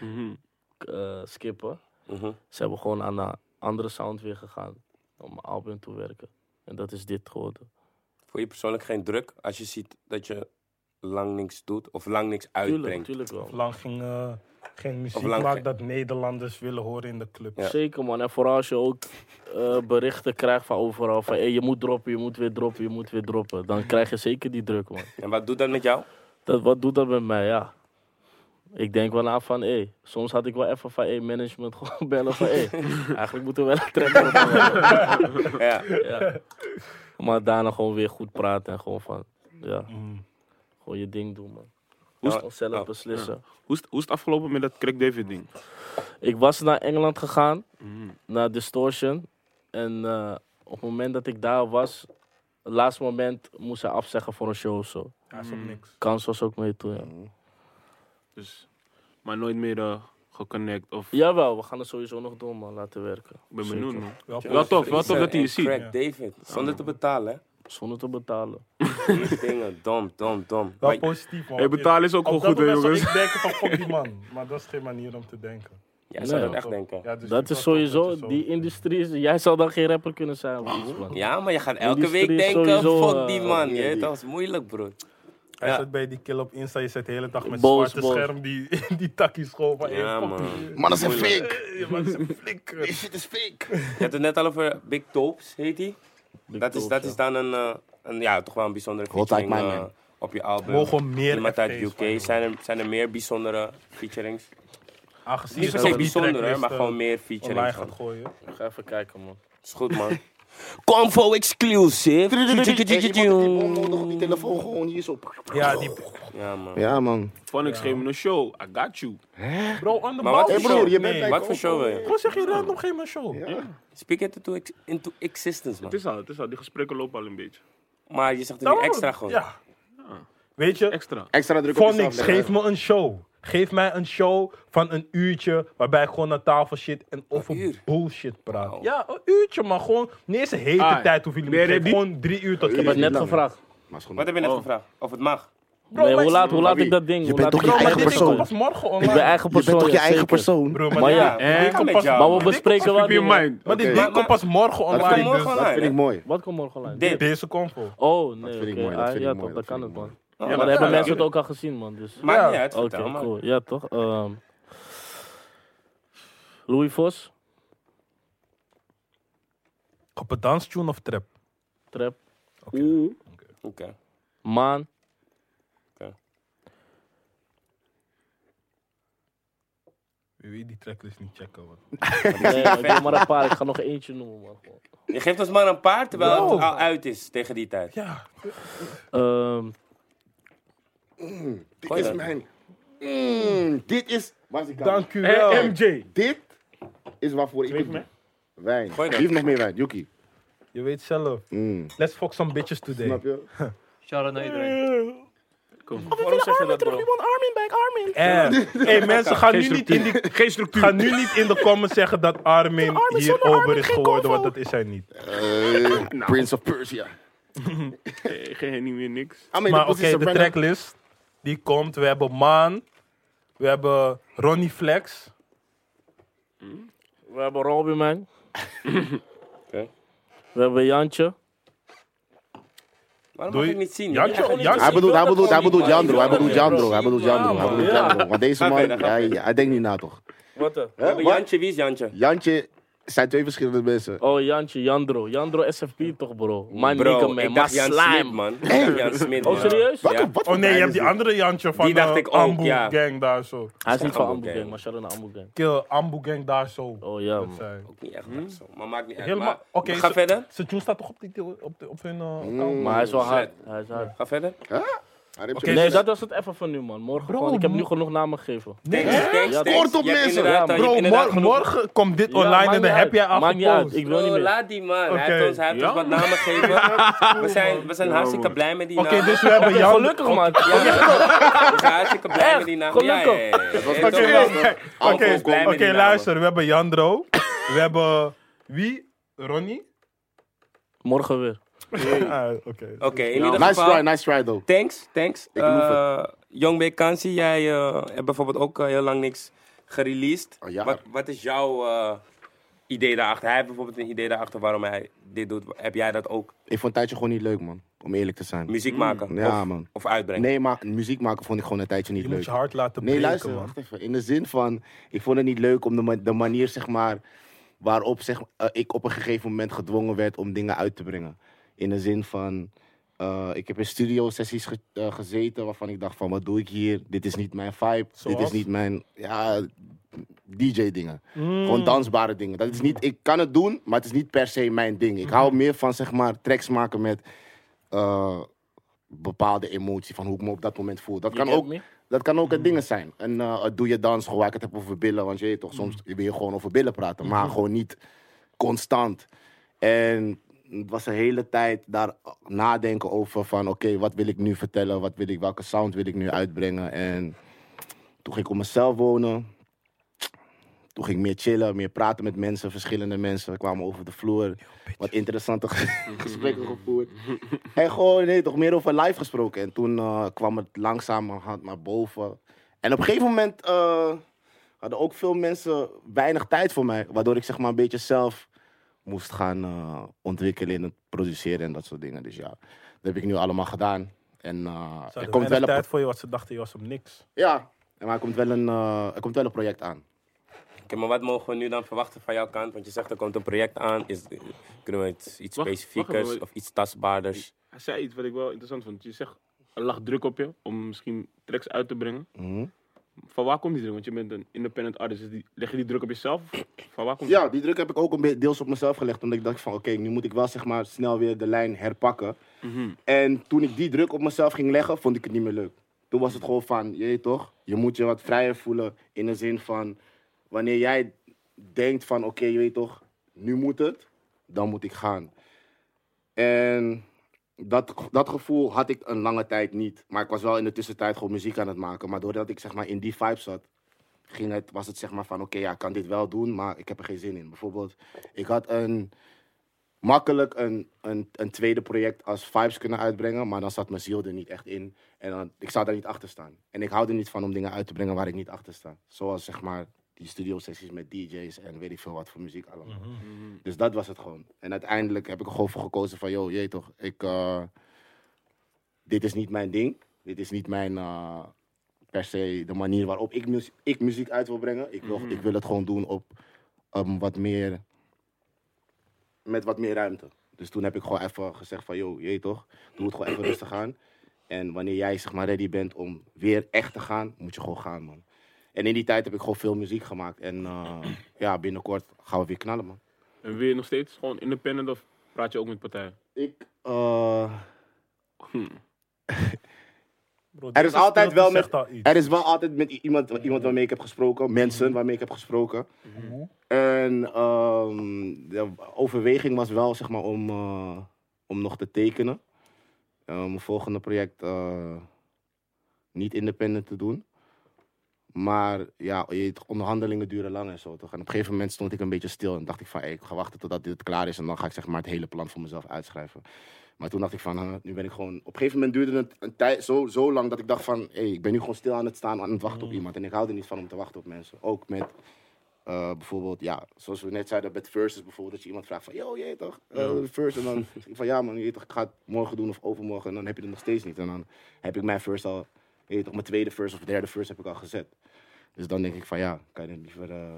Speaker 5: Mhm.
Speaker 4: eh, skippen.
Speaker 1: Mhm.
Speaker 4: Ze hebben gewoon aan een andere sound weer gegaan om mijn album te werken. En dat is dit geworden.
Speaker 1: Voel je persoonlijk geen druk als je ziet dat je lang niks doet of lang niks
Speaker 4: Tuurlijk,
Speaker 1: uitbrengt?
Speaker 4: tuurlijk wel.
Speaker 3: Lang ging, eh, geen muziek
Speaker 1: lang
Speaker 3: maken
Speaker 1: geen-
Speaker 3: dat Nederlanders willen horen in de club.
Speaker 1: Ja.
Speaker 4: Zeker man, en vooral als je ook eh, berichten krijgt van overal van hey, je moet droppen, je moet weer droppen, je moet weer droppen. Dan krijg je zeker die druk man.
Speaker 1: En wat doet dat met jou?
Speaker 4: Dat, wat doet dat met mij, ja. Ik denk wel aan van, hey, soms had ik wel even van, hey, management gewoon bellen van, hey, eigenlijk moeten we wel een track droppen, man.
Speaker 1: Ja.
Speaker 4: ja. Maar daarna gewoon weer goed praten en gewoon van, ja,
Speaker 3: Mm.
Speaker 4: gewoon je ding doen man.
Speaker 1: Hoe-
Speaker 4: Gewoon zelf
Speaker 1: oh,
Speaker 4: beslissen.
Speaker 5: Hoe is, het- hoe is het afgelopen met dat Craig David ding?
Speaker 4: Ik was naar Engeland gegaan,
Speaker 5: Mhm.
Speaker 4: naar Distortion. En eh, op het moment dat ik daar was, het laatste moment moest hij afzeggen voor een show of zo.
Speaker 3: Hij is op niks.
Speaker 4: Kans was ook mee toen, ja.
Speaker 2: Mm.
Speaker 5: Dus, maar nooit meer eh, geconnect of...
Speaker 4: Jawel, we gaan het sowieso nog doen, man. Laten werken.
Speaker 5: Ik ben
Speaker 4: Zeker.
Speaker 5: benieuwd, man.
Speaker 3: Wel
Speaker 5: Wel tof, wel tof dat hij je
Speaker 1: En
Speaker 5: ziet.
Speaker 1: Craig David, zonder te betalen,
Speaker 4: Zonder te betalen.
Speaker 1: hè? Die dingen, dom, dom, dom.
Speaker 3: Wel
Speaker 1: Maar-
Speaker 3: positief, man.
Speaker 5: Hey, betalen is
Speaker 3: Op
Speaker 5: ook wel
Speaker 3: Oh, dat
Speaker 5: goed, hè,
Speaker 3: moment zou
Speaker 5: jongens.
Speaker 3: ik denken van fuck die man. Maar dat is geen manier om te denken.
Speaker 1: Jij zou
Speaker 4: Nee,
Speaker 1: dat echt denken.
Speaker 3: Ja, dus
Speaker 4: Dat
Speaker 3: ik
Speaker 4: is
Speaker 3: was ook
Speaker 4: sowieso,
Speaker 3: dat je zo-
Speaker 4: die industrie is... Jij zal dan geen rapper kunnen zijn of iets, man.
Speaker 1: Ja, maar je gaat elke
Speaker 4: Industrie
Speaker 1: week
Speaker 4: is
Speaker 1: denken,
Speaker 4: sowieso,
Speaker 1: fuck die
Speaker 4: eh,
Speaker 1: man. Je
Speaker 2: die-
Speaker 1: weet, dat is moeilijk, broer.
Speaker 3: Hij
Speaker 1: Ja.
Speaker 3: zit bij die kill op Insta, je zit de hele dag met
Speaker 4: Boos,
Speaker 3: zwarte
Speaker 4: boos.
Speaker 3: scherm die, die takkie school van
Speaker 1: Ja,
Speaker 3: hey, fuck
Speaker 1: man.
Speaker 3: die-
Speaker 2: Man, dat is een fake.
Speaker 3: Ja, man, dat is een flikker.
Speaker 2: Dit shit is fake.
Speaker 1: Je had het net al over Big Topes, heet die.
Speaker 4: Big
Speaker 1: Dat is,
Speaker 4: Top,
Speaker 1: dat
Speaker 4: ja.
Speaker 1: is dan een, eh, een, ja, toch wel een bijzondere
Speaker 2: Hot
Speaker 1: featuring
Speaker 2: Like My
Speaker 1: eh,
Speaker 2: Man.
Speaker 1: op je album.
Speaker 3: Mogen meer
Speaker 1: Iemand uit de
Speaker 3: FP's van
Speaker 1: UK. Zijn er, zijn er meer bijzondere featurings?
Speaker 3: Aangezien
Speaker 1: Niet
Speaker 3: je
Speaker 1: per
Speaker 3: zelf
Speaker 1: se
Speaker 3: die
Speaker 1: bijzonder, hè,
Speaker 3: tracklist,
Speaker 1: maar
Speaker 3: eh,
Speaker 1: gewoon meer
Speaker 3: online
Speaker 1: featurings.
Speaker 3: gaat
Speaker 1: man.
Speaker 3: gooien.
Speaker 4: Ik ga even kijken, man.
Speaker 1: Is goed, man. Convo exclusive.
Speaker 2: Hey, iemand die onnodig op die telefoon gewoon hier zo.
Speaker 3: Ja, die
Speaker 1: Ja, man.
Speaker 2: Ja, man.
Speaker 5: Van, ik schreef me een show. I got you.
Speaker 3: bro on the
Speaker 1: Maar wat
Speaker 3: ball.
Speaker 1: voor
Speaker 2: Hey broer, je
Speaker 3: Nee.
Speaker 2: bent bij
Speaker 1: Wat voor show wil je?
Speaker 3: Gewoon zeg je random geen mijn show. Ja.
Speaker 1: Speak it into, ex- into existence,
Speaker 5: Het
Speaker 1: man.
Speaker 5: is al, het is al. Die gesprekken lopen al een beetje.
Speaker 1: Maar je zegt er nu extra gewoon.
Speaker 3: Ja. Weet je,
Speaker 5: Extra.
Speaker 2: Extra druk op
Speaker 3: Voor
Speaker 2: jezelf
Speaker 3: niks,
Speaker 2: leggen.
Speaker 3: geef me een show. Geef mij een show van een uurtje waarbij ik gewoon aan tafel zit en over
Speaker 1: uur?
Speaker 3: bullshit praat.
Speaker 1: Wow.
Speaker 3: Ja, een uurtje, maar gewoon niet eens een hele
Speaker 5: Ah,
Speaker 3: tijd hoeven jullie me
Speaker 5: ben
Speaker 3: te
Speaker 5: je
Speaker 3: geven.
Speaker 5: ready?
Speaker 3: Gewoon drie uur tot
Speaker 4: Ik heb
Speaker 3: je
Speaker 4: het net gevraagd.
Speaker 2: Maar is goed.
Speaker 1: Wat heb je net gevraagd? Of het mag?
Speaker 3: Bro,
Speaker 4: nee,
Speaker 3: maar-
Speaker 4: hoe laat, hoe laat
Speaker 2: wie?
Speaker 4: ik dat ding?
Speaker 2: Je
Speaker 4: hoe
Speaker 2: bent
Speaker 4: laat
Speaker 2: toch
Speaker 4: ik
Speaker 2: je
Speaker 4: dat
Speaker 2: eigen
Speaker 4: ding-
Speaker 3: Dit komt
Speaker 2: persoon?
Speaker 3: pas morgen
Speaker 4: Ik
Speaker 3: online.
Speaker 4: ben eigen
Speaker 2: Je
Speaker 4: persoon.
Speaker 2: bent toch je
Speaker 4: ja,
Speaker 2: eigen
Speaker 4: zeker.
Speaker 2: persoon?
Speaker 3: Bro, maar,
Speaker 4: Maar
Speaker 3: dit-
Speaker 4: ja,
Speaker 3: dit
Speaker 5: hè?
Speaker 3: komt
Speaker 1: Kom met
Speaker 3: pas-
Speaker 1: jou.
Speaker 4: Maar
Speaker 3: dit
Speaker 4: we
Speaker 3: komt-
Speaker 4: bespreken wel
Speaker 5: Keep in
Speaker 4: dingen.
Speaker 5: mind.
Speaker 3: Maar dit
Speaker 2: Oké.
Speaker 3: ding komt pas morgen
Speaker 2: Dat
Speaker 3: online.
Speaker 2: vind ik,
Speaker 1: morgen
Speaker 3: dus-
Speaker 1: online.
Speaker 2: dat vind ik mooi.
Speaker 4: Wat komt morgen online?
Speaker 1: Dit.
Speaker 3: Deze combo.
Speaker 4: Oh, nee.
Speaker 2: vind ik
Speaker 4: oké.
Speaker 2: mooi, dat
Speaker 4: Ah,
Speaker 2: vind
Speaker 4: ja,
Speaker 2: ik mooi,
Speaker 4: toch,
Speaker 2: dat
Speaker 4: dat kan
Speaker 2: vind
Speaker 4: het,
Speaker 2: ik mooi.
Speaker 4: man.
Speaker 1: Oh,
Speaker 4: maar
Speaker 1: dat
Speaker 4: dan hebben
Speaker 1: kan,
Speaker 4: mensen
Speaker 1: ja.
Speaker 4: het ook al gezien, man. Dus.
Speaker 1: Maakt
Speaker 3: Ja.
Speaker 1: niet uit,
Speaker 4: Oké,
Speaker 1: vertel maar.
Speaker 4: cool. Ja, toch? Ehm, Louis Vos,
Speaker 3: Op een danstune of trap?
Speaker 4: trap,
Speaker 1: Oké.
Speaker 4: Maan.
Speaker 1: Oké.
Speaker 3: Wie weet die tracklist niet checken, man.
Speaker 4: Nee, ik wil maar een paar. Ik ga nog eentje noemen, man.
Speaker 1: Je geeft ons maar een paar, terwijl
Speaker 3: Bro.
Speaker 1: het al uit is tegen die tijd.
Speaker 3: Ja.
Speaker 4: Ehm,
Speaker 2: Dit
Speaker 1: Gooi
Speaker 2: is
Speaker 1: dat.
Speaker 2: mijn... Mm, dit is... Waar is die kamer?
Speaker 3: Dank u wel.
Speaker 5: MJ.
Speaker 2: Dit is waarvoor ik... het doe. Wijn.
Speaker 1: Gooi dat.
Speaker 2: Geef nog meer wijn, Yuki.
Speaker 3: Je weet zelf.
Speaker 2: Mm.
Speaker 3: Let's fuck some bitches today.
Speaker 2: Snap je?
Speaker 6: Shout out naar iedereen.
Speaker 4: Waarom zeg je dat, bro?
Speaker 3: Eh, hey, mensen, gaan nu, niet in die,
Speaker 5: Geen structuur.
Speaker 3: ga nu niet in de comments zeggen dat Armin hier ober is geworden, want dat is hij niet.
Speaker 2: Eh, Prince of Persia.
Speaker 5: Eh, Geen niet meer niks.
Speaker 2: I mean,
Speaker 3: Maar
Speaker 2: the
Speaker 3: oké,
Speaker 2: pussies are
Speaker 3: de
Speaker 2: random.
Speaker 3: tracklist die komt. We hebben Maan, we hebben Ronnie Flex.
Speaker 4: We hebben Robby, man. We hebben Jantje.
Speaker 1: Waarom
Speaker 3: Doe
Speaker 1: mag
Speaker 3: je-
Speaker 1: ik niet zien?
Speaker 3: Jantje-
Speaker 1: Ik wil niet
Speaker 3: Jantje-
Speaker 1: zien.
Speaker 2: Hij bedoelt, hij bedoelt, hij bedoelt Jandro, hij bedoelt
Speaker 1: Ja,
Speaker 2: Jandro, hij bedoelt Jandro, hij bedoelt Jandro. Want deze
Speaker 1: Ga
Speaker 2: man,
Speaker 1: verder, ga
Speaker 2: hij, hij denkt niet na toch?
Speaker 4: Wat dan?
Speaker 1: We hebben
Speaker 2: Wat?
Speaker 1: Jantje, wie is Jantje?
Speaker 2: Jantje zijn twee verschillende mensen.
Speaker 4: Oh, Jantje, Jandro. Jandro SFP toch, bro? Mijn
Speaker 1: Bro,
Speaker 4: nigga, man.
Speaker 1: ik
Speaker 4: Maar
Speaker 1: dacht Jan Smit,
Speaker 4: slime.
Speaker 1: man. Ik dacht Jan Smit,
Speaker 4: Oh,
Speaker 1: man.
Speaker 4: serieus?
Speaker 2: Wat,
Speaker 1: Ja.
Speaker 2: wat
Speaker 3: Oh
Speaker 2: voor
Speaker 3: nee, je
Speaker 2: guy is
Speaker 3: hebt die
Speaker 2: dit?
Speaker 3: andere Jantje van
Speaker 1: Die dacht
Speaker 3: de
Speaker 1: ik ook,
Speaker 3: Ambu
Speaker 1: ja.
Speaker 3: Gang daar zo.
Speaker 4: Hij is niet van
Speaker 1: Ambu
Speaker 4: Ambu
Speaker 1: Gang.
Speaker 4: Gang, maar shout out naar Ambu Gang.
Speaker 3: Kill Ambu Gang daar zo.
Speaker 4: Oh ja,
Speaker 3: Dat
Speaker 4: man.
Speaker 3: zijn-
Speaker 1: Niet echt, maar zo. Maar maakt niet uit.
Speaker 3: Helemaal.
Speaker 1: Maar-
Speaker 3: Oké,
Speaker 1: maar Ga
Speaker 3: ze-
Speaker 1: verder.
Speaker 3: Ze tune staat toch op, die, op, de, op hun eh, account?
Speaker 4: Maar hij is wel hard.
Speaker 1: Zet.
Speaker 4: Hij is hard.
Speaker 1: Ga verder.
Speaker 2: Hij heeft
Speaker 3: Oké,
Speaker 2: zo'n-
Speaker 4: Nee, dat was het even voor nu, man. Morgen
Speaker 3: Bro,
Speaker 4: gewoon. Ik heb nu
Speaker 3: mo-
Speaker 4: genoeg namen gegeven.
Speaker 3: Nee,
Speaker 1: Thanks, thanks.
Speaker 2: Kort op
Speaker 1: Je hebt
Speaker 2: mensen.
Speaker 1: inderdaad- je hebt
Speaker 3: Bro,
Speaker 1: inderdaad
Speaker 3: mor-
Speaker 1: genoeg.
Speaker 3: morgen komt dit
Speaker 4: Ja,
Speaker 3: online
Speaker 4: maakt
Speaker 3: en dan
Speaker 4: niet
Speaker 3: heb jij al
Speaker 4: uit. Maakt niet uit.
Speaker 3: gepost.
Speaker 4: Ik wil niet
Speaker 1: Bro,
Speaker 4: meer.
Speaker 1: laat die man. Hij
Speaker 3: Oké.
Speaker 1: heeft ons, hij heeft
Speaker 5: Ja,
Speaker 1: ons wat
Speaker 5: man.
Speaker 1: namen gegeven. We zijn, we zijn hartstikke blij met die
Speaker 3: Oké,
Speaker 1: naam.
Speaker 3: dus we hebben Jan...
Speaker 4: Gelukkig, man.
Speaker 1: Ja, we zijn hartstikke blij
Speaker 4: Echt?
Speaker 1: met die naam.
Speaker 4: Gelukkig.
Speaker 1: Ja, ja, ja.
Speaker 2: was
Speaker 1: Ja,
Speaker 2: toch
Speaker 1: toch
Speaker 2: een-
Speaker 1: wel.
Speaker 2: Oké,
Speaker 1: Ook
Speaker 3: Oké,
Speaker 1: ons blij met
Speaker 3: oké,
Speaker 1: die namen.
Speaker 3: luister. We hebben Jandro. We hebben... Wie? Ronnie?
Speaker 4: Morgen weer.
Speaker 3: Ah, oké.
Speaker 2: Oh,
Speaker 1: Oké, in ieder
Speaker 2: Nice
Speaker 1: geval.
Speaker 2: try, nice try though.
Speaker 1: Thanks, thanks.
Speaker 2: Ik noem het.
Speaker 1: Eh, Young Big Kansi, jij eh, hebt bijvoorbeeld ook eh, heel lang niks gereleased.
Speaker 2: Een jaar.
Speaker 1: Wat, wat is jouw eh, idee daarachter? Hij heeft bijvoorbeeld een idee daarachter waarom hij dit doet. Heb jij dat ook?
Speaker 2: Ik vond het tijdje gewoon niet leuk, man. Om eerlijk te zijn.
Speaker 1: Muziek maken
Speaker 2: Mm, Ja,
Speaker 1: of,
Speaker 2: man.
Speaker 1: of uitbrengen?
Speaker 2: Nee, maar muziek maken vond ik gewoon een tijdje niet
Speaker 3: Je
Speaker 2: leuk.
Speaker 3: moet je hart laten
Speaker 2: Nee,
Speaker 3: breken,
Speaker 2: luister,
Speaker 3: man.
Speaker 2: wacht even. In de zin van, ik vond het niet leuk om de, ma- de manier, zeg maar, waarop zeg, eh, ik op een gegeven moment gedwongen werd om dingen uit te brengen. In de zin van, eh, ik heb in studio-sessies ge- eh, gezeten waarvan ik dacht van, wat doe ik hier? Dit is niet mijn vibe, dit
Speaker 3: Zoals?
Speaker 2: is niet mijn, ja, DJ-dingen.
Speaker 3: Mm. Hmm.
Speaker 2: Gewoon dansbare dingen. Dat is niet, ik kan het doen, maar het is niet per se mijn ding. Ik
Speaker 3: Hmm.
Speaker 2: hou meer van, zeg maar, tracks maken met... eh, bepaalde emotie van hoe ik me op dat moment voel. Dat kan
Speaker 4: get
Speaker 2: ook
Speaker 4: me?
Speaker 2: dat kan ook het dingen zijn. En eh, het doe je dans, gewoon waar ik het heb over billen. Want je weet toch, soms wil je gewoon over billen praten. Maar gewoon niet constant. En het was een hele tijd daar nadenken over van... Oké, wat wil ik nu vertellen? Wat wil ik, welke sound wil ik nu uitbrengen? En toen ging ik op mezelf wonen. Toen ging ik meer chillen, meer praten met mensen. Verschillende mensen We kwamen over de vloer. Wat interessante gesprekken gevoerd. En gewoon, nee, toch meer over live gesproken. En toen eh, kwam het langzamerhand maar boven. En op een gegeven moment eh, hadden ook veel mensen weinig tijd voor mij. Waardoor ik zeg maar een beetje zelf moest gaan eh, ontwikkelen in het produceren en dat soort dingen. Dus ja, dat heb ik nu allemaal gedaan. En eh,
Speaker 3: Ze
Speaker 2: er
Speaker 3: hadden
Speaker 2: komt wel
Speaker 3: weinig
Speaker 2: een...
Speaker 3: tijd voor je, want ze dachten je was om niks.
Speaker 2: Ja, maar er komt wel een, eh, er komt wel een project aan.
Speaker 1: Oké, maar wat mogen we nu dan verwachten van jouw kant? Want je zegt er komt een project aan. Is, kunnen we iets, iets
Speaker 5: Wacht,
Speaker 1: specifiekers
Speaker 5: wacht even.
Speaker 1: of iets tastbaarders?
Speaker 5: Hij zei iets wat ik wel interessant vond. Je zegt, er lag druk op je om misschien tracks uit te brengen.
Speaker 2: Mhm.
Speaker 5: Van waar komt die druk? Want je bent een independent artist. Dus die, leg je die druk op jezelf? Of Van waar komt die
Speaker 2: Ja, die druk heb ik ook een beetje deels op mezelf gelegd. Omdat ik dacht van, oké, nu moet ik wel zeg maar snel weer de lijn herpakken.
Speaker 5: Mhm.
Speaker 2: En toen ik die druk op mezelf ging leggen, vond ik het niet meer leuk. Toen was het gewoon van, je weet toch, je moet je wat vrijer voelen. In de zin van, wanneer jij denkt van, oké, je weet toch, nu moet het, dan moet ik gaan. En dat, dat gevoel had ik een lange tijd niet. Maar ik was wel in de tussentijd gewoon muziek aan het maken. Maar doordat ik zeg maar in die vibe zat, ging het, was het zeg maar van, oké, ja, ik kan dit wel doen, maar ik heb er geen zin in. Bijvoorbeeld, ik had een, makkelijk een, een, een tweede project als Vibes kunnen uitbrengen, maar dan zat mijn ziel er niet echt in. En dan, ik zou daar niet achter staan. En ik hou er niet van om dingen uit te brengen waar ik niet achter sta. Zoals, zeg maar, die studiosessies met DJ's en weet ik veel wat voor muziek allemaal.
Speaker 5: Mhm.
Speaker 2: Dus dat was het gewoon. En uiteindelijk heb ik er gewoon voor gekozen van, joh, jee toch, ik... eh, dit is niet mijn ding. Dit is niet mijn, eh, per se de manier waarop ik, muzie- ik muziek uit wil brengen. Ik wil, ik wil het gewoon doen op um, wat meer, met wat meer ruimte. Dus toen heb ik gewoon even gezegd van, joh, je toch, doe het gewoon even rustig aan. En wanneer jij zeg maar ready bent om weer echt te gaan, moet je gewoon gaan, man. En in die tijd heb ik gewoon veel muziek gemaakt. En eh, ja, binnenkort gaan we weer knallen, man.
Speaker 5: En weer nog steeds gewoon independent of
Speaker 2: eh,
Speaker 5: praat je ook met partijen?
Speaker 2: Ik, eh,
Speaker 3: Bro,
Speaker 2: Er is
Speaker 3: dit
Speaker 2: altijd
Speaker 3: dat
Speaker 2: wel
Speaker 3: zegt
Speaker 2: met,
Speaker 3: al iets.
Speaker 2: er is wel altijd met i- iemand, iemand waarmee ik heb gesproken, mensen waarmee ik heb gesproken.
Speaker 1: Mm-hmm.
Speaker 2: En ehm, de overweging was wel zeg maar om, eh, om nog te tekenen. Eh, Om mijn volgende project eh, niet independent te doen. Maar ja, je weet, onderhandelingen duren lang en zo toch. En op een gegeven moment stond ik een beetje stil en dacht ik van, hey, ik ga wachten totdat dit klaar is en dan ga ik zeg maar het hele plan voor mezelf uitschrijven. Maar toen dacht ik van, huh, nu ben ik gewoon... Op een gegeven moment duurde het een tijd zo, zo lang dat ik dacht van... hey, ik ben nu gewoon stil aan het staan, aan het wachten op iemand. En ik hou er niet van om te wachten op mensen. Ook met eh, bijvoorbeeld, ja, zoals we net zeiden met versus bijvoorbeeld. Dat je iemand vraagt van, yo, je weet toch, eh, verse. En dan zeg ik van, ja man, je weet toch, ik ga het morgen doen of overmorgen. En dan heb je het nog steeds niet. En dan heb ik mijn verse al, je weet toch, mijn tweede verse of derde verse heb ik al gezet. Dus dan denk ik van, ja, kan je het liever... eh,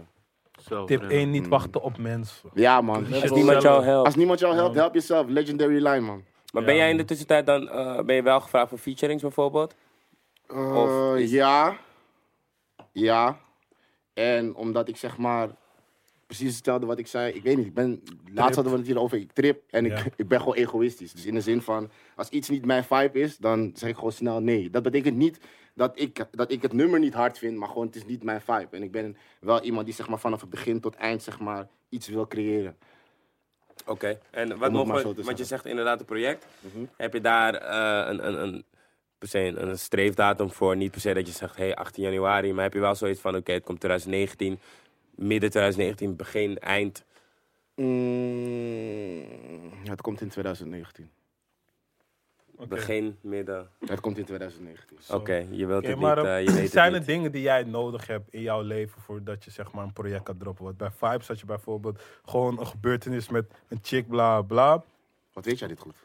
Speaker 5: Zelf,
Speaker 3: Tip
Speaker 5: ja.
Speaker 3: 1, niet wachten op mensen.
Speaker 2: Ja man,
Speaker 1: Als
Speaker 2: als, nie-
Speaker 1: niemand jou helpt.
Speaker 2: als niemand jou helpt, help jezelf. Legendary line man.
Speaker 1: Maar ben jij in de tussentijd dan, eh, ben je wel gevraagd voor featurings bijvoorbeeld?
Speaker 2: Eh,
Speaker 1: Of is-
Speaker 2: Ja. Ja. En omdat ik zeg maar precies hetzelfde wat ik zei. Ik weet niet, ik ben... Laatst hadden we het hier over, ik trip en ik,
Speaker 3: Ja.
Speaker 2: ik ben gewoon egoïstisch. Dus in de zin van, als iets niet mijn vibe is, dan zeg ik gewoon snel nee. Dat betekent niet dat ik, dat ik het nummer niet hard vind, maar gewoon het is niet mijn vibe. En ik ben wel iemand die zeg maar vanaf het begin tot eind zeg maar iets wil creëren.
Speaker 1: Oké. En wat
Speaker 2: Om het maar
Speaker 1: mogen
Speaker 2: zo te
Speaker 1: we, want je
Speaker 2: zeggen. Mhm.
Speaker 1: zegt inderdaad een project. Heb je daar eh, een, een, een, per se een, een streefdatum voor? Niet per se dat je zegt, hey, 18 januari. Maar heb je wel zoiets van, oké, het komt 2019. Midden 2019, begin, eind.
Speaker 2: Mm, het komt in 2019.
Speaker 1: Begin, midden.
Speaker 2: Het komt in 2019.
Speaker 1: Oké, je wilt
Speaker 3: Oké,
Speaker 1: het
Speaker 3: maar
Speaker 1: niet,
Speaker 3: eh,
Speaker 1: eh, je weet
Speaker 3: zijn
Speaker 1: het
Speaker 3: er
Speaker 1: niet.
Speaker 3: dingen die jij nodig hebt in jouw leven voordat je zeg maar een project kan droppen? Want bij Vibes had je bijvoorbeeld gewoon een gebeurtenis met een chick, bla bla.
Speaker 2: Wat weet jij dit goed?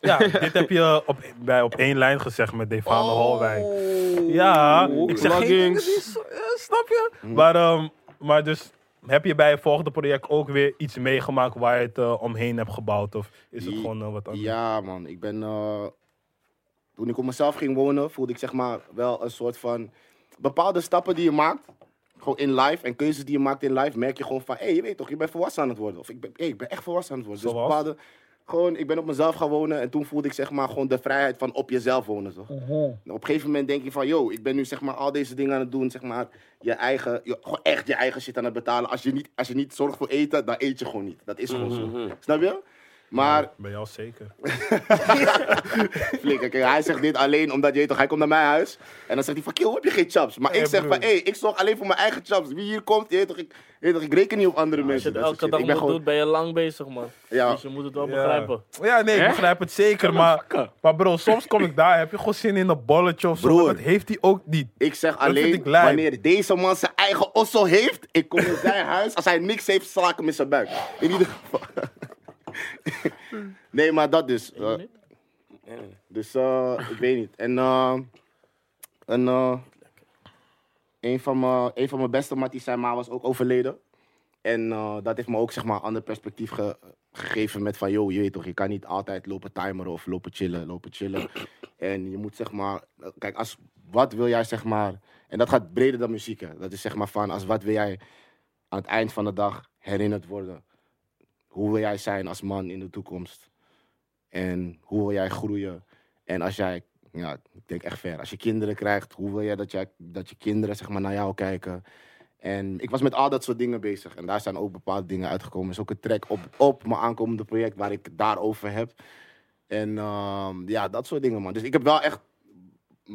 Speaker 3: Ja, dit heb je op, bij op één lijn gezegd met Defane
Speaker 2: Oh.
Speaker 3: Holwijn. Oh. Ja, ik zeg geen dingen die s- eh, snap je? Maar, ehm, maar dus heb je bij je volgende project ook weer iets meegemaakt waar je het eh, omheen hebt gebouwd? Of is het
Speaker 2: I-
Speaker 3: gewoon eh, wat anders?
Speaker 2: Ja, man. Ik ben. eh, toen ik op mezelf ging wonen, voelde ik zeg maar wel een soort van. Bepaalde stappen die je maakt, gewoon in life en keuzes die je maakt in life, merk je gewoon van: hé, hey, je weet toch, je bent volwassen aan het worden. Of ik ben, hey, ik ben echt volwassen aan het worden.
Speaker 3: Zoals?
Speaker 2: Dus bepaalde. Gewoon, ik ben op mezelf gaan wonen en toen voelde ik zeg maar gewoon de vrijheid van op jezelf wonen. Toch? En Op een gegeven moment denk je van, yo, ik ben nu zeg maar al deze dingen aan het doen, zeg maar, je eigen, je- gewoon echt je eigen shit aan het betalen. Als je, niet, als je niet zorgt voor eten, dan eet je gewoon niet. Dat is gewoon
Speaker 1: Mhm.
Speaker 2: zo. Snap je? Maar
Speaker 3: Bij jou zeker.
Speaker 2: flikker. Kijk, hij zegt dit alleen omdat je weet toch, hij komt naar mijn huis. En dan zegt hij van, kill, heb je geen chaps? Maar ik zeg
Speaker 3: broer.
Speaker 2: van, hé, hey, ik zorg alleen voor mijn eigen chaps. Wie hier komt, je weet toch, ik, je weet toch, ik reken niet op andere
Speaker 4: Als
Speaker 2: mensen.
Speaker 4: je het
Speaker 2: Dat
Speaker 4: elke
Speaker 2: soort
Speaker 4: dag
Speaker 2: shit. ik
Speaker 4: moet doen, ben je lang bezig, man.
Speaker 2: Ja.
Speaker 4: Dus je moet het wel begrijpen.
Speaker 3: Ja, nee, ik begrijp het zeker. Maar, maar bro, soms kom ik daar, heb je gewoon zin in een bolletje of zo.
Speaker 2: Broer.
Speaker 3: maar Dat heeft hij ook niet.
Speaker 2: Ik zeg
Speaker 3: vind
Speaker 2: alleen,
Speaker 3: ik lijp.
Speaker 2: wanneer deze man zijn eigen ossel heeft, ik kom in zijn huis. Als hij niks heeft, sla ik hem in zijn buik. In ieder geval. nee, maar dat dus. eh, dus eh, ik weet niet. En, eh, en eh, een, van mijn, een van mijn beste matties, zijn ma, was ook overleden. En eh, dat heeft me ook zeg maar een ander perspectief ge- gegeven met van, joh, je weet toch, je kan niet altijd lopen timeren of lopen chillen, lopen chillen. En je moet zeg maar, kijk, als, wat wil jij zeg maar, en dat gaat breder dan muziek, hè. dat is zeg maar van, als wat wil jij aan het eind van de dag herinnerd worden? Hoe wil jij zijn als man in de toekomst? En hoe wil jij groeien? En als jij, ja, ik denk echt ver, als je kinderen krijgt, hoe wil jij dat, jij, dat je kinderen zeg maar naar jou kijken? En ik was met al dat soort dingen bezig. En daar zijn ook bepaalde dingen uitgekomen. Er is ook een track op, op mijn aankomende project waar ik het daarover heb. En ehm, ja, dat soort dingen, man. Dus ik heb wel echt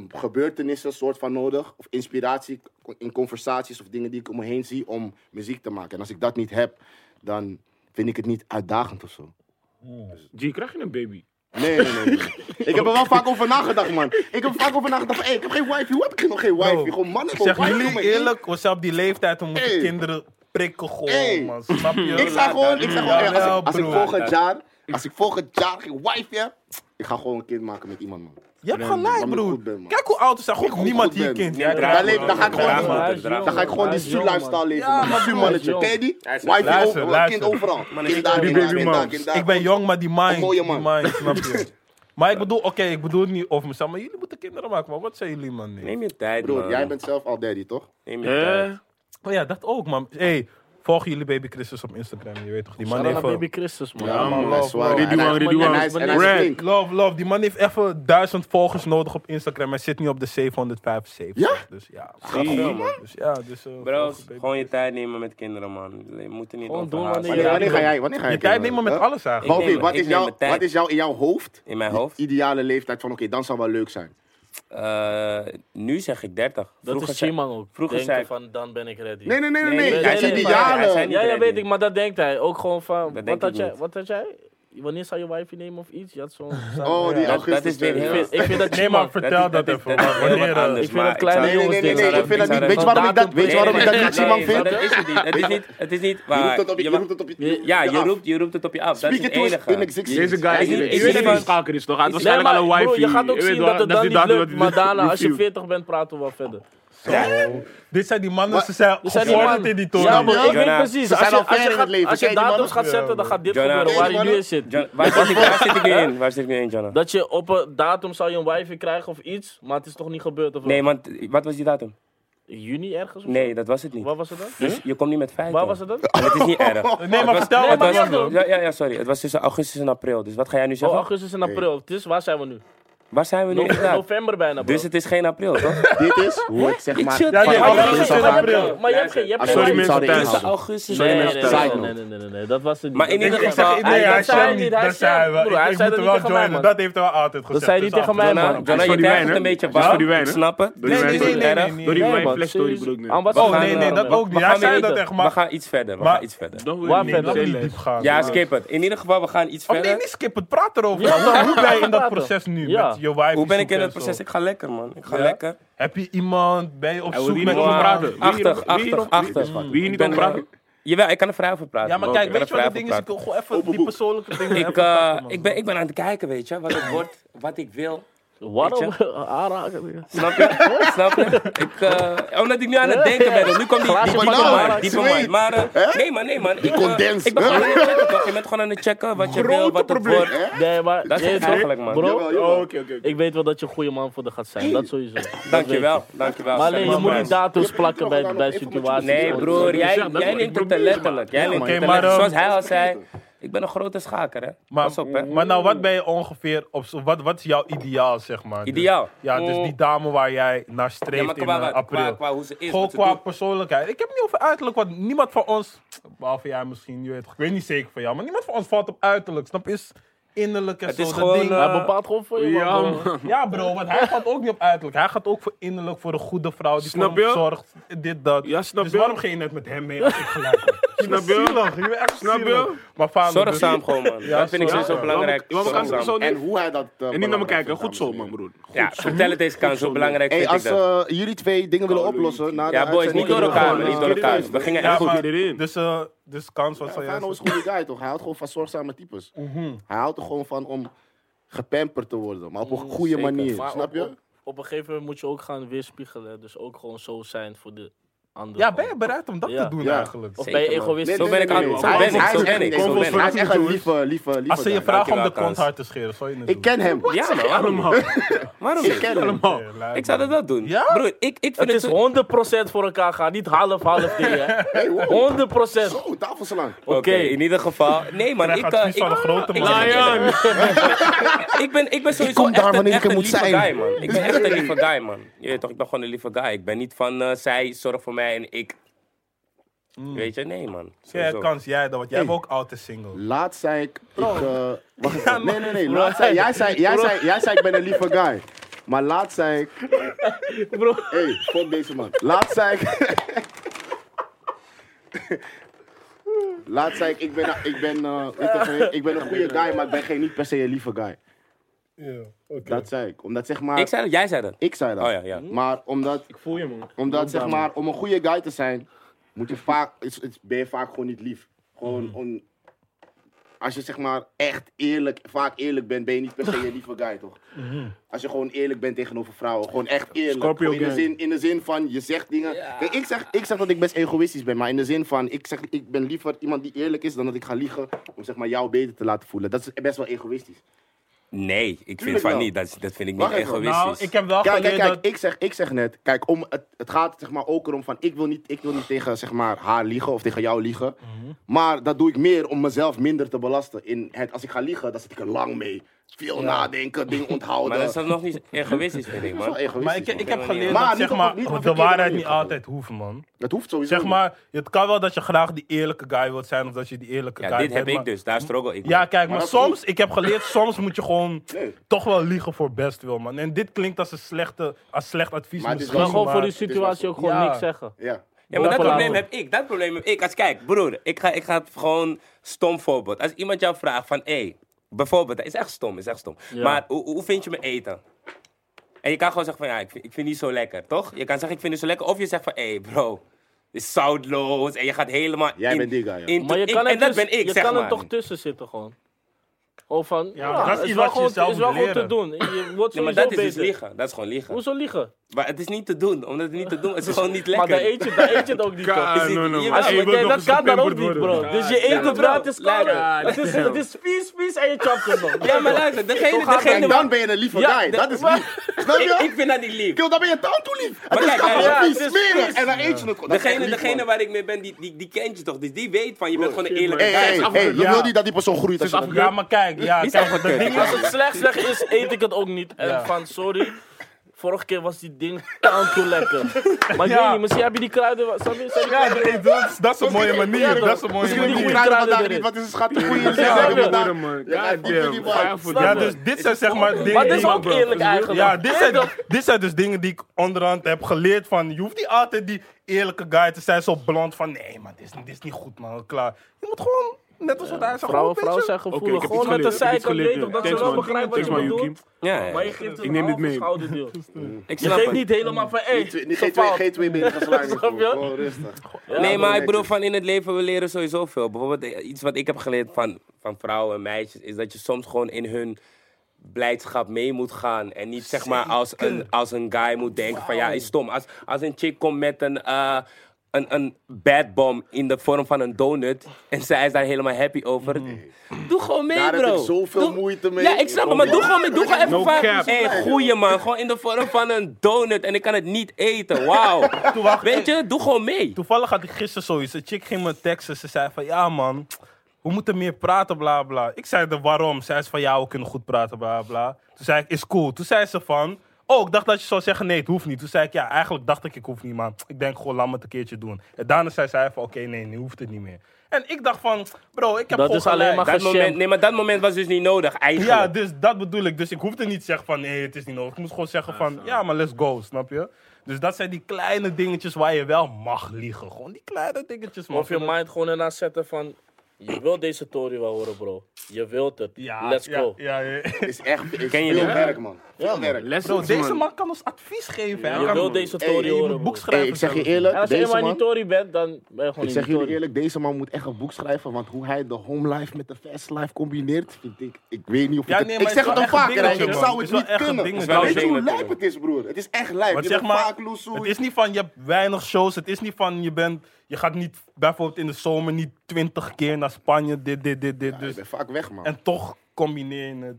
Speaker 2: gebeurtenissen soort van nodig. Of inspiratie in conversaties of dingen die ik om me heen zie om muziek te maken. En als ik dat niet heb, dan vind ik het niet uitdagend of zo.
Speaker 5: G, krijg je een baby?
Speaker 2: Nee, nee, nee. nee. ik heb er wel vaak over nagedacht, man. Ik heb er vaak over nagedacht. Hé, ik heb geen wifi. Hoe heb ik nog geen
Speaker 3: Bro,
Speaker 2: wifi? Gewoon mannen,
Speaker 3: ik
Speaker 2: gewoon
Speaker 3: zeg
Speaker 2: wifi.
Speaker 3: jullie
Speaker 2: man.
Speaker 3: eerlijk, we zijn op die leeftijd, we moeten
Speaker 2: Hey.
Speaker 3: kinderen prikken gewoon,
Speaker 2: Hey.
Speaker 3: man. Snap je?
Speaker 2: Ik zeg gewoon, ik zeg gewoon, hey, als,
Speaker 3: Jawel,
Speaker 2: ik, als ik
Speaker 3: broer.
Speaker 2: volgend jaar, als ik volgend jaar geen wifi heb, ik ga gewoon een kind maken met iemand, man.
Speaker 3: Je hebt gelijk,
Speaker 2: Omdat ik
Speaker 3: broer.
Speaker 2: goed ben, man.
Speaker 3: Kijk hoe oud we zijn. Goed,
Speaker 2: Goed,
Speaker 3: niemand
Speaker 2: goed
Speaker 3: hier
Speaker 2: ben.
Speaker 3: kind.
Speaker 1: Ja,
Speaker 3: Ja,
Speaker 1: draag
Speaker 2: Dan, leef,
Speaker 1: man.
Speaker 2: dan ga ik
Speaker 1: Draag
Speaker 2: gewoon
Speaker 1: man.
Speaker 2: die,
Speaker 4: Hij is jong,
Speaker 2: dan ga ik gewoon
Speaker 4: man.
Speaker 2: die
Speaker 4: Hij is jong,
Speaker 2: Su-lifestyle
Speaker 4: man.
Speaker 2: leven,
Speaker 3: Ja,
Speaker 2: man.
Speaker 3: maar
Speaker 2: Su-mannetje,
Speaker 4: broer, hij
Speaker 2: ken
Speaker 4: is
Speaker 2: je die?
Speaker 1: Hij is
Speaker 2: Wifi
Speaker 1: jong.
Speaker 3: Luister,
Speaker 2: overal, kind
Speaker 3: luister.
Speaker 2: overal. Kind daar,
Speaker 3: die
Speaker 2: kind daar,
Speaker 3: baby
Speaker 2: kind daar,
Speaker 5: moms.
Speaker 2: kind daar.
Speaker 3: Ik ben jong, maar die mind.
Speaker 2: mooie
Speaker 3: Die
Speaker 2: man.
Speaker 3: mind, snap je? Maar ik bedoel, oké, ik bedoel het niet over mezelf, maar jullie moeten kinderen maken, maar wat zijn jullie, man? nee?
Speaker 1: Neem je tijd,
Speaker 2: Broer,
Speaker 1: man.
Speaker 2: jij bent zelf al daddy, toch?
Speaker 1: Neem je
Speaker 5: Hè?
Speaker 1: tijd.
Speaker 3: Oh ja, dat ook, man. Hé, hey, Volg jullie Baby Christus op Instagram, je weet toch? Die man
Speaker 4: Shout
Speaker 3: heeft...
Speaker 4: out naar Baby
Speaker 3: eh,
Speaker 4: Christus, man.
Speaker 2: Ja, man,
Speaker 3: love,
Speaker 2: hij is zwaar.
Speaker 3: love.
Speaker 2: En hij-
Speaker 5: Ridouan, Ridouan.
Speaker 2: en hij is- en hij is
Speaker 5: Red.
Speaker 2: flink.
Speaker 3: Love, love. Die man heeft even duizend volgers nodig op Instagram. Hij zit nu op de 775.
Speaker 2: Ja?
Speaker 3: Dus ja.
Speaker 1: Zie je?
Speaker 3: Dus ja, dus... eh,
Speaker 1: Bro,
Speaker 3: volg Baby-
Speaker 1: gewoon je tijd nemen met kinderen, man. Je moet er niet
Speaker 4: Gewoon
Speaker 1: over
Speaker 4: doen
Speaker 1: haasten.
Speaker 4: wanneer
Speaker 2: Wanneer, wanneer ga jij? Wanneer ga
Speaker 3: Je
Speaker 2: jij
Speaker 3: tijd
Speaker 2: kinderen?
Speaker 3: neemt me met
Speaker 2: Huh?
Speaker 3: alles eigenlijk.
Speaker 1: Ik
Speaker 2: Balvin,
Speaker 1: neem-
Speaker 2: wat,
Speaker 1: ik
Speaker 2: is
Speaker 1: neem
Speaker 2: jou,
Speaker 1: mijn tijd.
Speaker 2: wat is jou in jouw hoofd?
Speaker 1: In mijn
Speaker 2: die
Speaker 1: hoofd?
Speaker 2: Ideale leeftijd van oké, dan zou wel leuk zijn.
Speaker 1: Eh, nu zeg ik 30.
Speaker 4: Dat is
Speaker 1: zei-
Speaker 4: Chimang ook.
Speaker 1: vroeger
Speaker 4: Vroeger
Speaker 1: zei-
Speaker 4: zei van dan ben ik ready.
Speaker 2: Nee, nee, nee, nee. nee,
Speaker 1: nee,
Speaker 2: hij
Speaker 1: nee,
Speaker 2: is
Speaker 1: nee,
Speaker 2: ideale.
Speaker 1: hij zei niet
Speaker 4: Ja, ja,
Speaker 1: ready.
Speaker 4: weet ik, maar dat denkt hij. Ook gewoon van,
Speaker 1: denk
Speaker 4: wat
Speaker 1: ik
Speaker 4: had, jij,
Speaker 1: niet.
Speaker 4: wat had jij? Wanneer zou je wife nemen of iets? Je had zo'n...
Speaker 2: oh, die
Speaker 1: dat- dat
Speaker 2: augustus.
Speaker 1: is weer
Speaker 2: sterren.
Speaker 1: heel-
Speaker 4: Ik vind- Ik vind dat
Speaker 3: Nee, maar
Speaker 4: Chimang...
Speaker 3: vertel dat,
Speaker 1: is-
Speaker 3: even.
Speaker 1: dat is
Speaker 3: want
Speaker 1: heel wat
Speaker 3: wanneer, eh,
Speaker 1: anders,
Speaker 4: ik vind
Speaker 1: maar
Speaker 4: het kleine
Speaker 1: zou-
Speaker 4: jongens
Speaker 1: ik
Speaker 2: Nee, nee,
Speaker 1: zou
Speaker 2: nee, ik vind dat
Speaker 1: zou
Speaker 2: niet- weet je waarom ik dat- weet je waarom ik dat niet
Speaker 1: nee,
Speaker 2: Chimang
Speaker 1: nee,
Speaker 2: vind?
Speaker 1: maar Dat is het niet. Het is niet. Het is niet.
Speaker 2: Je
Speaker 1: waar-
Speaker 2: roept het op
Speaker 1: je
Speaker 2: je, je
Speaker 1: mag-
Speaker 2: roept het op je,
Speaker 1: ja, je
Speaker 2: af.
Speaker 1: roept, je roept het op je af. Dat
Speaker 2: Speak
Speaker 1: is
Speaker 2: it
Speaker 1: het
Speaker 2: to us in
Speaker 1: enige.
Speaker 2: existence.
Speaker 5: Deze guy
Speaker 2: Hij
Speaker 5: is
Speaker 2: is in
Speaker 1: weet-
Speaker 5: niet
Speaker 1: ik
Speaker 5: weet
Speaker 1: weet
Speaker 5: niet
Speaker 1: van-
Speaker 5: wie Schaker is, toch? Hij had
Speaker 4: Nee,
Speaker 5: waarschijnlijk al
Speaker 4: maar
Speaker 5: een
Speaker 4: bro,
Speaker 5: wifi.
Speaker 4: je gaat ook
Speaker 5: weet
Speaker 4: zien
Speaker 5: wel,
Speaker 4: dat het dan
Speaker 5: die
Speaker 4: niet
Speaker 5: datum
Speaker 4: lukt,
Speaker 5: dat
Speaker 4: maar
Speaker 5: hij-
Speaker 4: daarna,
Speaker 5: die
Speaker 4: als je
Speaker 5: viel.
Speaker 4: 40 bent, praten we wel verder.
Speaker 3: Dit zijn die mannen, ze zijn
Speaker 4: Dus zijn die
Speaker 3: gevorderd
Speaker 4: man-
Speaker 3: in die
Speaker 4: Ja,
Speaker 3: toren.
Speaker 4: maar
Speaker 1: Jonah,
Speaker 4: ik weet precies.
Speaker 2: we
Speaker 4: Als
Speaker 2: zijn
Speaker 4: je,
Speaker 2: al
Speaker 4: als
Speaker 2: ver
Speaker 4: je,
Speaker 2: in het
Speaker 4: gaat,
Speaker 2: leven.
Speaker 4: als je
Speaker 2: Ken je die
Speaker 4: datums
Speaker 2: mannen?
Speaker 4: gaat zetten, dan gaat dit
Speaker 1: Jonah,
Speaker 4: gebeuren
Speaker 1: deze
Speaker 4: waar je nu
Speaker 2: mannen-
Speaker 4: in zit.
Speaker 1: John, Waar zit ik- waar zit ik nu in? Waar zit ik nu in, Jonah?
Speaker 4: Dat je op een datum zou je een wifi krijgen of iets, maar het is toch niet gebeurd? Of
Speaker 1: Nee, want eh, wat was die datum?
Speaker 4: Juni ergens? Of
Speaker 1: Nee, dat was het niet.
Speaker 4: Waar was het dan?
Speaker 1: Dus je komt niet met feiten.
Speaker 4: Waar was het dan?
Speaker 1: En het is niet erg.
Speaker 3: Nee, maar vertel
Speaker 4: Nee,
Speaker 3: wat
Speaker 4: maar
Speaker 3: het
Speaker 4: niet
Speaker 3: was.
Speaker 4: uit,
Speaker 3: hoor.
Speaker 4: hoor.
Speaker 1: Ja, ja, ja, sorry. Het was tussen augustus en april. Dus wat ga jij nu
Speaker 4: Oh,
Speaker 1: zeggen?
Speaker 4: augustus en april. Dus waar zijn we nu?
Speaker 1: Waar zijn we nu
Speaker 4: No-
Speaker 1: inderdaad?
Speaker 4: november bijna, bro.
Speaker 1: Dus het is geen april, toch?
Speaker 2: Dit is hoe ik zeg maar.
Speaker 3: Ja, nee,
Speaker 2: Van
Speaker 3: alles
Speaker 2: april
Speaker 3: is
Speaker 2: zou
Speaker 3: in
Speaker 2: gaan.
Speaker 3: april.
Speaker 4: Maar je hebt geen... je hebt
Speaker 2: Als
Speaker 4: geen-
Speaker 2: Ah, sorry,
Speaker 5: mensen
Speaker 2: zouden
Speaker 5: thuis.
Speaker 2: ingehouden.
Speaker 1: Augustus.
Speaker 4: Nee, nee,
Speaker 1: en
Speaker 4: nee,
Speaker 1: april.
Speaker 4: nee,
Speaker 2: Side
Speaker 4: nee, nee, nee, nee, nee, dat was het niet. Ah,
Speaker 1: Maar in ieder
Speaker 3: Ik
Speaker 1: geval-
Speaker 3: zeg, nee, hij
Speaker 4: zei
Speaker 3: zei
Speaker 4: hij
Speaker 3: niet.
Speaker 4: niet, hij
Speaker 3: Dat
Speaker 4: zei-
Speaker 3: zei
Speaker 4: broer, hij
Speaker 3: hij. Ik
Speaker 4: zei
Speaker 3: moet er wel
Speaker 4: dat tegen mij,
Speaker 3: joinen.
Speaker 4: man.
Speaker 3: Dat heeft hij wel altijd gezegd. dus
Speaker 4: zei hij
Speaker 3: tussen
Speaker 4: tegen mij,
Speaker 3: achter-
Speaker 4: man.
Speaker 1: Jonah, Jonah,
Speaker 5: Sorry,
Speaker 1: je krijgt
Speaker 5: Wijn, hè?
Speaker 1: het een beetje
Speaker 5: Sorry,
Speaker 1: warm.
Speaker 5: die wijn,
Speaker 1: Ik
Speaker 5: hè?
Speaker 1: snap het.
Speaker 5: Door die
Speaker 1: Dus
Speaker 5: wijn,
Speaker 1: het is
Speaker 5: sorry.
Speaker 1: niet erg. eh,
Speaker 3: nee,
Speaker 5: Door die
Speaker 4: Nee,
Speaker 5: wijn
Speaker 4: man,
Speaker 5: flex door die
Speaker 4: serieus.
Speaker 5: broek.
Speaker 4: Ambassadeur.
Speaker 3: Oh, nee, nee,
Speaker 4: Waarom?
Speaker 3: dat ook niet.
Speaker 1: We
Speaker 3: Hij
Speaker 1: gaan
Speaker 3: zei
Speaker 1: weer
Speaker 3: dat
Speaker 1: eten.
Speaker 3: echt, maar...
Speaker 1: We gaan iets verder. We
Speaker 3: Maar-
Speaker 1: gaan iets verder.
Speaker 4: Waar
Speaker 3: Nee,
Speaker 4: verder?
Speaker 3: laat me niet diep gaan.
Speaker 1: Ja,
Speaker 3: man.
Speaker 1: skip het. In ieder geval, we gaan iets
Speaker 3: Oh nee,
Speaker 1: verder.
Speaker 3: niet skip het. Praat erover.
Speaker 4: Ja,
Speaker 3: Hoe- Hoe ben je in dat
Speaker 4: praten.
Speaker 3: proces nu?
Speaker 4: Ja.
Speaker 3: Met je wife
Speaker 1: Hoe ben ik in het
Speaker 3: zoeken en zo?
Speaker 1: proces? Ik ga lekker, man. Ik ga
Speaker 3: Ja?
Speaker 1: lekker.
Speaker 3: Heb je iemand? Ben je op
Speaker 5: Hij
Speaker 3: zoek
Speaker 5: wil
Speaker 3: met
Speaker 5: hier niet over
Speaker 3: iemand?
Speaker 5: praten. Wie hier-
Speaker 1: Achter,
Speaker 5: wie hier-
Speaker 1: achter, achter.
Speaker 5: Wie hier
Speaker 1: Ik
Speaker 5: niet
Speaker 1: ben
Speaker 5: over
Speaker 1: er-
Speaker 5: praten?
Speaker 1: Jawel, ik kan er vrij over praten.
Speaker 3: Ja, maar
Speaker 1: man.
Speaker 3: kijk,
Speaker 1: Ik
Speaker 3: weet
Speaker 1: kan er
Speaker 3: je wat het
Speaker 1: vrij
Speaker 3: ding is? Ik
Speaker 1: over
Speaker 3: wil gewoon even die
Speaker 2: boek.
Speaker 3: persoonlijke dingen even
Speaker 1: praten. Ik,
Speaker 3: pakken,
Speaker 1: eh,
Speaker 3: man.
Speaker 1: ik, ben, ik ben aan het kijken, weet je, wat het wordt, wat ik wil.
Speaker 4: Waarom? Aanraken.
Speaker 1: Snap je? Snap je? Ik, eh, omdat ik nu aan het denken ben, dus nu komt die, die
Speaker 4: Glaasje
Speaker 1: diepe
Speaker 2: banaan,
Speaker 1: mind. Diepe
Speaker 2: zweet.
Speaker 1: mind. Maar eh, nee, man, nee, man. Ik, eh,
Speaker 2: condens,
Speaker 1: ik ben
Speaker 2: hè?
Speaker 1: gewoon aan het checken, toch? Je bent gewoon aan het checken wat je wil, wat het wordt.
Speaker 4: Nee, maar...
Speaker 1: Dat is
Speaker 4: je
Speaker 1: het
Speaker 4: weet toch,
Speaker 1: eigenlijk, man.
Speaker 4: Bro,
Speaker 2: Jawel, jawel.
Speaker 4: ik weet wel dat je een goede man voor de gaat zijn. Dat sowieso. Dat weet ik.
Speaker 1: Dankjewel, dankjewel.
Speaker 4: Maar alleen, je
Speaker 1: Man,
Speaker 4: moet
Speaker 1: man.
Speaker 4: die datums plakken bij,
Speaker 2: nog
Speaker 4: bij
Speaker 2: even met
Speaker 4: situaties.
Speaker 1: Nee, broer, jij,
Speaker 5: zeg, dat
Speaker 1: jij
Speaker 5: wil ik
Speaker 1: neemt het te
Speaker 5: proberen,
Speaker 1: letterlijk. Jij neemt
Speaker 2: maar-
Speaker 1: het te
Speaker 3: Oké, maar,
Speaker 1: letterlijk. Zoals
Speaker 3: ehm,
Speaker 1: hij al zei, ik ben een grote schaker, hè. Pas op, hè.
Speaker 3: Maar nou, wat ben je ongeveer op zo- wat, wat is jouw ideaal, zeg maar? Dus-
Speaker 1: Ideaal?
Speaker 3: ja, dus
Speaker 1: Mm.
Speaker 3: die dame waar jij naar streeft
Speaker 1: Ja, maar
Speaker 3: in
Speaker 1: qua
Speaker 3: eh,
Speaker 1: wat?
Speaker 3: april.
Speaker 1: Qua- qua hoe ze is,
Speaker 3: Gewoon
Speaker 1: wat ze
Speaker 3: qua
Speaker 1: doet.
Speaker 3: persoonlijkheid. Ik heb niet over uiterlijk, want niemand van ons, behalve jij misschien, je weet, ik weet niet zeker van jou, maar niemand van ons valt op uiterlijk. Snap je? Is innerlijk en
Speaker 1: Het
Speaker 3: zo.
Speaker 1: is
Speaker 3: dat
Speaker 1: gewoon,
Speaker 3: ding.
Speaker 1: eh,
Speaker 4: Hij bepaalt gewoon voor je,
Speaker 5: Ja,
Speaker 4: man. bro.
Speaker 5: man.
Speaker 3: Ja, bro, want hij gaat ook niet op uiterlijk. Hij gaat ook voor innerlijk, voor een goede vrouw die
Speaker 5: Snap
Speaker 3: voor hem
Speaker 5: je?
Speaker 3: zorgt. Dit, dat.
Speaker 5: Ja, snap
Speaker 3: dus
Speaker 5: je?
Speaker 3: waarom ging je net met hem mee als ik gelijk ben? Je bent
Speaker 5: Snap je?
Speaker 3: zielig, je bent echt
Speaker 5: Snap je?
Speaker 3: zielig. Maar vader, dus-
Speaker 1: Zorgzaam gewoon, man. Dat vind ik
Speaker 5: Ja,
Speaker 1: sowieso
Speaker 5: ja.
Speaker 1: belangrijk.
Speaker 5: Ja, maar kan ik
Speaker 1: Zorgzaam.
Speaker 5: zo
Speaker 2: En
Speaker 5: niet...
Speaker 2: hoe hij dat. eh,
Speaker 5: En niet naar me
Speaker 2: belangrijk
Speaker 5: kijken.
Speaker 2: vindt,
Speaker 5: Goed zo,
Speaker 2: dames en
Speaker 5: man,
Speaker 2: heren.
Speaker 5: broer. Goed
Speaker 1: Ja,
Speaker 5: zo.
Speaker 1: vertel het deze kant, zo belangrijk
Speaker 2: Hey,
Speaker 1: vind ik
Speaker 2: als
Speaker 1: dat. Oh,
Speaker 2: eh, nou, jullie twee dingen willen oplossen. na de
Speaker 1: Ja, boys, niet
Speaker 2: uitzending,
Speaker 1: door elkaar,
Speaker 2: kunnen
Speaker 1: man,
Speaker 2: we
Speaker 1: niet door
Speaker 2: gewoon, eh,
Speaker 1: elkaar. We gingen
Speaker 3: Ja,
Speaker 1: echt goed.
Speaker 3: maar,
Speaker 5: Erin.
Speaker 3: dus, eh, dus kans, wat zou jij
Speaker 2: Fano is een goede guy, toch? Hij houdt gewoon van zorgzame types. Hij houdt er gewoon van om gepamperd te worden, Mhm, maar op een goede
Speaker 1: zeker.
Speaker 2: manier.
Speaker 4: Maar
Speaker 2: snap
Speaker 4: op-
Speaker 2: je?
Speaker 4: Op, op een gegeven moment moet je ook gaan weerspiegelen. Dus ook gewoon zo zijn voor de anderen.
Speaker 3: Ja, ben je bereid om dat
Speaker 4: Ja.
Speaker 3: te doen
Speaker 2: Ja.
Speaker 3: eigenlijk?
Speaker 4: Of
Speaker 1: Zeker,
Speaker 4: ben je
Speaker 1: man.
Speaker 4: egoïstisch?
Speaker 1: Zo ben ik aan
Speaker 2: nee,
Speaker 1: zo
Speaker 2: nee.
Speaker 1: ben ik,
Speaker 2: Hij is
Speaker 1: zo
Speaker 2: echt
Speaker 1: ben ik, zo
Speaker 2: een-
Speaker 1: ben ik.
Speaker 2: Hij is echt een lieve, lieve, lieve.
Speaker 3: Als ze je
Speaker 2: guy.
Speaker 3: vragen om
Speaker 1: Dankjewel,
Speaker 3: de kont
Speaker 1: Kans.
Speaker 3: hard te scheren, zou je het
Speaker 2: Ik ken hem.
Speaker 1: Ja, maar waarom?
Speaker 5: Allemaal.
Speaker 1: Waarom
Speaker 2: Ik
Speaker 1: niet?
Speaker 2: ken hem.
Speaker 5: Allemaal.
Speaker 1: Ik zou dat wel doen.
Speaker 3: Ja?
Speaker 1: Broer, ik, ik vind
Speaker 4: Het
Speaker 1: het
Speaker 4: is
Speaker 1: zo...
Speaker 4: 100% voor elkaar gaan, niet half-half dingen.
Speaker 2: Hey, wow.
Speaker 4: 100%.
Speaker 2: Zo, tafelslang.
Speaker 1: Oké, in ieder geval. Nee, man, ik...
Speaker 3: Hij gaat
Speaker 1: eh,
Speaker 3: advies
Speaker 1: ik,
Speaker 3: van een grote
Speaker 1: ik-
Speaker 3: man.
Speaker 5: Lion.
Speaker 1: ik ben, ik ben sowieso
Speaker 2: kom daar
Speaker 1: echt een,
Speaker 2: wanneer ik
Speaker 1: echt
Speaker 2: er
Speaker 1: een
Speaker 2: moet
Speaker 1: lieve
Speaker 2: zijn.
Speaker 1: guy, man. Ik ben echt een lieve guy, man. Je weet toch, ik ben gewoon een lieve guy. Ik ben niet van eh, zij zorgt voor mij en ik... Weet je, nee, man.
Speaker 3: Mm. Ja,
Speaker 1: Sowieso.
Speaker 3: kans, jij dan, want jij bent ook altijd single.
Speaker 2: Laatst zei ik. ik
Speaker 3: Oh.
Speaker 2: eh, wacht even. Nee, nee, nee. Laatst zei, jij, zei, jij, zei, jij zei ik ben een lieve guy. Maar laatst zei ik.
Speaker 4: Bro.
Speaker 2: hey, fuck deze man. Laatst zei ik. laatst zei ik, ik ben, ik, ben, eh, weet je wel, ik ben een goede guy, maar ik ben geen, niet per se een lieve guy.
Speaker 3: Ja, oké.
Speaker 2: Dat zei ik. Omdat zeg maar.
Speaker 1: Ik zei dat, jij zei dat.
Speaker 2: ik zei dat.
Speaker 1: Oh ja, ja.
Speaker 2: Maar omdat,
Speaker 5: Hm? Ik voel je, man.
Speaker 2: omdat zeg maar, om een goede guy te zijn, moet je vaak, is, is- ben je vaak gewoon niet lief. Gewoon
Speaker 5: Hm.
Speaker 2: on- als je zeg maar echt eerlijk, vaak eerlijk bent, ben je niet per se een lieve guy, toch? Als je gewoon eerlijk bent tegenover vrouwen, gewoon echt eerlijk.
Speaker 5: Hm. Scorpio
Speaker 2: Gewoon in, de zin,
Speaker 5: gang.
Speaker 2: in de zin van, je zegt dingen. Kijk, ik, zeg, ik zeg dat ik best egoïstisch ben, maar in de zin van, ik zeg, ik ben liever iemand die eerlijk is dan dat ik ga liegen om zeg maar jou beter te laten voelen. Dat is best wel egoïstisch.
Speaker 1: Nee, ik vind
Speaker 2: Tuurlijk
Speaker 1: van
Speaker 2: wel.
Speaker 1: niet. Dat, is- dat vind ik niet
Speaker 2: Wacht even.
Speaker 1: egoïstisch.
Speaker 3: Nou, ik heb wel
Speaker 2: Kijk, kijk,
Speaker 3: geleerd
Speaker 2: kijk
Speaker 3: dat...
Speaker 2: ik, zeg, ik zeg net, kijk, om, het, het gaat zeg maar ook erom van, ik wil niet, ik wil niet tegen zeg maar, haar liegen of tegen jou liegen.
Speaker 1: Mhm.
Speaker 2: Maar dat doe ik meer om mezelf minder te belasten. In het, als ik ga liegen, dan zit ik er lang mee. Veel nadenken, dingen onthouden.
Speaker 1: Maar dat is dan nog niet egoïstisch, vind ik,
Speaker 2: wel
Speaker 1: man.
Speaker 2: egoïstisch,
Speaker 3: Maar ik,
Speaker 2: man.
Speaker 3: ik heb geleerd
Speaker 2: Maar
Speaker 3: dat
Speaker 2: niet
Speaker 3: zeg
Speaker 2: op-
Speaker 3: maar,
Speaker 2: niet op een
Speaker 3: de
Speaker 2: verkeerde
Speaker 3: waarheid
Speaker 2: manier
Speaker 3: niet
Speaker 2: gaan doen.
Speaker 3: altijd hoeft, man.
Speaker 2: Dat hoeft sowieso
Speaker 3: Zeg
Speaker 2: niet.
Speaker 3: maar, het kan wel dat je graag die eerlijke guy wilt zijn of dat je die eerlijke
Speaker 1: Ja,
Speaker 3: guy
Speaker 1: dit heb
Speaker 3: bent,
Speaker 1: ik
Speaker 3: maar-
Speaker 1: dus. Daar struggle ik
Speaker 3: Ja,
Speaker 1: mee.
Speaker 3: kijk, maar,
Speaker 2: dat is
Speaker 3: soms, ik heb geleerd, soms moet je gewoon
Speaker 2: Nee.
Speaker 3: toch wel liegen voor best wil, man. En dit klinkt als een slechte, als slecht advies
Speaker 2: Maar het is
Speaker 3: misschien,
Speaker 2: wel-
Speaker 4: Maar gewoon voor die
Speaker 2: het is wel
Speaker 4: situatie ook gewoon
Speaker 3: Ja.
Speaker 4: niks zeggen.
Speaker 2: Ja.
Speaker 1: Ja, maar dat
Speaker 4: Blappen
Speaker 1: probleem
Speaker 4: laten.
Speaker 1: heb ik. Dat probleem heb ik. Als kijk, broer, ik ga, ik ga het gewoon stom voorbeeld. Als iemand jou vraagt van, hé, hey, bijvoorbeeld, dat is echt stom, is echt stom.
Speaker 4: Ja.
Speaker 1: Maar hoe, hoe vind je mijn eten? En je kan gewoon zeggen van, ja, ik vind, ik vind niet zo lekker, toch? Je kan zeggen, ik vind het zo lekker. Of je zegt van, hé, hey, bro, dit is zoutloos. En je gaat helemaal
Speaker 2: Jij bent die guy, ja.
Speaker 1: into-
Speaker 4: Maar je
Speaker 1: in-
Speaker 4: kan,
Speaker 1: en
Speaker 4: er,
Speaker 1: dat
Speaker 4: dus-
Speaker 1: ben ik,
Speaker 4: je
Speaker 1: zeg
Speaker 4: kan
Speaker 1: maar.
Speaker 4: er toch tussen zitten gewoon. Of van, ja,
Speaker 3: maar dat is
Speaker 4: is
Speaker 3: iets
Speaker 4: wel
Speaker 3: wat je
Speaker 4: gewoon,
Speaker 3: zelf
Speaker 4: is wel
Speaker 3: moet
Speaker 4: gewoon te
Speaker 3: leren.
Speaker 4: doen. Je wordt
Speaker 1: Nee, maar
Speaker 4: sowieso
Speaker 1: dat is dus
Speaker 4: beter.
Speaker 1: liegen. Dat is gewoon liegen.
Speaker 4: Hoezo liegen?
Speaker 1: Maar het is niet te doen. Omdat het niet te doen is, het is gewoon niet
Speaker 4: Maar
Speaker 1: lekker.
Speaker 4: dan eet je, dan eet je het ook niet. toch?
Speaker 1: Is het-
Speaker 5: no, no,
Speaker 1: je-
Speaker 5: maar-
Speaker 1: als je-
Speaker 5: Hey,
Speaker 4: Nee,
Speaker 5: ik wil nog
Speaker 4: dat
Speaker 5: eens
Speaker 4: kan dan ook
Speaker 5: gepamperd
Speaker 4: niet, bro.
Speaker 5: worden.
Speaker 4: Dus je eet het,
Speaker 1: bro.
Speaker 4: bro. Het is koud.
Speaker 1: Ja,
Speaker 4: Het is, het is vies, vies en je chapt het nog.
Speaker 1: Ja, maar luister, degene,
Speaker 4: gaat
Speaker 1: degene...
Speaker 2: En dan ben je een lieve
Speaker 1: Ja,
Speaker 2: guy.
Speaker 1: de-
Speaker 2: Dat is
Speaker 1: maar-
Speaker 2: lief. Snap
Speaker 1: ik, ik
Speaker 2: je?
Speaker 1: vind dat niet lief.
Speaker 2: Kill, dan ben je tang toe lief. Het is
Speaker 1: kijk,
Speaker 2: koud,
Speaker 1: ja, ja,
Speaker 2: vies,
Speaker 4: het is
Speaker 2: smerig.
Speaker 4: vies.
Speaker 2: En dan eet je het. Dat is echt
Speaker 1: Degene,
Speaker 2: lief,
Speaker 1: degene
Speaker 2: man.
Speaker 1: waar ik mee ben, die, die, die kent je toch? Dus die weet van, je bent gewoon een
Speaker 2: Hé,
Speaker 1: eerlijke
Speaker 2: hé,
Speaker 1: hey,
Speaker 2: hé, je
Speaker 3: Ja.
Speaker 2: wil niet dat die persoon groeit. als je dat
Speaker 3: Ja, maar kijk, ja,
Speaker 1: Wie
Speaker 3: kijk,
Speaker 1: zegt
Speaker 3: dat
Speaker 1: het?
Speaker 3: ding
Speaker 4: Als het slecht slecht is, eet ik het ook niet. En van, sorry. Vorige keer was die ding taal toe lekker. Maar ik
Speaker 3: Ja.
Speaker 4: weet niet, misschien heb je die kruiden... wel- Snap je? Zijn die
Speaker 3: Ja,
Speaker 4: kruiden-
Speaker 3: dat- dat is- dat is een mooie manier, dat is een
Speaker 2: Misschien wil
Speaker 3: mooie
Speaker 4: die
Speaker 2: die
Speaker 3: manier.
Speaker 2: kruiden
Speaker 4: goede kruiden
Speaker 2: vandaag
Speaker 4: erin.
Speaker 2: niet. Wat is een schat? Die goede
Speaker 3: Ja,
Speaker 2: zeggen vandaag.
Speaker 5: man.
Speaker 2: Ja, ik vind die vibe.
Speaker 3: Ja, dus dit zijn zeg maar dingen...
Speaker 4: Maar dit is ook
Speaker 5: bro.
Speaker 4: eerlijk eigenlijk.
Speaker 3: Ja, dit zijn, dit zijn dus dingen die ik onderhand heb geleerd van... Je hoeft niet altijd die eerlijke guy te zijn, zo bland van... Nee, maar dit is, dit is niet goed, man. Klaar. Je moet gewoon, net als wat hij zegt...
Speaker 4: Vrouwen,
Speaker 3: gewoon een beetje-
Speaker 4: vrouwen zijn gevoelig.
Speaker 5: ik heb
Speaker 4: Gewoon met
Speaker 5: iets
Speaker 4: de zijkant
Speaker 5: geleerd, ik heb iets
Speaker 4: weten
Speaker 5: geleerd.
Speaker 4: omdat ze
Speaker 5: Thanks,
Speaker 4: wel
Speaker 5: man.
Speaker 4: begrijpen wat je
Speaker 5: Thanks,
Speaker 4: moet
Speaker 5: man,
Speaker 4: doen.
Speaker 1: Ja, ja.
Speaker 4: Maar je geeft het
Speaker 5: Ik neem dit
Speaker 4: een
Speaker 5: mee.
Speaker 4: schouderdeel.
Speaker 1: ik
Speaker 4: Je
Speaker 1: snap
Speaker 4: geeft
Speaker 1: het.
Speaker 4: niet helemaal van, hé,
Speaker 2: Niet geen twee, geen twee binnen geslagen.
Speaker 4: Snap je?
Speaker 2: Gewoon rustig.
Speaker 1: nee, maar ik
Speaker 2: netjes.
Speaker 1: bedoel, van in het leven, we leren sowieso veel. Bijvoorbeeld, eh, iets wat ik heb geleerd van, van vrouwen en meisjes, is dat je soms gewoon in hun blijdschap mee moet gaan. En niet zeg maar als een, als een guy moet denken van, ja, is stom. Als, als een chick komt met een... eh een, een badbom in de vorm van een donut. En zij is daar helemaal happy over. Doe gewoon mee,
Speaker 2: Mm. Daar heb
Speaker 1: bro.
Speaker 2: ik zoveel
Speaker 1: Doe-
Speaker 2: moeite mee.
Speaker 1: Ja, ik snap het, maar doe gewoon mee. Doe gewoon even
Speaker 5: No
Speaker 1: van...
Speaker 5: cap.
Speaker 1: Hé, goeie man. Gewoon in de vorm van een donut. En ik kan het niet eten. Wauw.
Speaker 3: wacht,
Speaker 1: Weet je, doe gewoon mee.
Speaker 3: Toevallig had ik gisteren zoiets. Een chick ging me teksten. Ze zei van, ja man, we moeten meer praten, bla bla. Ik zei de waarom. Zij is van, ja, we kunnen goed praten, bla bla. Toen zei ik, is cool. Toen zei ze van, oh, ik dacht dat je zou zeggen, nee, het hoeft niet. Toen zei ik, ja, eigenlijk dacht ik, ik hoef niet, maar ik denk gewoon, laat me het een keertje doen. En daarna zei zij van, oké, nee, nu hoeft het niet meer. En ik dacht van, bro, ik heb
Speaker 4: Dat
Speaker 3: gewoon
Speaker 4: is alleen
Speaker 3: gelijk.
Speaker 4: maar
Speaker 1: Dat
Speaker 4: Geshamed.
Speaker 1: moment, nee, maar dat moment was dus niet nodig, eigenlijk.
Speaker 3: Ja, dus dat bedoel ik. Dus ik hoefde niet te zeggen van nee, het is niet nodig. Ik moest gewoon zeggen van ja, maar let's go, snap je? Dus dat zijn die kleine dingetjes waar je wel mag liegen. Gewoon die kleine dingetjes, man.
Speaker 4: Of je mind gewoon ernaar zetten van... Je wil deze Tory wel horen, bro. Je wilt het.
Speaker 3: Ja,
Speaker 4: Let's
Speaker 3: ja,
Speaker 4: go.
Speaker 3: Ja, ja.
Speaker 2: Is echt is
Speaker 1: Ken je
Speaker 2: veel
Speaker 1: dit?
Speaker 2: werk, man. Veel werk.
Speaker 3: Bro, deze man kan ons advies geven. hè. Hij
Speaker 4: Je
Speaker 3: kan-
Speaker 4: wil deze
Speaker 2: Hey,
Speaker 4: Tory
Speaker 2: je
Speaker 3: Een
Speaker 4: horen, bro.
Speaker 3: boek
Speaker 2: Hey,
Speaker 3: schrijven.
Speaker 2: ik zeg je
Speaker 3: zelfs.
Speaker 4: En
Speaker 2: eerlijk,
Speaker 4: als je
Speaker 2: deze
Speaker 4: eenmaal niet
Speaker 2: man...
Speaker 4: Tory bent, dan ben je gewoon
Speaker 2: Ik zeg
Speaker 4: niet
Speaker 2: jullie
Speaker 4: Tory.
Speaker 2: eerlijk, deze man moet echt een boek schrijven. Want hoe hij de home life met de fast life combineert, vind ik... Ik weet niet of ik
Speaker 3: Ja,
Speaker 2: het-
Speaker 3: nee, maar
Speaker 2: Ik
Speaker 3: het
Speaker 2: zeg
Speaker 3: is
Speaker 2: het
Speaker 3: wel
Speaker 2: al
Speaker 3: echt een
Speaker 2: vaker, hè. ik
Speaker 3: dingetje,
Speaker 2: zou
Speaker 3: man.
Speaker 2: het
Speaker 3: Het is wel
Speaker 2: niet
Speaker 3: echt een
Speaker 2: kunnen.
Speaker 3: dingetje.
Speaker 1: Het is wel
Speaker 2: Weet je
Speaker 1: een
Speaker 2: hoe
Speaker 1: dingetje,
Speaker 2: lijp het is, broer? Het is echt lijp.
Speaker 3: Want
Speaker 2: Je
Speaker 3: zeg
Speaker 2: bent
Speaker 3: maar,
Speaker 2: vaak loesoe.
Speaker 3: het is niet van je hebt weinig shows. Het is niet van je bent, je gaat niet bijvoorbeeld in de zomer niet twintig keer naar Spanje. Dit, dit, dit, dit.
Speaker 2: Je
Speaker 3: Dus
Speaker 2: bent vaak weg, man.
Speaker 3: En toch combineer je het.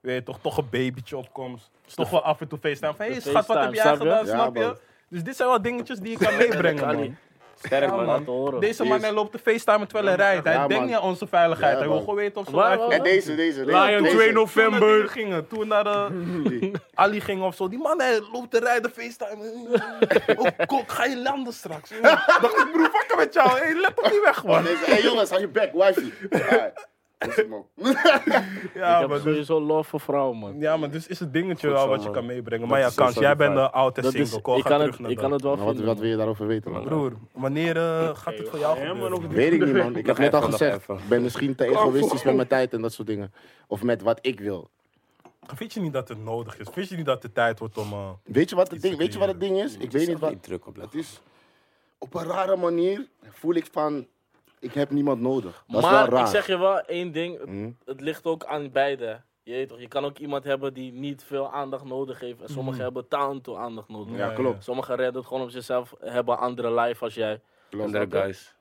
Speaker 3: Weet je, toch, toch een babytje opkomst. toch wel af en toe FaceTime. Van, hé
Speaker 4: de
Speaker 3: schat, wat heb jij
Speaker 4: FaceTime, snap je?
Speaker 3: gedaan?
Speaker 2: Ja,
Speaker 3: snap je?
Speaker 2: man.
Speaker 3: Dus dit zijn wel dingetjes die je kan
Speaker 4: Dat
Speaker 3: meebrengen,
Speaker 4: kan
Speaker 3: man.
Speaker 4: niet.
Speaker 1: Sterk, man.
Speaker 4: Laten horen.
Speaker 3: Deze
Speaker 2: Die
Speaker 3: man
Speaker 2: is-
Speaker 3: hij loopt te FaceTime terwijl hij rijdt. Hij
Speaker 2: Ja,
Speaker 3: denkt
Speaker 2: man.
Speaker 3: niet aan onze veiligheid.
Speaker 2: Ja,
Speaker 3: hij wil
Speaker 2: man.
Speaker 3: gewoon weten of ze
Speaker 4: Waar-
Speaker 3: live-
Speaker 4: waar-
Speaker 2: En deze, deze.
Speaker 5: Lion 2
Speaker 3: Toen naar dingen
Speaker 5: november.
Speaker 3: gingen, toen we naar de Ali gingen of zo. Die man hij loopt te rijden, FaceTime. Oh, kok, ga je landen straks? Dacht ik, broer, fuck met jou. Hey, let op niet weg, man.
Speaker 2: Hé Oh, hey, jongens, hou je bek, wifey. Alright. Dat is het, man.
Speaker 3: Ja,
Speaker 4: Ik
Speaker 3: maar
Speaker 4: heb
Speaker 3: dus-
Speaker 4: sowieso love voor vrouwen, man.
Speaker 3: Ja, maar dus is het dingetje wel wat je kan meebrengen. Maar
Speaker 1: Dat
Speaker 3: ja,
Speaker 1: is
Speaker 3: Kans,
Speaker 1: sowieso
Speaker 3: jij
Speaker 1: die
Speaker 3: bent
Speaker 1: vibe.
Speaker 3: de oud en
Speaker 4: Dat is,
Speaker 3: single. Ko,
Speaker 4: ik
Speaker 3: ga
Speaker 4: kan
Speaker 3: terug
Speaker 4: het,
Speaker 3: naar
Speaker 4: ik
Speaker 3: dat.
Speaker 4: kan het wel
Speaker 2: Wat,
Speaker 4: vinden.
Speaker 2: wat wil je daarover weten, man?
Speaker 3: Broer, wanneer eh, gaat het voor jou gebeuren? man?
Speaker 2: Weet ik niet, man. Ik
Speaker 1: Nog
Speaker 2: heb net al
Speaker 1: even, nog
Speaker 2: gezegd,
Speaker 1: even.
Speaker 2: ik ben misschien te egoïstisch met mijn tijd en dat soort dingen. Of met wat ik wil.
Speaker 3: Vind je niet dat het nodig is? Vind je niet dat het tijd wordt om... eh,
Speaker 2: Weet je wat het ding, weet je wat het ding is? Ik weet niet wat.
Speaker 1: Niet druk op
Speaker 2: Het
Speaker 1: leggen.
Speaker 2: is op een rare manier voel ik van, ik heb niemand nodig. Dat is wel
Speaker 4: Maar
Speaker 2: raar. Hm?
Speaker 4: ik zeg je wel één ding, het, het ligt ook aan beide. hè. Je, weet toch, je kan ook iemand hebben die niet veel aandacht nodig heeft. En sommigen
Speaker 2: Mm.
Speaker 4: hebben taal toe aandacht nodig.
Speaker 3: Ja, klopt.
Speaker 4: Sommigen redden het gewoon op zichzelf, hebben een andere lijf als jij.
Speaker 1: Andere guys.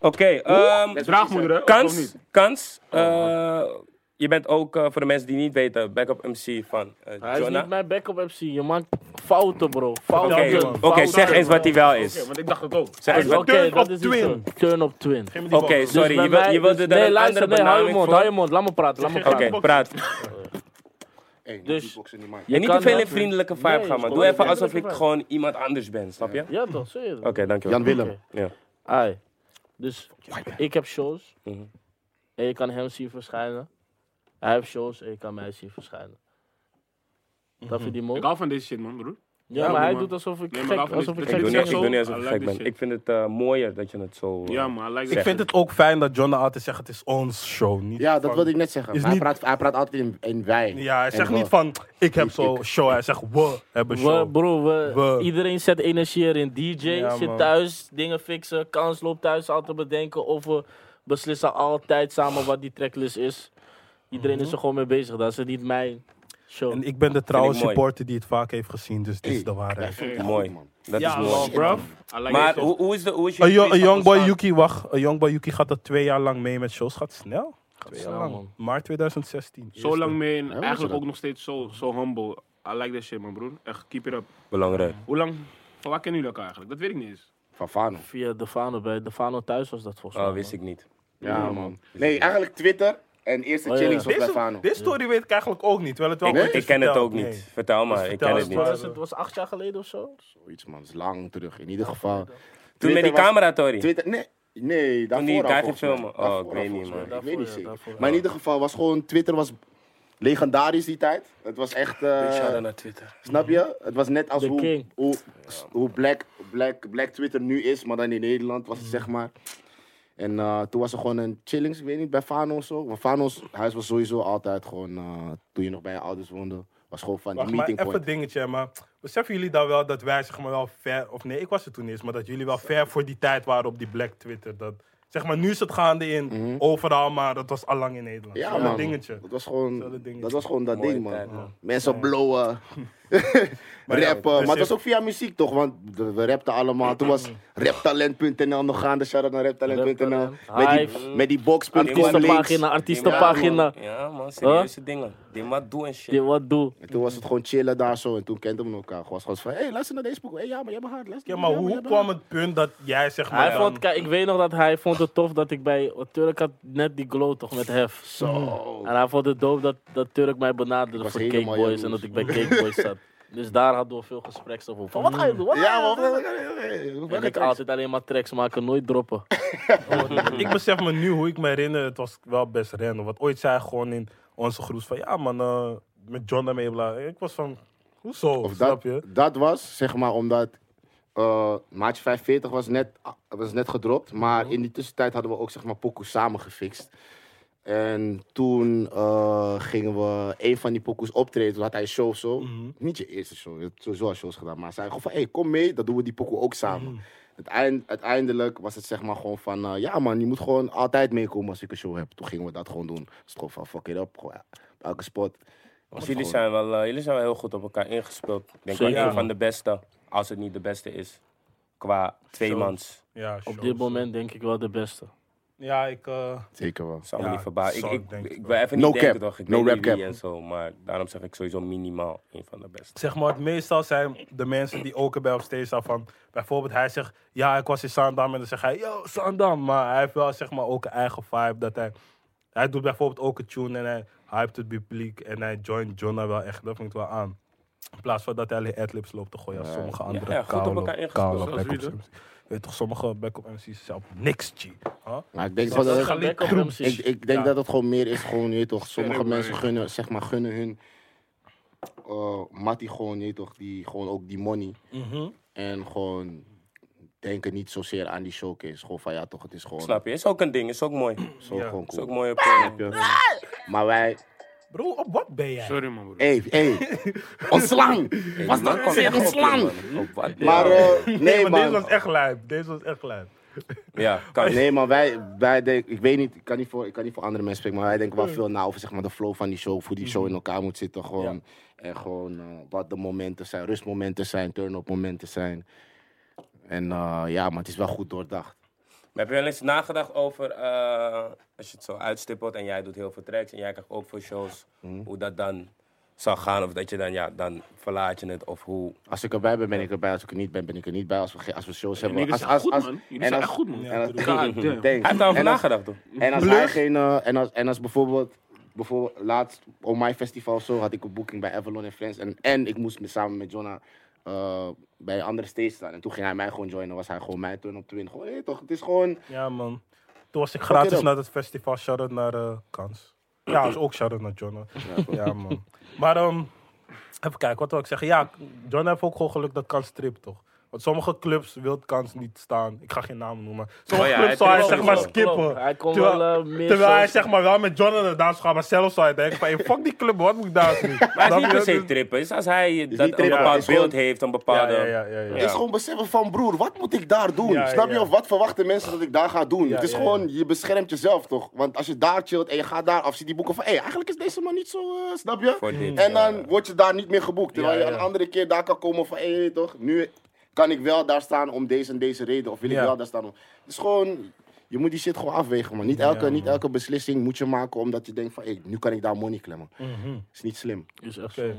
Speaker 1: Oké, ehm,
Speaker 5: Draagmoeder, hè? Of
Speaker 1: kans.
Speaker 4: Oh,
Speaker 5: niet?
Speaker 1: Kans. eh, je bent ook, eh, voor de mensen die niet weten, backup MC van eh
Speaker 4: Hij is
Speaker 1: Jonna.
Speaker 4: niet mijn backup MC. Je maakt fouten, bro. Fouten.
Speaker 1: Oké,
Speaker 4: Fouten.
Speaker 1: oké, zeg eens wat hij wel is.
Speaker 3: want ik dacht het ook.
Speaker 1: Zeg eens
Speaker 4: Oké,
Speaker 1: wat.
Speaker 3: Turn
Speaker 4: dat
Speaker 3: op
Speaker 4: is iets,
Speaker 3: twin.
Speaker 4: eh, Turn op twin.
Speaker 1: Oké, sorry,
Speaker 4: Dus
Speaker 1: je,
Speaker 4: bij
Speaker 1: wil, je
Speaker 4: mij-
Speaker 1: wilde
Speaker 4: nee,
Speaker 1: er een
Speaker 4: luister,
Speaker 1: andere
Speaker 4: nee, hou je
Speaker 1: benaming
Speaker 4: mond,
Speaker 1: voor?
Speaker 4: hou je mond. Laat me praten, laat me
Speaker 1: Oké,
Speaker 4: praten.
Speaker 1: praat.
Speaker 2: Hey,
Speaker 4: Dus-
Speaker 2: die box in die mic.
Speaker 1: En niet
Speaker 4: kan
Speaker 1: te veel
Speaker 4: dat,
Speaker 1: in
Speaker 4: man.
Speaker 1: vriendelijke vibe
Speaker 4: Nee,
Speaker 1: gaan, man.
Speaker 4: is
Speaker 1: Doe
Speaker 4: gewoon
Speaker 1: even
Speaker 4: een
Speaker 1: alsof ik
Speaker 4: vriendelijke
Speaker 1: gewoon iemand anders ben, snap je? Oké,
Speaker 4: Ja toch, zie je dat?
Speaker 1: dankjewel.
Speaker 2: Jan Willem.
Speaker 1: Ja.
Speaker 4: Ai. Dus ik heb shows.
Speaker 1: Mhm.
Speaker 4: En je kan hem zien verschijnen. Hij heeft shows en je kan mij zien verschijnen. Dat vind je mooi.
Speaker 5: Ik hou van deze shit, man, broer.
Speaker 4: Ja,
Speaker 5: Ja,
Speaker 4: maar hij
Speaker 5: man.
Speaker 4: doet alsof ik
Speaker 5: Nee, maar
Speaker 4: gek,
Speaker 5: daarvan
Speaker 4: alsof
Speaker 5: is-
Speaker 4: ik
Speaker 5: dat
Speaker 1: Ik
Speaker 4: gek
Speaker 1: doe
Speaker 5: is
Speaker 1: niet,
Speaker 4: ben.
Speaker 1: ik
Speaker 5: echt
Speaker 1: doe niet alsof ik
Speaker 5: I
Speaker 1: gek
Speaker 5: like this
Speaker 1: ben.
Speaker 5: shit.
Speaker 1: Ik vind het eh, mooier dat je het zo... eh,
Speaker 5: Ja, man, I like
Speaker 3: Ik
Speaker 5: that.
Speaker 3: vind het ook fijn dat John altijd zegt, het is ons show. Niet
Speaker 2: Ja, dat
Speaker 3: van-
Speaker 2: wilde ik net zeggen.
Speaker 3: Is
Speaker 2: Maar hij,
Speaker 3: niet-
Speaker 2: praat, hij praat altijd in, in wij.
Speaker 3: Ja, hij
Speaker 2: En
Speaker 3: zegt
Speaker 2: we.
Speaker 3: niet van, ik heb
Speaker 2: Ik-
Speaker 3: zo'n show. Hij zegt, we hebben
Speaker 4: We,
Speaker 3: show.
Speaker 4: bro, we,
Speaker 3: We.
Speaker 4: iedereen zet energie erin. DJ
Speaker 3: Ja,
Speaker 4: zit
Speaker 3: man.
Speaker 4: thuis, dingen fixen. Kans loopt thuis al te bedenken. Of we beslissen altijd samen wat die tracklist is. Iedereen is er gewoon mee bezig. Dat is niet mijn show.
Speaker 3: En ik ben de trouwe
Speaker 1: Vind ik mooi.
Speaker 3: supporter die het vaak heeft gezien, dus dit is de waarheid.
Speaker 1: Mooi. Dat is
Speaker 5: Ja,
Speaker 1: mooi.
Speaker 5: man, bro. I like
Speaker 1: Maar
Speaker 5: this
Speaker 1: hoe, hoe is de... Hoe is je
Speaker 3: Een jo-
Speaker 1: feest
Speaker 3: een Youngboy
Speaker 1: ontstaan?
Speaker 3: Yuki, wacht. Een Youngboy Yuki gaat dat twee jaar lang mee met shows. Gaat snel. Twee
Speaker 4: snel,
Speaker 3: jaar lang.
Speaker 4: man.
Speaker 3: Maart 2016.
Speaker 5: Zo lang mee en
Speaker 2: weet je
Speaker 5: eigenlijk
Speaker 2: dat?
Speaker 5: ook nog steeds zo, zo humble. I like that shit, man, broer. Echt, keep it up.
Speaker 1: Belangrijk.
Speaker 5: Hoe lang, van waar kennen jullie elkaar eigenlijk? Dat weet ik niet eens.
Speaker 2: Van Fano.
Speaker 4: Via De Fano, bij De Fano thuis was dat volgens mij.
Speaker 1: Oh, wist ik niet.
Speaker 2: Ja, man. Nee, eigenlijk Twitter en eerste
Speaker 4: Oh, ja.
Speaker 2: chillings was bij
Speaker 3: Deze,
Speaker 2: Fano.
Speaker 3: deze story weet ik eigenlijk ook niet. Terwijl het wel
Speaker 1: Ik,
Speaker 3: ooit is
Speaker 1: ik ken het
Speaker 3: verteld.
Speaker 1: ook niet.
Speaker 3: Nee.
Speaker 1: Vertel maar, ik
Speaker 3: vertel
Speaker 1: ken
Speaker 3: eens,
Speaker 1: het niet.
Speaker 3: man.
Speaker 4: Was het was acht jaar geleden of zo?
Speaker 2: Zoiets, man. Dat is lang terug. In ieder geval.
Speaker 1: Toen met die
Speaker 2: was-
Speaker 1: camera, Tori.
Speaker 2: Twitter, nee. Nee, daarvoor
Speaker 1: die
Speaker 2: al,
Speaker 1: Tiger
Speaker 2: volgens mij.
Speaker 1: film- oh,
Speaker 2: Daarvoor
Speaker 1: ik
Speaker 2: al,
Speaker 1: weet niet,
Speaker 2: volgens
Speaker 1: man.
Speaker 2: mij. Ik
Speaker 4: Daarvoor,
Speaker 2: weet niet
Speaker 4: ja,
Speaker 2: zeker.
Speaker 4: daarvoor, ja.
Speaker 2: Maar in ieder geval was gewoon... Twitter was legendarisch die tijd. Het was echt... eh,
Speaker 1: naar Twitter.
Speaker 2: snap je? Het was net als
Speaker 4: The
Speaker 2: hoe,
Speaker 4: king.
Speaker 2: hoe, s- hoe black, black, black Twitter nu is, maar dan in Nederland was het zeg maar... En eh, toen was er gewoon een chillings, ik weet niet, bij Fano of zo. Maar Fano's huis was sowieso altijd gewoon... eh, toen je nog bij je ouders woonde, was gewoon van die
Speaker 3: Wacht, maar
Speaker 2: meeting
Speaker 3: even
Speaker 2: point.
Speaker 3: een dingetje, maar beseffen jullie dan wel dat wij zeg maar wel ver, of nee, ik was er toen eens, maar dat jullie wel ver voor die tijd waren op die Black Twitter. Dat, zeg maar, nu is het gaande in overal, maar dat was al lang in Nederland.
Speaker 2: Ja,
Speaker 3: Zo'n
Speaker 2: man.
Speaker 3: dingetje.
Speaker 2: Dat was gewoon
Speaker 3: Hetzelfde dingetje.
Speaker 2: dat, was gewoon dat
Speaker 1: Mooie
Speaker 2: ding, man.
Speaker 1: tijd, man.
Speaker 2: Mensen blowen,
Speaker 3: ja,
Speaker 2: rappen.
Speaker 3: dus
Speaker 2: maar het
Speaker 3: je-
Speaker 2: was ook via muziek, toch? Want we we rapten allemaal. Toen was raptalent.nl nog gaande. Shout-out naar raptalent.nl. Met die,
Speaker 4: Hive.
Speaker 2: met die box.com links.
Speaker 4: Artiestenpagina, artiestenpagina.
Speaker 1: Ja, man, serieuze dingen. Die wat doen en
Speaker 4: Die
Speaker 1: shit.
Speaker 4: wat doe.
Speaker 2: En toen was het gewoon chillen daar zo. En toen kenden we elkaar. Gewoon gewoon van, hé, hey, luister naar deze boek. Hé, ja, maar jij bent hard. Luister,
Speaker 3: Ja, maar hoe, hoe kwam het punt dat jij zeg maar...
Speaker 4: Hij
Speaker 3: dan-
Speaker 4: vond, kijk, ik weet nog dat hij vond het tof dat ik bij want Turk had net die glow toch met hef.
Speaker 2: Zo.
Speaker 4: En hij vond het doof dat, dat Turk mij benaderde
Speaker 2: Oh. was
Speaker 4: voor
Speaker 2: helemaal
Speaker 4: Cakeboys en dat
Speaker 2: jaloers.
Speaker 4: ik bij Cakeboys zat. Dus daar hadden we veel gespreksstof over. Van, wat ga je doen? Wat ga je
Speaker 2: Ja,
Speaker 4: doen?
Speaker 2: man.
Speaker 4: En ik altijd alleen maar tracks maken, nooit droppen.
Speaker 3: ik besef me nu hoe ik me herinner, het was wel best random. Want ooit zei hij gewoon in onze groep van, ja man, eh, met John daarmee, bla. Ik was van, hoezo,
Speaker 2: Of dat,
Speaker 3: snap je?
Speaker 2: dat was, zeg maar, omdat eh Maatje 45 was net, ah, was net gedropt.
Speaker 3: Mhm.
Speaker 2: Maar in die tussentijd hadden we ook, zeg maar, pokoes samen gefixt. En toen eh, gingen we een van die pokoes optreden. Toen had hij een show of zo.
Speaker 3: Mhm.
Speaker 2: Hm? Niet je eerste show, je hebt sowieso al shows gedaan. Maar hij zei gewoon van, hé, hey, kom mee, dan doen we die pokoe ook samen. Uiteind- uiteindelijk was het zeg maar gewoon van, eh, ja man, je moet gewoon altijd meekomen als ik een show heb. Toen gingen we dat gewoon doen. Dus gewoon van, fuck it up, gewoon elke spot.
Speaker 1: Want jullie zijn, wel, eh, jullie zijn wel heel goed op elkaar ingespeeld. Ik denk wel
Speaker 4: Zeker,
Speaker 1: een
Speaker 4: man.
Speaker 1: van de beste, als het niet de beste is. Qua tweemans.
Speaker 3: Ja,
Speaker 4: Op
Speaker 3: shows.
Speaker 4: dit moment denk ik wel de beste.
Speaker 3: Ja, ik... eh,
Speaker 2: Zeker wel.
Speaker 1: Zou me
Speaker 3: Ja,
Speaker 1: niet verbazen. Ik,
Speaker 3: zou
Speaker 1: ik,
Speaker 3: ik denk
Speaker 1: ik
Speaker 3: het
Speaker 1: wil even niet
Speaker 2: No
Speaker 1: denken
Speaker 2: cap.
Speaker 1: toch. Ik
Speaker 2: No
Speaker 1: weet
Speaker 2: rap
Speaker 1: niet wie
Speaker 2: cap.
Speaker 1: en zo. Maar daarom zeg ik sowieso minimaal een van de beste.
Speaker 3: zeg maar, het meestal zijn de mensen die ook erbij op stage staan van... Bijvoorbeeld, hij zegt, ja, ik was in Zaandam. En dan zegt hij, yo, Zaandam. Maar hij heeft wel, zeg maar, ook een eigen vibe. Dat hij, hij doet bijvoorbeeld ook een tune en hij hypt het publiek. En hij joint Jonna wel echt, dat vind ik wel aan. In plaats van dat hij alleen adlibs loopt te gooien als sommige andere
Speaker 1: ja, goed op
Speaker 3: koude-
Speaker 1: elkaar ingespeeld,
Speaker 3: koude
Speaker 1: zoals
Speaker 3: backup
Speaker 5: wie dan.
Speaker 3: MC's. Je weet toch, sommige backup MC's zelf niks, G. Huh?
Speaker 2: Maar ik denk gewoon dat
Speaker 4: Ik
Speaker 2: het-
Speaker 4: ga back op hem
Speaker 2: Ik,
Speaker 4: zien.
Speaker 2: ik denk
Speaker 3: Ja.
Speaker 2: dat het gewoon meer is, gewoon, je weet toch, sommige
Speaker 5: Sorry,
Speaker 2: mensen
Speaker 5: maar-
Speaker 2: gunnen, zeg maar, gunnen hun eh mattie gewoon, je weet toch, die, gewoon ook die money.
Speaker 1: Mhm.
Speaker 2: En gewoon denken niet zozeer aan die showcase. Gewoon van, ja toch, het is gewoon,
Speaker 1: Snap je? Is ook een ding. Is ook mooi.
Speaker 2: Zo,
Speaker 3: Ja.
Speaker 2: gewoon
Speaker 1: Is ook
Speaker 2: cool.
Speaker 1: mooi. op- eh,
Speaker 2: Maar wij,
Speaker 3: Bro, op wat ben jij?
Speaker 5: Sorry, man, broer.
Speaker 2: hé, hé, ontslang! Was dat
Speaker 1: Man,
Speaker 2: een
Speaker 1: kom op,
Speaker 2: ontslang?
Speaker 1: man. Op wat?
Speaker 2: Maar, eh, nee,
Speaker 3: maar deze
Speaker 2: man.
Speaker 3: was echt lijp. Deze was echt lijp.
Speaker 1: Ja, kan.
Speaker 2: Nee, maar wij, wij denken, ik weet niet, ik kan niet, voor, ik kan niet voor andere mensen spreken, maar wij denken
Speaker 5: Mm.
Speaker 2: wel veel na over zeg maar, de flow van die show, of hoe die show in
Speaker 5: Mm-hmm.
Speaker 2: elkaar moet zitten. Gewoon, En gewoon eh, wat de momenten zijn, rustmomenten zijn, turn-up momenten zijn. En eh, ja, maar het is wel goed doordacht.
Speaker 1: Maar heb je wel eens nagedacht over, eh, als je het zo uitstippelt en jij doet heel veel tracks en jij krijgt ook veel shows, hoe dat dan zal gaan? Of dat je dan, ja, dan verlaat je het of hoe?
Speaker 2: Als ik erbij ben, ben ik erbij. Als ik er niet ben, ben ik er niet bij. Als we, ge- als we shows hebben.
Speaker 5: Jullie
Speaker 2: als,
Speaker 5: zijn
Speaker 2: als,
Speaker 5: goed,
Speaker 2: als-
Speaker 5: man. Jullie
Speaker 2: en
Speaker 5: zijn
Speaker 2: als-
Speaker 5: echt goed, man.
Speaker 2: en als-
Speaker 5: God damn.
Speaker 2: Thanks.
Speaker 1: Hij heeft daarover
Speaker 2: En als-
Speaker 1: nagedacht, toch?
Speaker 2: En als hij geen. eh, en, als, en als bijvoorbeeld. Bijvoorbeeld laatst op mijn festival of zo had ik een boeking bij Avalon en Friends. En, en ik moest met, samen met Jonna eh, bij een andere stage staan. En toen ging hij mij gewoon joinen. Was hij gewoon mijn turn op twin. Gewoon, hé, toch? Het is gewoon.
Speaker 3: Ja, man. Toen was ik gratis
Speaker 2: it up.
Speaker 3: naar het festival. Shout-out naar eh, Kans. Ja, is ook shout-out naar John. Ja, man. Maar ehm, even kijken, wat wil ik zeggen? Ja, John heeft ook gewoon geluk dat Kans stript, toch? Want sommige clubs wil Kans niet staan. Ik ga geen namen noemen. Sommige
Speaker 1: Oh ja, hij
Speaker 3: clubs zou hij
Speaker 1: klopt,
Speaker 3: zeg maar
Speaker 1: klopt,
Speaker 3: skippen.
Speaker 4: klopt. Hij kon
Speaker 3: terwijl,
Speaker 4: wel, eh, meer
Speaker 3: terwijl hij
Speaker 4: shows-
Speaker 3: zeg maar wel met John naar de dans gaat. Maar zelf zou hij denken van, hey, fuck die club, wat moet ik daar doen?
Speaker 1: Maar hij is niet per se trippen. Dus als hij dat een
Speaker 2: trippen,
Speaker 1: bepaald
Speaker 2: is gewoon-
Speaker 1: beeld heeft, een
Speaker 3: Ja,
Speaker 1: bepaalde...
Speaker 3: ja, ja, ja, ja.
Speaker 2: Het is gewoon beseffen van broer, wat moet ik daar doen?
Speaker 3: Ja,
Speaker 2: Snap je?
Speaker 3: ja.
Speaker 2: Of wat verwachten mensen dat ik daar ga doen? het is
Speaker 3: ja,
Speaker 2: gewoon, je beschermt jezelf toch? Want als je daar chillt en je gaat daar af, zie die boeken van, hé, eigenlijk is deze man niet zo, eh, snap je?
Speaker 1: Voor dit,
Speaker 2: en
Speaker 1: ja.
Speaker 2: dan word je daar niet meer geboekt. Terwijl
Speaker 3: Ja,
Speaker 2: je
Speaker 3: ja.
Speaker 2: een andere keer daar kan komen van, hé, weet je toch? Nu kan ik wel daar staan om deze en deze reden. Of wil ik
Speaker 3: Ja.
Speaker 2: wel daar staan om... Het is gewoon, je moet die shit gewoon afwegen, man. Niet elke, niet elke beslissing moet je maken omdat je denkt van, hé, nu kan ik daar money klemmen.
Speaker 3: Mhm.
Speaker 2: is niet slim.
Speaker 5: Is echt
Speaker 3: Oké.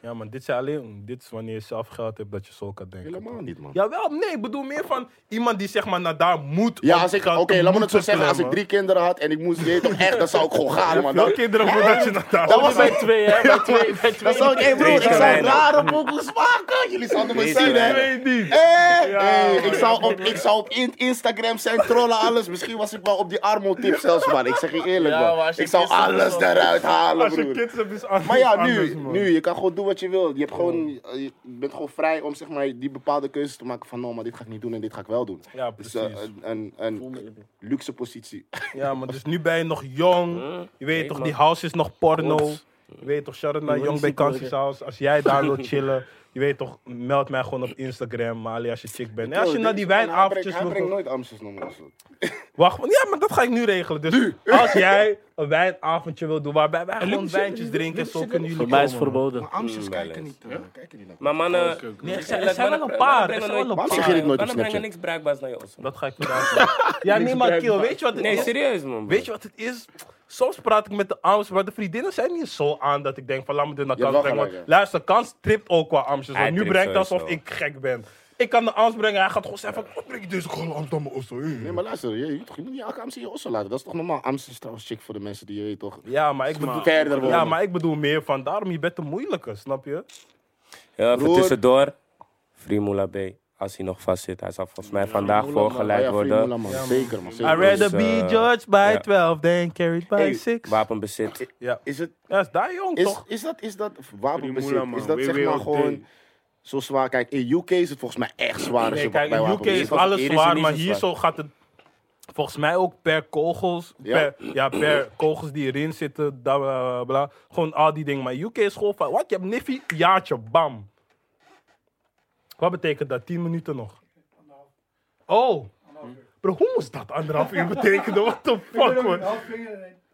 Speaker 3: Ja, man, dit, zijn alleen, dit is wanneer je zelf geld hebt dat je zo kan denken.
Speaker 2: Helemaal niet, man.
Speaker 3: Jawel, nee, ik bedoel meer van iemand die zeg maar naar daar moet.
Speaker 2: Ja,
Speaker 3: om
Speaker 2: als ik,
Speaker 3: geld
Speaker 2: oké,
Speaker 3: te
Speaker 2: laat me het zo
Speaker 3: moeten
Speaker 2: zeggen. Als ik
Speaker 3: klemmen.
Speaker 2: drie kinderen had en ik moest, je weet toch echt, dan zou ik gewoon gaan, man. Dan,
Speaker 3: Veel kinderen voordat je naar daar
Speaker 2: dan
Speaker 3: moet.
Speaker 2: was
Speaker 4: Bij
Speaker 2: het.
Speaker 4: twee, hè? Bij twee. Bij
Speaker 2: Dan
Speaker 4: twee.
Speaker 2: zou ik, hé broer,
Speaker 1: Deze
Speaker 2: ik zou
Speaker 1: kleine.
Speaker 2: rare pokoes maken. Jullie zouden me
Speaker 1: Deze
Speaker 2: zien, hè.
Speaker 1: kleine.
Speaker 3: Ik weet niet.
Speaker 2: Hé,
Speaker 3: Ja,
Speaker 2: hé, ik
Speaker 3: man.
Speaker 2: zou op, ik zou op in- Instagram zijn, trollen, alles. Misschien was ik wel op die armo-tip zelfs, man. Ik zeg je eerlijk,
Speaker 4: Ja, maar
Speaker 2: man.
Speaker 4: als je
Speaker 2: Ik zou
Speaker 4: kinderen
Speaker 2: alles
Speaker 4: zo-
Speaker 2: eruit halen,
Speaker 3: Als je
Speaker 2: broer.
Speaker 3: kids hebt, is anders.
Speaker 2: Maar ja,
Speaker 3: anders,
Speaker 2: nu,
Speaker 3: man. Oh.
Speaker 2: nu, je kan gewoon doen wat je wil. Je, hebt gewoon, eh, je bent gewoon vrij om zeg maar, die bepaalde keuzes te maken van... ...no, maar dit ga ik niet doen en dit ga ik wel doen.
Speaker 3: Ja,
Speaker 2: eh,
Speaker 3: precies.
Speaker 2: een, een, een luxe positie.
Speaker 3: Ja, maar dus nu ben je nog jong. Je weet toch, die house is nog porno. Je weet toch, shout-out naar Jong bij Kansi's House. Als jij daar wilt chillen, je weet toch, meld mij gewoon op Instagram, Mali, als je chick bent. En als je
Speaker 2: Yo,
Speaker 3: naar
Speaker 2: dit
Speaker 3: die
Speaker 2: is gewoon- hij
Speaker 3: wijnavondjes
Speaker 2: brengt- Hij
Speaker 3: wil...
Speaker 2: brengt nooit Amsterdam zo.
Speaker 3: Wacht, want- ja, maar dat ga ik nu regelen. Dus als jij een wijnavondje wil doen, waarbij wij gewoon wijntjes drinken en zo, kunnen jullie
Speaker 4: Voor mij is
Speaker 3: komen,
Speaker 4: het
Speaker 3: man.
Speaker 4: verboden.
Speaker 2: Amsterdam
Speaker 1: wel
Speaker 2: kijken
Speaker 1: eens.
Speaker 2: niet. eh, Kijken niet naar.
Speaker 1: Maar mannen...
Speaker 3: Nee, er zijn- er
Speaker 1: eerlijk,
Speaker 3: zijn wel
Speaker 1: mannen-
Speaker 3: een
Speaker 1: mannen
Speaker 3: paar. Er
Speaker 1: brengen
Speaker 3: zijn wel
Speaker 1: nooit-
Speaker 3: een
Speaker 2: Waarom
Speaker 3: paar.
Speaker 2: zeg je dit nooit op
Speaker 1: Mannen brengen
Speaker 2: Snapchat?
Speaker 1: niks bruikbaars naar je ossen.
Speaker 3: Dat ga ik vandaag doen. Ja, nee, maar Kiel, weet je wat het
Speaker 1: Nee,
Speaker 3: is?
Speaker 1: serieus, man.
Speaker 3: Weet je wat het is? Soms praat ik met de Amsterdamse, maar de vriendinnen zijn niet zo aan dat ik denk van laat me dit naar
Speaker 2: Je hebt wel
Speaker 3: kans brengen. Want
Speaker 2: gelijk,
Speaker 3: luister, kans tript ook qua Amsterdam.
Speaker 1: Hij
Speaker 3: Want nu
Speaker 1: tript
Speaker 3: brengt alsof
Speaker 1: sowieso.
Speaker 3: ik gek ben. Ik kan de Amst brengen, hij gaat gewoon zeggen van, wat breng je deze gewoon Amsterdam of zo?
Speaker 2: Nee, maar luister, je, je, moet- je moet niet elke Amsterdam je osso laten. Dat is toch normaal? Amsterdam is trouwens chic voor de mensen die je weet toch.
Speaker 3: Ja, maar ik bedoel...
Speaker 2: Verder
Speaker 3: Ja,
Speaker 2: worden.
Speaker 3: maar ik bedoel meer van, daarom je bent te moeilijker, snap je?
Speaker 1: Ja, even
Speaker 2: Broer.
Speaker 1: tussendoor. Frimoula B. Als hij nog vastzit. Hij zal volgens mij vandaag
Speaker 2: Ah
Speaker 1: voorgeleid
Speaker 2: ja, Free Moela,
Speaker 1: worden.
Speaker 2: man. Zeker, man.
Speaker 3: I'd
Speaker 2: Zeker.
Speaker 3: rather
Speaker 1: Dus,
Speaker 3: be
Speaker 1: eh,
Speaker 3: judged by
Speaker 1: ja.
Speaker 3: 12 than carried by
Speaker 2: Hey,
Speaker 3: 6.
Speaker 1: Wapenbezit.
Speaker 3: Ja,
Speaker 2: Is het.
Speaker 3: dat is daar jong,
Speaker 2: Is,
Speaker 3: toch?
Speaker 2: is dat, is dat
Speaker 5: Free
Speaker 2: wapenbezit?
Speaker 5: Moela, man.
Speaker 2: Is dat
Speaker 5: Way,
Speaker 2: zeg
Speaker 5: way
Speaker 2: maar
Speaker 5: all
Speaker 2: gewoon
Speaker 5: day.
Speaker 2: zo zwaar? Kijk, in UK is het volgens mij echt zwaar. als
Speaker 3: Nee,
Speaker 2: je
Speaker 3: kijk,
Speaker 2: bij
Speaker 3: in UK
Speaker 2: wapenbezit-
Speaker 3: is
Speaker 1: want
Speaker 3: alles
Speaker 1: hier is het
Speaker 3: zwaar,
Speaker 1: niet
Speaker 3: maar
Speaker 1: zo
Speaker 3: hier
Speaker 1: zwaar.
Speaker 3: zo gaat het volgens mij ook per kogels,
Speaker 2: Ja.
Speaker 3: Per, ja, per kogels die erin zitten, da- bla, bla, bla. gewoon al die dingen. Maar UK is gewoon van, wat, je hebt Niffy, jaartje, bam. Wat betekent dat? 10 minuten nog? Oh, bro, hoe moest dat anderhalf uur betekenen? What the fuck, man?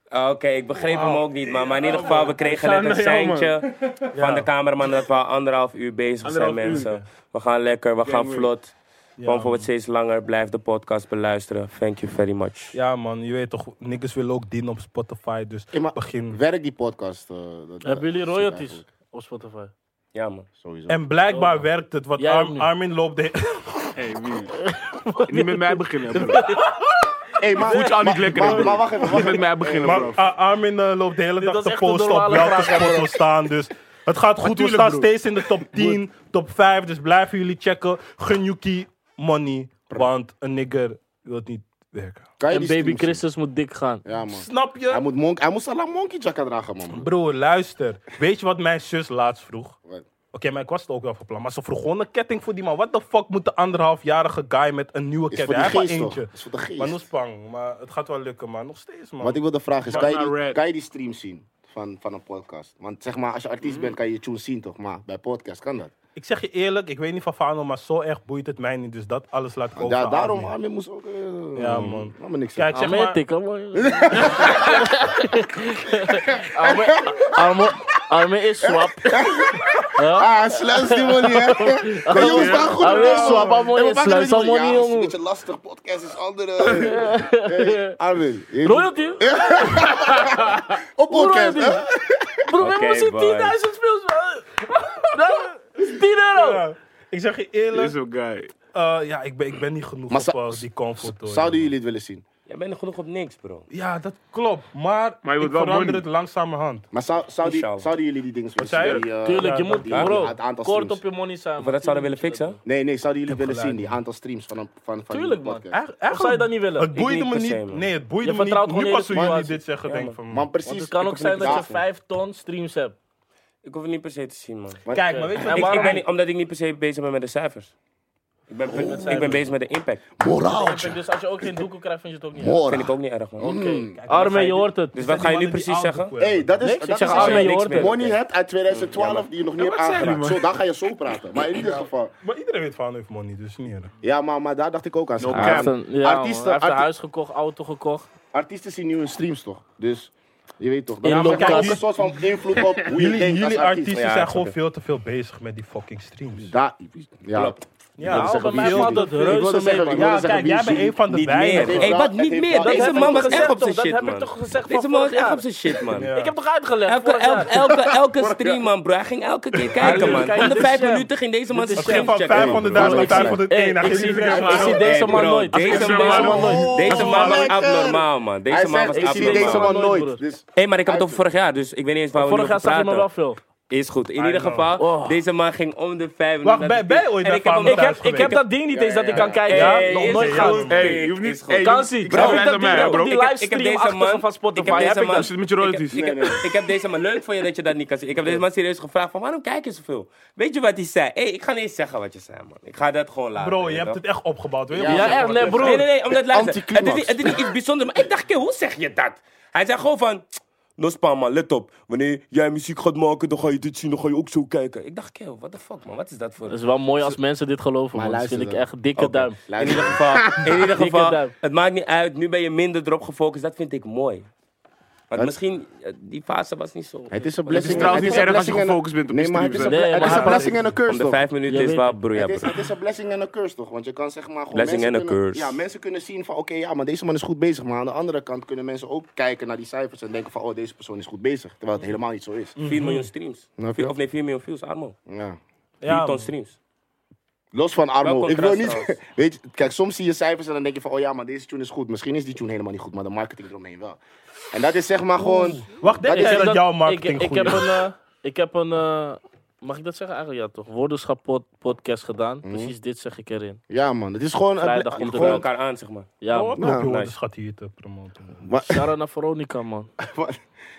Speaker 1: Ah, Oké, ik begreep hem ook niet, man. Maar in ieder geval, we kregen
Speaker 3: Sander,
Speaker 1: net een
Speaker 3: ja, man.
Speaker 1: seintje van de cameraman dat we al anderhalf uur bezig zijn,
Speaker 5: Anderhalf uur,
Speaker 1: mensen. We gaan lekker, we gaan
Speaker 5: man.
Speaker 1: vlot. Kom voor
Speaker 3: man.
Speaker 1: wat steeds langer. Blijf de podcast beluisteren. Thank you very much.
Speaker 3: Ja, man, je weet toch, niggas willen ook dienen op Spotify, dus
Speaker 2: Hey, maar
Speaker 3: begin.
Speaker 2: Werk die podcast. eh, dat-
Speaker 4: Hebben jullie
Speaker 2: dat-
Speaker 4: royalties op Spotify?
Speaker 1: Ja, man.
Speaker 2: Sowieso.
Speaker 3: En blijkbaar werkt het, want
Speaker 4: Jij ook
Speaker 3: Ar-
Speaker 4: niet.
Speaker 3: Armin loopt de...
Speaker 5: Hey, wie? Niet met mij beginnen, bro.
Speaker 2: Hey, maar,
Speaker 5: Voelt je al niet
Speaker 2: maar-
Speaker 5: lekker,
Speaker 2: maar,
Speaker 5: bro.
Speaker 2: maar wacht even, wacht
Speaker 5: Niet
Speaker 2: even.
Speaker 5: met mij beginnen,
Speaker 3: Maar
Speaker 5: bro.
Speaker 3: Ar- Armin eh, loopt de hele dag
Speaker 4: was
Speaker 3: te
Speaker 4: echt een
Speaker 3: posten op
Speaker 4: normale
Speaker 3: welke
Speaker 4: vraag, hè,
Speaker 3: spot
Speaker 4: bro.
Speaker 3: we staan. Dus het gaat goed. We
Speaker 5: Natuurlijk,
Speaker 3: staan
Speaker 5: broer.
Speaker 3: steeds in de top 10, top 5. Dus blijven jullie checken. Gun Yuki money. Want een nigger wil niet werken.
Speaker 2: Kan je
Speaker 4: En
Speaker 2: die
Speaker 4: baby
Speaker 2: streams zien?
Speaker 4: Christus moet dik gaan.
Speaker 2: Ja, man.
Speaker 3: Snap
Speaker 2: Hij
Speaker 3: je?
Speaker 2: moet, monk, hij moest al lang monkey jacka dragen, man.
Speaker 3: Broer, luister. Weet je wat mijn zus laatst vroeg?
Speaker 2: Wat?
Speaker 3: Oké, maar ik was het ook wel van plan. Maar ze vroeg gewoon een ketting voor die man. Wat de fuck moet de anderhalfjarige guy met een nieuwe
Speaker 2: Is
Speaker 3: ketting?
Speaker 2: voor
Speaker 3: Hij
Speaker 2: die
Speaker 3: heeft maar
Speaker 2: geest, toch?
Speaker 3: eentje.
Speaker 2: Is voor de
Speaker 3: Maar nog
Speaker 2: geest.
Speaker 3: spang. Maar het gaat wel lukken, man. Nog steeds, man.
Speaker 2: Wat ik wilde vragen is, kan je,
Speaker 5: maar
Speaker 2: die,
Speaker 5: red.
Speaker 2: kan je die stream zien van, van een podcast? Want zeg maar, als je artiest bent, kan je je tunes zien, toch? Maar bij podcast kan dat.
Speaker 3: Ik zeg je eerlijk, ik weet niet van Fano, maar zo erg boeit het mij niet. Dus dat alles laat ik over.
Speaker 2: Ja,
Speaker 3: aan
Speaker 2: daarom,
Speaker 3: Armin.
Speaker 2: Armin moest ook... eh,
Speaker 3: Ja, man.
Speaker 2: Laat me niks
Speaker 3: Kijk, zeg
Speaker 4: Amen,
Speaker 3: maar,
Speaker 4: tik, hoor. Amen- Amen- Amen is swap.
Speaker 2: Ah, sluis die money, hè. Maar jongens, staan goed
Speaker 4: Ah,
Speaker 2: in
Speaker 4: weet
Speaker 2: de
Speaker 4: je,
Speaker 2: show.
Speaker 4: een paar mooie
Speaker 2: Hey, we pakken
Speaker 4: sluis,
Speaker 2: jullie-
Speaker 4: allemaal niet,
Speaker 2: Ja, het is een
Speaker 4: jongen.
Speaker 2: beetje lastig. Podcast is andere. Hey, Armin. je-
Speaker 4: Royalty?
Speaker 2: Op podcast, hè.
Speaker 4: Broer, we
Speaker 1: Oké,
Speaker 4: hebben misschien
Speaker 1: boy.
Speaker 4: 10.000 views, man. Nou, 10 euro.
Speaker 3: Ja, Ik zeg je eerlijk,
Speaker 5: Is een guy.
Speaker 3: eh, ja, ik ben, ik ben niet genoeg
Speaker 2: Maar
Speaker 3: op
Speaker 2: zou-
Speaker 3: eh, die comfort. hoor,
Speaker 2: Zouden
Speaker 3: jongen.
Speaker 2: jullie het willen zien?
Speaker 1: Jij bent genoeg op niks, bro.
Speaker 3: Ja, dat klopt. Maar,
Speaker 5: Maar je
Speaker 3: ik
Speaker 5: wordt wel
Speaker 3: verander
Speaker 5: money.
Speaker 3: het langzamerhand.
Speaker 2: Maar zou, zou die,
Speaker 1: Inshallah.
Speaker 2: zouden jullie die dingen willen
Speaker 3: zei
Speaker 2: zien?
Speaker 3: je?
Speaker 2: Die, eh,
Speaker 4: Tuurlijk, je
Speaker 3: ja,
Speaker 4: moet,
Speaker 2: die- die-
Speaker 4: bro,
Speaker 2: het aantal
Speaker 4: kort
Speaker 2: streams.
Speaker 4: op je money zijn.
Speaker 1: Of we dat zouden willen fixen?
Speaker 2: Nee, nee, zouden jullie het willen zien?
Speaker 3: gelijk.
Speaker 2: Die aantal streams van een van, van
Speaker 4: Tuurlijk,
Speaker 2: die
Speaker 4: man.
Speaker 2: podcast?
Speaker 3: Eigen-
Speaker 4: Of zou je dat niet willen?
Speaker 3: Het
Speaker 4: Ik
Speaker 3: boeide
Speaker 1: niet
Speaker 3: me
Speaker 1: per se,
Speaker 3: niet.
Speaker 1: man.
Speaker 3: nee, het boeide
Speaker 4: Je
Speaker 3: me
Speaker 4: vertrouwt
Speaker 3: niet.
Speaker 4: gewoon
Speaker 3: Nu
Speaker 4: in
Speaker 3: pas
Speaker 4: de
Speaker 3: toen jullie
Speaker 4: situatie.
Speaker 3: dit zeggen, denk ik van...
Speaker 2: Man, precies.
Speaker 4: Want het kan
Speaker 2: ik
Speaker 4: ook
Speaker 2: hoef niet
Speaker 4: zijn
Speaker 2: te
Speaker 4: dat je
Speaker 2: vragen.
Speaker 4: 5 ton streams hebt.
Speaker 1: Ik hoef het niet per se te zien, man.
Speaker 2: Maar-
Speaker 3: Kijk, maar weet je
Speaker 4: En
Speaker 3: wat
Speaker 1: Ik,
Speaker 4: waarom?
Speaker 1: ik ben niet, omdat ik niet per se bezig ben met de cijfers. Ik ben, ik ben bezig met de impact.
Speaker 2: Moraaltje.
Speaker 4: Dus als je ook geen doekel krijgt, vind je het ook niet.
Speaker 1: Dat vind ik
Speaker 2: Moraal.
Speaker 1: ook niet erg, man.
Speaker 4: Oké. Arme, je hoort het.
Speaker 1: Dus wat ga je nu precies zeggen?
Speaker 2: Hey, dat is,
Speaker 4: Niks,
Speaker 2: dat
Speaker 4: ik
Speaker 2: is
Speaker 4: zeg
Speaker 2: als
Speaker 4: alleen,
Speaker 2: je
Speaker 4: je
Speaker 1: niks
Speaker 4: hoort
Speaker 1: meer.
Speaker 4: het.
Speaker 2: money hebt uit 2012 die je nog niet hebt aangeraakt. Zo, dan ga je zo praten. Maar in ieder geval.
Speaker 3: Maar iedereen weet van heeft money, dus niet erg.
Speaker 2: Ja, maar, maar daar dacht ik ook aan.
Speaker 5: No
Speaker 2: Ah,
Speaker 5: cap.
Speaker 4: Hij heeft een- ja, man. Hij heeft
Speaker 2: Artiesten-
Speaker 4: een
Speaker 2: arti-
Speaker 4: huis gekocht, auto gekocht.
Speaker 2: Artiesten zien nu hun streams toch? Dus je weet toch. Dat
Speaker 4: Ja,
Speaker 2: is
Speaker 4: maar
Speaker 2: ook
Speaker 4: kijk,
Speaker 2: een
Speaker 4: jullie-
Speaker 2: soort van invloed op hoe je
Speaker 3: Jullie,
Speaker 2: denkt als
Speaker 3: jullie artiesten
Speaker 2: artiest.
Speaker 1: Ja,
Speaker 3: zijn
Speaker 1: ik
Speaker 3: gewoon
Speaker 1: snap
Speaker 3: veel te veel bezig met die fucking streams.
Speaker 2: Daar- Ja,
Speaker 3: Ja,
Speaker 2: wilde zeggen,
Speaker 4: bij mij
Speaker 2: wie
Speaker 4: valt
Speaker 2: jullie-
Speaker 4: het
Speaker 2: Ik wilde
Speaker 4: reuze mee,
Speaker 2: zeggen,
Speaker 4: man.
Speaker 2: ik wilde
Speaker 3: Ja,
Speaker 2: zeggen,
Speaker 3: kijk,
Speaker 2: wie
Speaker 3: jij bent
Speaker 2: jullie-
Speaker 3: een van de
Speaker 1: Niet meer.
Speaker 3: weinigen.
Speaker 1: Hé, wat
Speaker 2: Het
Speaker 1: niet
Speaker 2: heeft wel-
Speaker 1: meer?
Speaker 2: het
Speaker 1: Deze
Speaker 2: heeft
Speaker 1: man
Speaker 4: wel
Speaker 1: was echt
Speaker 4: gezegd,
Speaker 1: op zijn
Speaker 4: toch? Dat
Speaker 1: shit,
Speaker 4: heb ik
Speaker 1: man.
Speaker 4: toch gezegd
Speaker 1: Deze
Speaker 4: van
Speaker 1: man was
Speaker 4: vorig
Speaker 1: echt
Speaker 4: jaar?
Speaker 1: op zijn shit, man.
Speaker 3: Ja.
Speaker 4: Ik heb toch uitgelegd?
Speaker 1: Elke,
Speaker 4: vorig
Speaker 1: elke,
Speaker 4: jaar.
Speaker 1: elke, elke stream, man, bro. Hij ging elke keer kijken,
Speaker 4: Kijk,
Speaker 1: man.
Speaker 4: dit
Speaker 1: Om de
Speaker 4: is
Speaker 1: vijf
Speaker 4: hem.
Speaker 1: minuten ging deze man
Speaker 4: Dit
Speaker 1: zijn
Speaker 4: is
Speaker 1: stream
Speaker 3: Geen van
Speaker 1: checken.
Speaker 3: 500.000 naar 500
Speaker 4: Hey,
Speaker 3: en
Speaker 4: ik,
Speaker 3: geen
Speaker 4: zie,
Speaker 3: iedereen.
Speaker 4: ik zie deze
Speaker 1: Hey,
Speaker 4: man
Speaker 1: bro,
Speaker 4: nooit. Ik
Speaker 1: Deze
Speaker 4: zie
Speaker 1: man,
Speaker 4: deze man nooit.
Speaker 1: deze man was
Speaker 2: Lekker.
Speaker 1: abnormaal, man.
Speaker 2: Hij
Speaker 1: Deze man
Speaker 2: zegt,
Speaker 1: was
Speaker 2: ik zie deze
Speaker 1: abnormaal.
Speaker 2: man
Speaker 4: Abnormaal.
Speaker 2: nooit. Dus
Speaker 1: Hé, maar ik heb het over vorig jaar, dus ik weet niet eens waar we nu
Speaker 4: Vorig
Speaker 1: over
Speaker 4: jaar zag je me
Speaker 1: praten.
Speaker 4: wel veel.
Speaker 1: Is goed. In ieder
Speaker 3: know.
Speaker 1: geval,
Speaker 4: Oh.
Speaker 1: deze man ging om de vijf minuten.
Speaker 3: Wacht,
Speaker 1: naar
Speaker 3: bij-
Speaker 1: de
Speaker 3: bij
Speaker 1: stream.
Speaker 3: ooit
Speaker 1: En
Speaker 3: naar
Speaker 1: ik heb hem
Speaker 3: Fano
Speaker 4: Ik
Speaker 1: nog-
Speaker 3: thuis
Speaker 4: heb, ik heb dat ding niet eens dat ik kan kijken.
Speaker 1: Ja,
Speaker 4: Ja, nog
Speaker 1: is
Speaker 4: nooit
Speaker 1: goed.
Speaker 4: gehad.
Speaker 5: Hey, je hoeft
Speaker 1: Is
Speaker 5: niet.
Speaker 1: goed.
Speaker 5: Hey,
Speaker 4: Vakantie,
Speaker 5: bro.
Speaker 4: bro.
Speaker 5: Ik
Speaker 4: Dat ding op
Speaker 5: bro.
Speaker 4: die
Speaker 1: Ik heb-
Speaker 4: live
Speaker 1: ik heb deze
Speaker 4: stream
Speaker 1: man-
Speaker 4: van
Speaker 1: ik heb
Speaker 4: Spotify.
Speaker 1: deze
Speaker 4: Heb ik
Speaker 1: man-
Speaker 5: Als je het met je royalties.
Speaker 1: Ik, heb- ik heb deze man leuk van je dat je dat niet kan zien. Ik heb deze man serieus gevraagd van waarom kijk je zoveel? Weet je wat hij zei? Hé, ik ga niet eens zeggen wat je zei, man. Ik ga dat gewoon laten.
Speaker 3: Bro,
Speaker 1: weet
Speaker 3: je hebt
Speaker 1: toch?
Speaker 3: het echt opgebouwd. weet je?
Speaker 4: Ja, echt, nee, broer.
Speaker 1: Nee, nee, nee, omdat luister. Het is,
Speaker 2: Anticlimax.
Speaker 1: niet, het is niet iets bijzonders, maar ik dacht, keer, hoe zeg je dat? Hij zei gewoon van. Nospa man, let op. Wanneer jij muziek gaat maken, dan ga je dit zien, dan ga je ook zo kijken. Ik dacht, kill, what the fuck man, wat is dat voor
Speaker 4: Het is wel mooi als mensen dit geloven,
Speaker 2: Maar
Speaker 4: man. Dat vind ik
Speaker 2: luister
Speaker 4: echt dikke
Speaker 1: Oké.
Speaker 4: duim.
Speaker 1: In ieder geval, in ieder
Speaker 4: Dikke
Speaker 1: geval
Speaker 4: duim.
Speaker 1: het maakt niet uit. Nu ben je minder erop gefocust. Dat vind ik mooi. Want misschien, eh, die fase was niet zo.
Speaker 2: het is een
Speaker 1: Het
Speaker 2: blessing.
Speaker 1: is
Speaker 5: trouwens niet
Speaker 2: een
Speaker 5: erg als je
Speaker 2: blessing en een-
Speaker 5: gefocust bent op
Speaker 2: Nee,
Speaker 5: je
Speaker 2: maar het is
Speaker 5: streams,
Speaker 2: een
Speaker 4: hè?
Speaker 2: ble-
Speaker 4: Nee,
Speaker 2: het is
Speaker 4: maar-
Speaker 2: een blessing en een
Speaker 1: Om
Speaker 2: curse
Speaker 1: de
Speaker 2: toch?
Speaker 1: vijf minuten
Speaker 4: Je
Speaker 1: is
Speaker 4: weet
Speaker 1: wel
Speaker 4: het.
Speaker 1: broer, ja
Speaker 2: Het is,
Speaker 1: broer.
Speaker 2: het is een blessing en een curse toch? Want je kan zeg maar gewoon.
Speaker 1: Blessing
Speaker 2: mensen
Speaker 1: en een
Speaker 2: kunnen,
Speaker 1: curse.
Speaker 2: Ja, mensen kunnen zien van oké, ja, maar deze man is goed bezig. Maar aan de andere kant kunnen mensen ook kijken naar die cijfers en denken van oh, deze persoon is goed bezig. Terwijl het helemaal niet zo is.
Speaker 1: 4 miljoen streams.
Speaker 2: Snap je?
Speaker 1: Vier- Mm. Of nee, 4 miljoen views, Armo.
Speaker 2: Ja.
Speaker 1: 4
Speaker 3: Ja,
Speaker 1: ton
Speaker 3: man.
Speaker 1: streams.
Speaker 2: Los van Armo.
Speaker 1: Welk
Speaker 2: Ik wil
Speaker 1: contrast
Speaker 2: niet. Weet je, kijk, soms zie je cijfers en dan denk je van oh ja, maar deze tune is goed. Misschien is die tune helemaal niet goed, maar de marketing eromheen wel. En dat is zeg maar gewoon.
Speaker 3: Wacht,
Speaker 2: Dat
Speaker 3: denk
Speaker 2: is
Speaker 3: jij
Speaker 4: heb
Speaker 3: dat
Speaker 4: dat-
Speaker 3: jouw
Speaker 4: ik-
Speaker 3: marketing
Speaker 4: ik
Speaker 3: goed
Speaker 4: heb
Speaker 3: is?
Speaker 4: een, eh, Ik heb een, eh, mag ik dat zeggen eigenlijk? Ja, toch? Woordenschap pod- podcast gedaan.
Speaker 2: Mhm.
Speaker 4: Precies dit zeg ik erin.
Speaker 2: Ja, man, het is gewoon. het-
Speaker 4: Vrijdag komt
Speaker 1: We
Speaker 4: het
Speaker 1: vullen
Speaker 4: uit.
Speaker 1: elkaar aan, zeg maar.
Speaker 4: Ja,
Speaker 3: Wat
Speaker 4: man.
Speaker 3: Oh, op, joh,
Speaker 1: nice.
Speaker 3: dat schat hier te promoten.
Speaker 2: maar-
Speaker 4: Shout-out naar Veronica, man.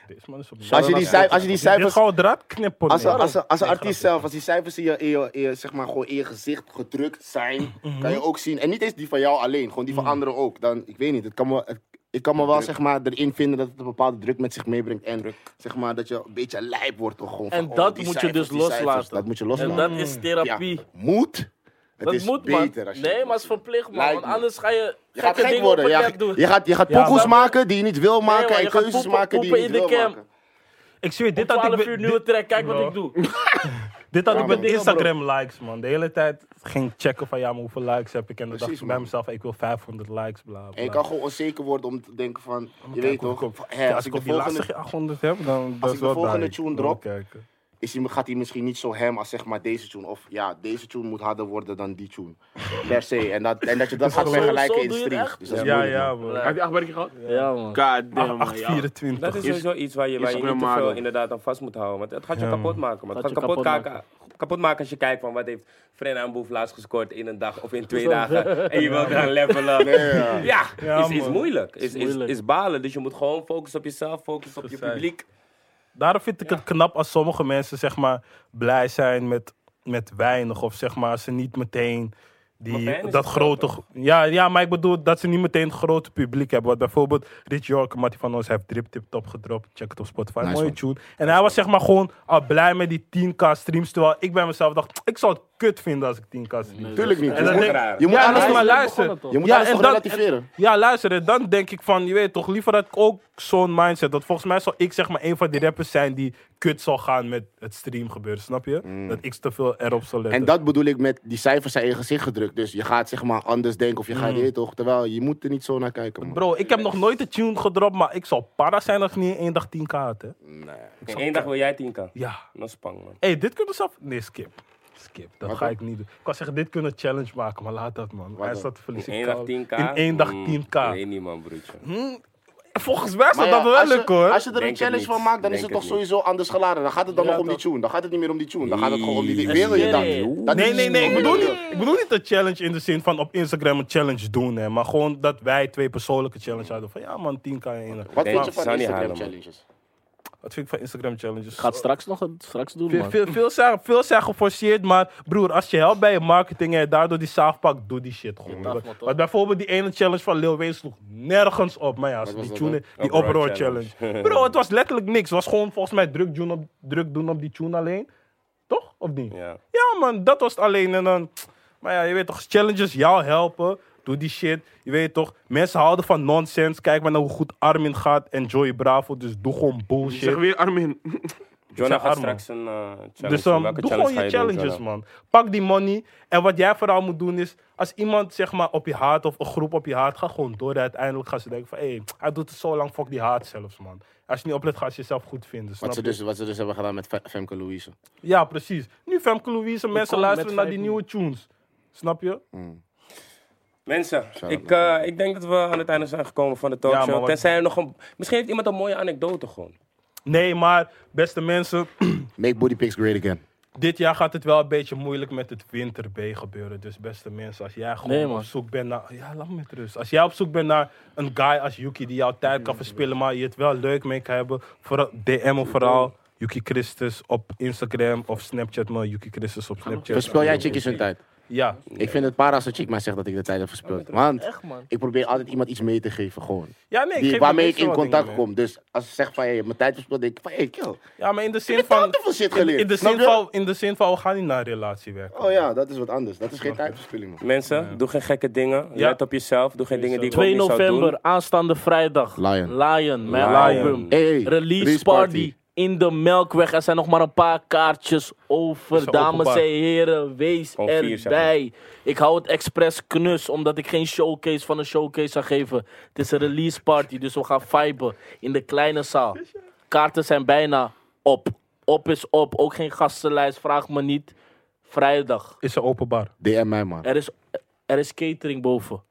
Speaker 3: Deze man is op
Speaker 2: als, je die cijf- als je die
Speaker 3: Dit
Speaker 2: cijfers.
Speaker 3: gewoon draad knippen.
Speaker 2: Als,
Speaker 3: nee.
Speaker 2: als, als, als een artiest zelf, als die cijfers in je, in je- in je- zeg maar, gewoon in je gezicht gedrukt zijn,
Speaker 4: Mm-hmm.
Speaker 2: kan je ook zien. En niet eens die van jou alleen, gewoon
Speaker 4: Mm.
Speaker 2: die van anderen ook. Dan, ik weet niet, het kan me, het- ik kan me wel zeg maar, erin vinden dat het een bepaalde druk met zich meebrengt. En zeg maar, dat je een beetje lijp wordt. Toch, gewoon,
Speaker 4: En
Speaker 2: van, oh,
Speaker 4: dat
Speaker 2: die
Speaker 4: moet je
Speaker 2: cijfers,
Speaker 4: dus
Speaker 2: die cijfers.
Speaker 4: loslaten.
Speaker 2: dat moet je
Speaker 4: En
Speaker 2: loslaten.
Speaker 4: dat is therapie.
Speaker 2: Ja, moet. Het
Speaker 4: Dat
Speaker 2: is
Speaker 4: moet, man.
Speaker 2: beter als je
Speaker 4: Nee,
Speaker 2: dat
Speaker 4: maar het is
Speaker 2: doet.
Speaker 4: verplicht, man.
Speaker 2: Lijkt
Speaker 4: Want
Speaker 2: me.
Speaker 4: anders ga je
Speaker 2: Je gaat
Speaker 4: gekke
Speaker 2: gek
Speaker 4: dingen op
Speaker 2: worden.
Speaker 4: het
Speaker 2: Je,
Speaker 4: net
Speaker 2: gaat-
Speaker 4: doen.
Speaker 2: je gaat, je gaat
Speaker 3: Ja,
Speaker 2: pokoes
Speaker 3: maar-
Speaker 2: maken die je niet wil maken
Speaker 4: maar je
Speaker 2: en
Speaker 4: gaat
Speaker 2: keuzes
Speaker 4: poepen-
Speaker 2: maken die je
Speaker 4: poepen
Speaker 2: niet
Speaker 4: in
Speaker 2: wil
Speaker 4: de cam.
Speaker 2: maken.
Speaker 3: Ik zweer, dit had ik
Speaker 4: 12
Speaker 3: met-
Speaker 4: uur
Speaker 3: dit-
Speaker 4: nieuwe track, kijk wat
Speaker 3: Bro.
Speaker 4: ik doe.
Speaker 3: Dit had ik met
Speaker 4: man.
Speaker 3: Instagram likes, man. De hele tijd ging checken van ja, maar hoeveel likes heb ik. En dan dacht
Speaker 2: Precies,
Speaker 3: ik bij
Speaker 2: man.
Speaker 3: mezelf, ik wil 500 likes, bla bla.
Speaker 2: En je kan gewoon onzeker worden om te denken van, je
Speaker 3: Kijk,
Speaker 2: weet
Speaker 3: hoe
Speaker 2: toch,
Speaker 3: ik op-
Speaker 2: van,
Speaker 3: ja,
Speaker 2: hè, als ik de
Speaker 3: op die laatste
Speaker 2: volgende,
Speaker 3: keer 800 heb, dan dat
Speaker 2: ik
Speaker 3: is
Speaker 2: de
Speaker 3: wel
Speaker 2: volgende
Speaker 3: duidelijk.
Speaker 2: tune
Speaker 3: Dan
Speaker 2: drop-
Speaker 3: kijken.
Speaker 2: is die, gaat hij misschien niet zo hem als zeg maar deze tune. Of ja, deze tune moet harder worden dan die tune. Per se. En dat, en dat je dat gaat
Speaker 4: gewoon-
Speaker 2: vergelijken
Speaker 4: zo
Speaker 2: in
Speaker 4: doe je het
Speaker 2: streams.
Speaker 4: echt?
Speaker 2: Dus dat is
Speaker 3: Ja,
Speaker 2: moeilijk, man.
Speaker 3: ja, man.
Speaker 5: Heb je acht barretjes gehad?
Speaker 4: Ja, man.
Speaker 5: God damn, man. ja.
Speaker 3: 824.
Speaker 1: Dat is sowieso iets waar je, waar je niet te
Speaker 5: Instagram
Speaker 1: veel
Speaker 5: maken.
Speaker 1: inderdaad aan vast moet houden. Want het gaat je
Speaker 3: Ja, man.
Speaker 1: kapot maken. Man. Het
Speaker 4: Gaat
Speaker 1: gaat
Speaker 4: je
Speaker 1: kapot,
Speaker 4: kapot
Speaker 1: maken. kapot maken als je kijkt van wat heeft Frenna en Boef laatst gescoord in een dag of in twee dagen. En je wilt gaan levelen.
Speaker 2: ja.
Speaker 1: Ja,
Speaker 3: Ja,
Speaker 1: is, is
Speaker 3: man.
Speaker 1: moeilijk. Is, is,
Speaker 4: moeilijk.
Speaker 1: is balen. Dus je moet gewoon focussen op jezelf, focussen op je
Speaker 3: Precies.
Speaker 1: publiek.
Speaker 3: Daarom vind ik het knap als sommige mensen zeg maar blij zijn met, met weinig. Of zeg maar ze niet meteen
Speaker 1: Maar weinig
Speaker 3: die,
Speaker 1: is
Speaker 3: dat
Speaker 1: het
Speaker 3: grote... Ja, ja, maar ik bedoel dat ze niet meteen het grote publiek hebben. Want bijvoorbeeld Rich York, Mattie van ons, heeft Drip Tip Top gedropt. Check het op Spotify,
Speaker 2: Nice,
Speaker 3: mooie
Speaker 2: man.
Speaker 3: tune. En hij was zeg maar gewoon al blij met die 10k streams. Terwijl ik bij mezelf dacht, ik zou het kut vinden als ik 10k stream.
Speaker 2: Tuurlijk niet.
Speaker 3: En
Speaker 2: je
Speaker 3: dan
Speaker 2: moet,
Speaker 3: denk,
Speaker 1: raar.
Speaker 2: je moet
Speaker 3: ja,
Speaker 2: alles,
Speaker 3: luister, maar
Speaker 4: begonnen
Speaker 3: luister.
Speaker 4: toch?
Speaker 2: je moet
Speaker 3: Ja,
Speaker 2: alles
Speaker 3: en
Speaker 2: toch
Speaker 3: dan-
Speaker 2: relativeren.
Speaker 3: Ja, luister, en dan denk ik van, je weet toch, liever had ik ook zo'n mindset. Dat volgens mij zal ik zeg maar een van die rappers zijn die kut zal gaan met het stream gebeuren, snap je? Dat ik te veel erop zal letten.
Speaker 2: Mm. En dat bedoel ik met die cijfers zijn in je gezicht gedrukt. Dus je gaat zeg maar anders denken of je gaat dit toch. Terwijl je moet er niet zo naar kijken. Man.
Speaker 3: Bro, ik heb nog nooit een tune gedropt, maar ik zal para zijn als ik niet in één dag 10k had, hè?
Speaker 1: In één dag wil jij 10 kan.
Speaker 3: Ja.
Speaker 1: Dat is pang, man.
Speaker 3: Hé, hey, dit kunnen zelf... Nee, skip. Skip, dat ga ik niet doen. Ik kan zeggen, dit kunnen een challenge maken, maar laat dat, man. Hij
Speaker 2: dan?
Speaker 3: staat te
Speaker 1: In
Speaker 3: verliezen.
Speaker 1: één dag 10k?
Speaker 3: In één dag
Speaker 1: Mm,
Speaker 3: 10k.
Speaker 1: Nee, niet, man, broertje.
Speaker 3: Volgens mij
Speaker 2: Maar
Speaker 3: zou
Speaker 2: ja,
Speaker 3: dat wel
Speaker 2: als je-
Speaker 3: lukken, hoor.
Speaker 2: Als je er
Speaker 1: Denk
Speaker 2: een
Speaker 1: het
Speaker 2: challenge
Speaker 1: niet.
Speaker 2: van maakt, dan is
Speaker 1: Denk
Speaker 2: het toch
Speaker 1: het niet.
Speaker 2: sowieso anders geladen. Dan gaat het dan nog om die tune. Dan gaat het niet meer om die tune. Dan gaat het gewoon om die ding. Wil je dan? Dat
Speaker 3: Nee,
Speaker 2: is-
Speaker 3: nee, nee. Ik bedoel, niet, ik bedoel niet een challenge in de zin van op Instagram een challenge doen. Hè, maar gewoon dat wij twee persoonlijke challenge hadden. Van ja man, 10 kan je in.
Speaker 2: Wat
Speaker 1: Denk
Speaker 2: vind je
Speaker 1: het
Speaker 2: van
Speaker 1: zou niet
Speaker 2: Instagram
Speaker 1: halen, man.
Speaker 2: challenges?
Speaker 3: Wat vind ik van Instagram challenges?
Speaker 4: Gaat straks nog een, straks doen,
Speaker 3: veel,
Speaker 4: man.
Speaker 3: veel, veel, zijn, veel zijn geforceerd, maar broer, als je helpt bij je marketing en je daardoor die zaag pakt, doe die shit gewoon.
Speaker 4: dacht
Speaker 3: Want-
Speaker 4: maar toch.
Speaker 3: Want bijvoorbeeld die ene challenge van Lil Wayne sloeg nergens op. Maar ja, als
Speaker 2: was
Speaker 3: die
Speaker 2: dat
Speaker 3: tune, die
Speaker 1: Uproar
Speaker 3: Uproar
Speaker 1: challenge.
Speaker 3: challenge. Bro, het was letterlijk niks. Het was gewoon volgens mij druk doen op, druk doen op die tune alleen. Toch? Of niet?
Speaker 1: Ja.
Speaker 3: Ja, man, dat was het alleen. En dan, maar ja, je weet toch, challenges jou helpen. Doe die shit. Je weet toch, mensen houden van nonsense. Kijk maar naar hoe goed Armin gaat en Joey Bravo. Dus doe gewoon
Speaker 5: Zeg
Speaker 3: bullshit.
Speaker 5: weer Armin.
Speaker 1: Jonah gaat
Speaker 3: arm,
Speaker 1: straks een eh, challenge
Speaker 3: Dus
Speaker 1: doen.
Speaker 3: um,
Speaker 1: Welke
Speaker 3: doe
Speaker 1: challenge
Speaker 3: gewoon
Speaker 1: ga
Speaker 3: je
Speaker 1: doen,
Speaker 3: challenges,
Speaker 1: Jonah?
Speaker 3: man. Pak die money. En wat jij vooral moet doen is, als iemand zeg maar op je haat of een groep op je haat, ga gewoon door. En uiteindelijk gaan ze denken van, hé, hey, hij doet het zo lang, fuck die haat zelfs, man. Als je niet oplet, ga je jezelf goed vinden. Snap
Speaker 2: Wat ze,
Speaker 3: je?
Speaker 2: dus, wat ze dus hebben gedaan met Fe- Femke Louise.
Speaker 3: Ja, precies. Nu Femke Louise, mensen
Speaker 4: kom
Speaker 3: luisteren
Speaker 4: met
Speaker 3: naar die
Speaker 4: vijf
Speaker 3: nieuwe tunes. Snap je?
Speaker 1: Mensen, ik, eh, ik denk dat we aan het einde zijn gekomen van de talkshow.
Speaker 3: Ja, maar wat-
Speaker 1: Tenzij er nog een... Misschien heeft iemand een mooie anekdote gewoon.
Speaker 3: Nee, maar beste mensen,
Speaker 2: Make booty pics great again.
Speaker 3: dit jaar gaat het wel een beetje moeilijk met het winter B gebeuren. Dus beste mensen, als jij gewoon
Speaker 4: Nee, man.
Speaker 3: op zoek bent naar... Ja, laat me met rust. Als jij op zoek bent naar een guy als Yuki die jouw tijd kan verspillen, maar je het wel leuk mee kan hebben, vooral DM of vooral Yuki Christus op Instagram of Snapchat, maar Yuki Christus op Snapchat.
Speaker 2: Verspil jij chickies hun tijd?
Speaker 3: Ja,
Speaker 2: Ik vind het para als een chick mij zegt dat ik de tijd heb verspild. Want
Speaker 4: Echt, man.
Speaker 2: ik probeer altijd iemand iets mee te geven, gewoon.
Speaker 3: ja nee, ik
Speaker 2: Die-
Speaker 3: geef
Speaker 2: waarmee
Speaker 3: je
Speaker 2: ik in
Speaker 3: meestal wel
Speaker 2: contact
Speaker 3: dingen
Speaker 2: kom.
Speaker 3: mee.
Speaker 2: Dus als ze zegt van, hey, je hebt mijn tijd verspild, denk ik van, hey, kill.
Speaker 3: Ja, maar in de
Speaker 2: Ik
Speaker 3: zin
Speaker 2: heb al
Speaker 3: van...
Speaker 2: te veel shit
Speaker 3: In,
Speaker 2: geleerd.
Speaker 3: in de
Speaker 2: Snap
Speaker 3: zin
Speaker 2: je?
Speaker 3: van, in de zin van, we gaan niet naar een relatie werken.
Speaker 2: Oh ja, dat is wat anders. Dat is geen tijdverspilling, man.
Speaker 1: Mensen, doe geen gekke dingen.
Speaker 3: Ja.
Speaker 1: Let op jezelf. Doe geen dingen die ik ook
Speaker 4: 2
Speaker 1: niet zou doen.
Speaker 4: november, aanstaande vrijdag.
Speaker 2: Lion.
Speaker 4: Lion, mijn
Speaker 1: Lion.
Speaker 4: album.
Speaker 2: Hey, hey,
Speaker 4: Release party. in de Melkweg. Er zijn nog maar een paar kaartjes over.
Speaker 3: open
Speaker 4: Dames
Speaker 3: bar.
Speaker 4: en heren, wees
Speaker 1: Gewoon vier, zeg maar.
Speaker 4: erbij. Ik hou het expres knus, omdat ik geen showcase van een showcase zou geven. Het is een release party, dus we gaan viben in de kleine zaal. Kaarten zijn bijna op. Op is op. Ook geen gastenlijst, vraag me niet. Vrijdag.
Speaker 3: Is ze openbaar?
Speaker 2: DM mij, man.
Speaker 4: Er is, er is catering boven.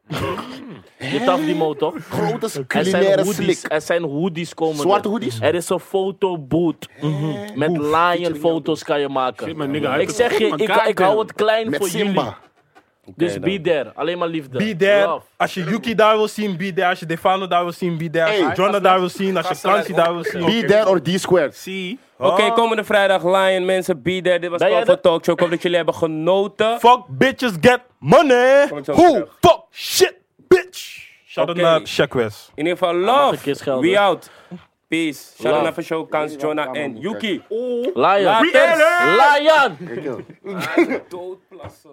Speaker 4: Je taf die mo, toch?
Speaker 2: Grote
Speaker 4: Er zijn,
Speaker 2: culinaire
Speaker 4: hoodies,
Speaker 2: slik.
Speaker 4: er zijn hoodies komen.
Speaker 2: Zwarte hoodies?
Speaker 4: Er is een fotoboot. mhm, Met lion foto's kan je
Speaker 5: Shit,
Speaker 4: maken.
Speaker 5: mijn nigga, hij
Speaker 4: Ik
Speaker 5: heeft-
Speaker 4: zeg je,
Speaker 5: Oh my
Speaker 4: ik,
Speaker 5: God,
Speaker 4: ik hou
Speaker 5: damn.
Speaker 4: het klein
Speaker 2: Met
Speaker 4: voor
Speaker 2: Simba.
Speaker 4: jullie. Dus be there. Alleen maar liefde.
Speaker 3: Be there.
Speaker 4: Love.
Speaker 3: Als je Yuki daar wil zien, be there. Als je Defano daar wil zien, be there. Als je
Speaker 2: Hey.
Speaker 3: Jonah daar wil zien, als je Kansi daar wil zien.
Speaker 2: Be there or D-squared.
Speaker 5: Zie.
Speaker 3: Oh.
Speaker 1: Oké, komende vrijdag, Lion, mensen, be there. Dit was
Speaker 4: Ah. Ben jij
Speaker 1: Call for
Speaker 4: dat?
Speaker 1: Talkshow. Ik hoop dat jullie hebben genoten.
Speaker 3: Fuck bitches, get money.
Speaker 1: Kom ik zo
Speaker 3: Who
Speaker 1: terug.
Speaker 3: fuck shit, bitch. Shout out
Speaker 1: Oké.
Speaker 3: naar Shaq West.
Speaker 1: In ieder geval,
Speaker 4: Ah, mag een keer
Speaker 1: love.
Speaker 4: schelden.
Speaker 1: We out. Peace. Shout
Speaker 4: Love.
Speaker 1: out naar Show, Kans, Jonah en Yuki.
Speaker 4: Lion.
Speaker 1: Lion.
Speaker 4: Lion.
Speaker 2: Kill.
Speaker 1: Doodplassen.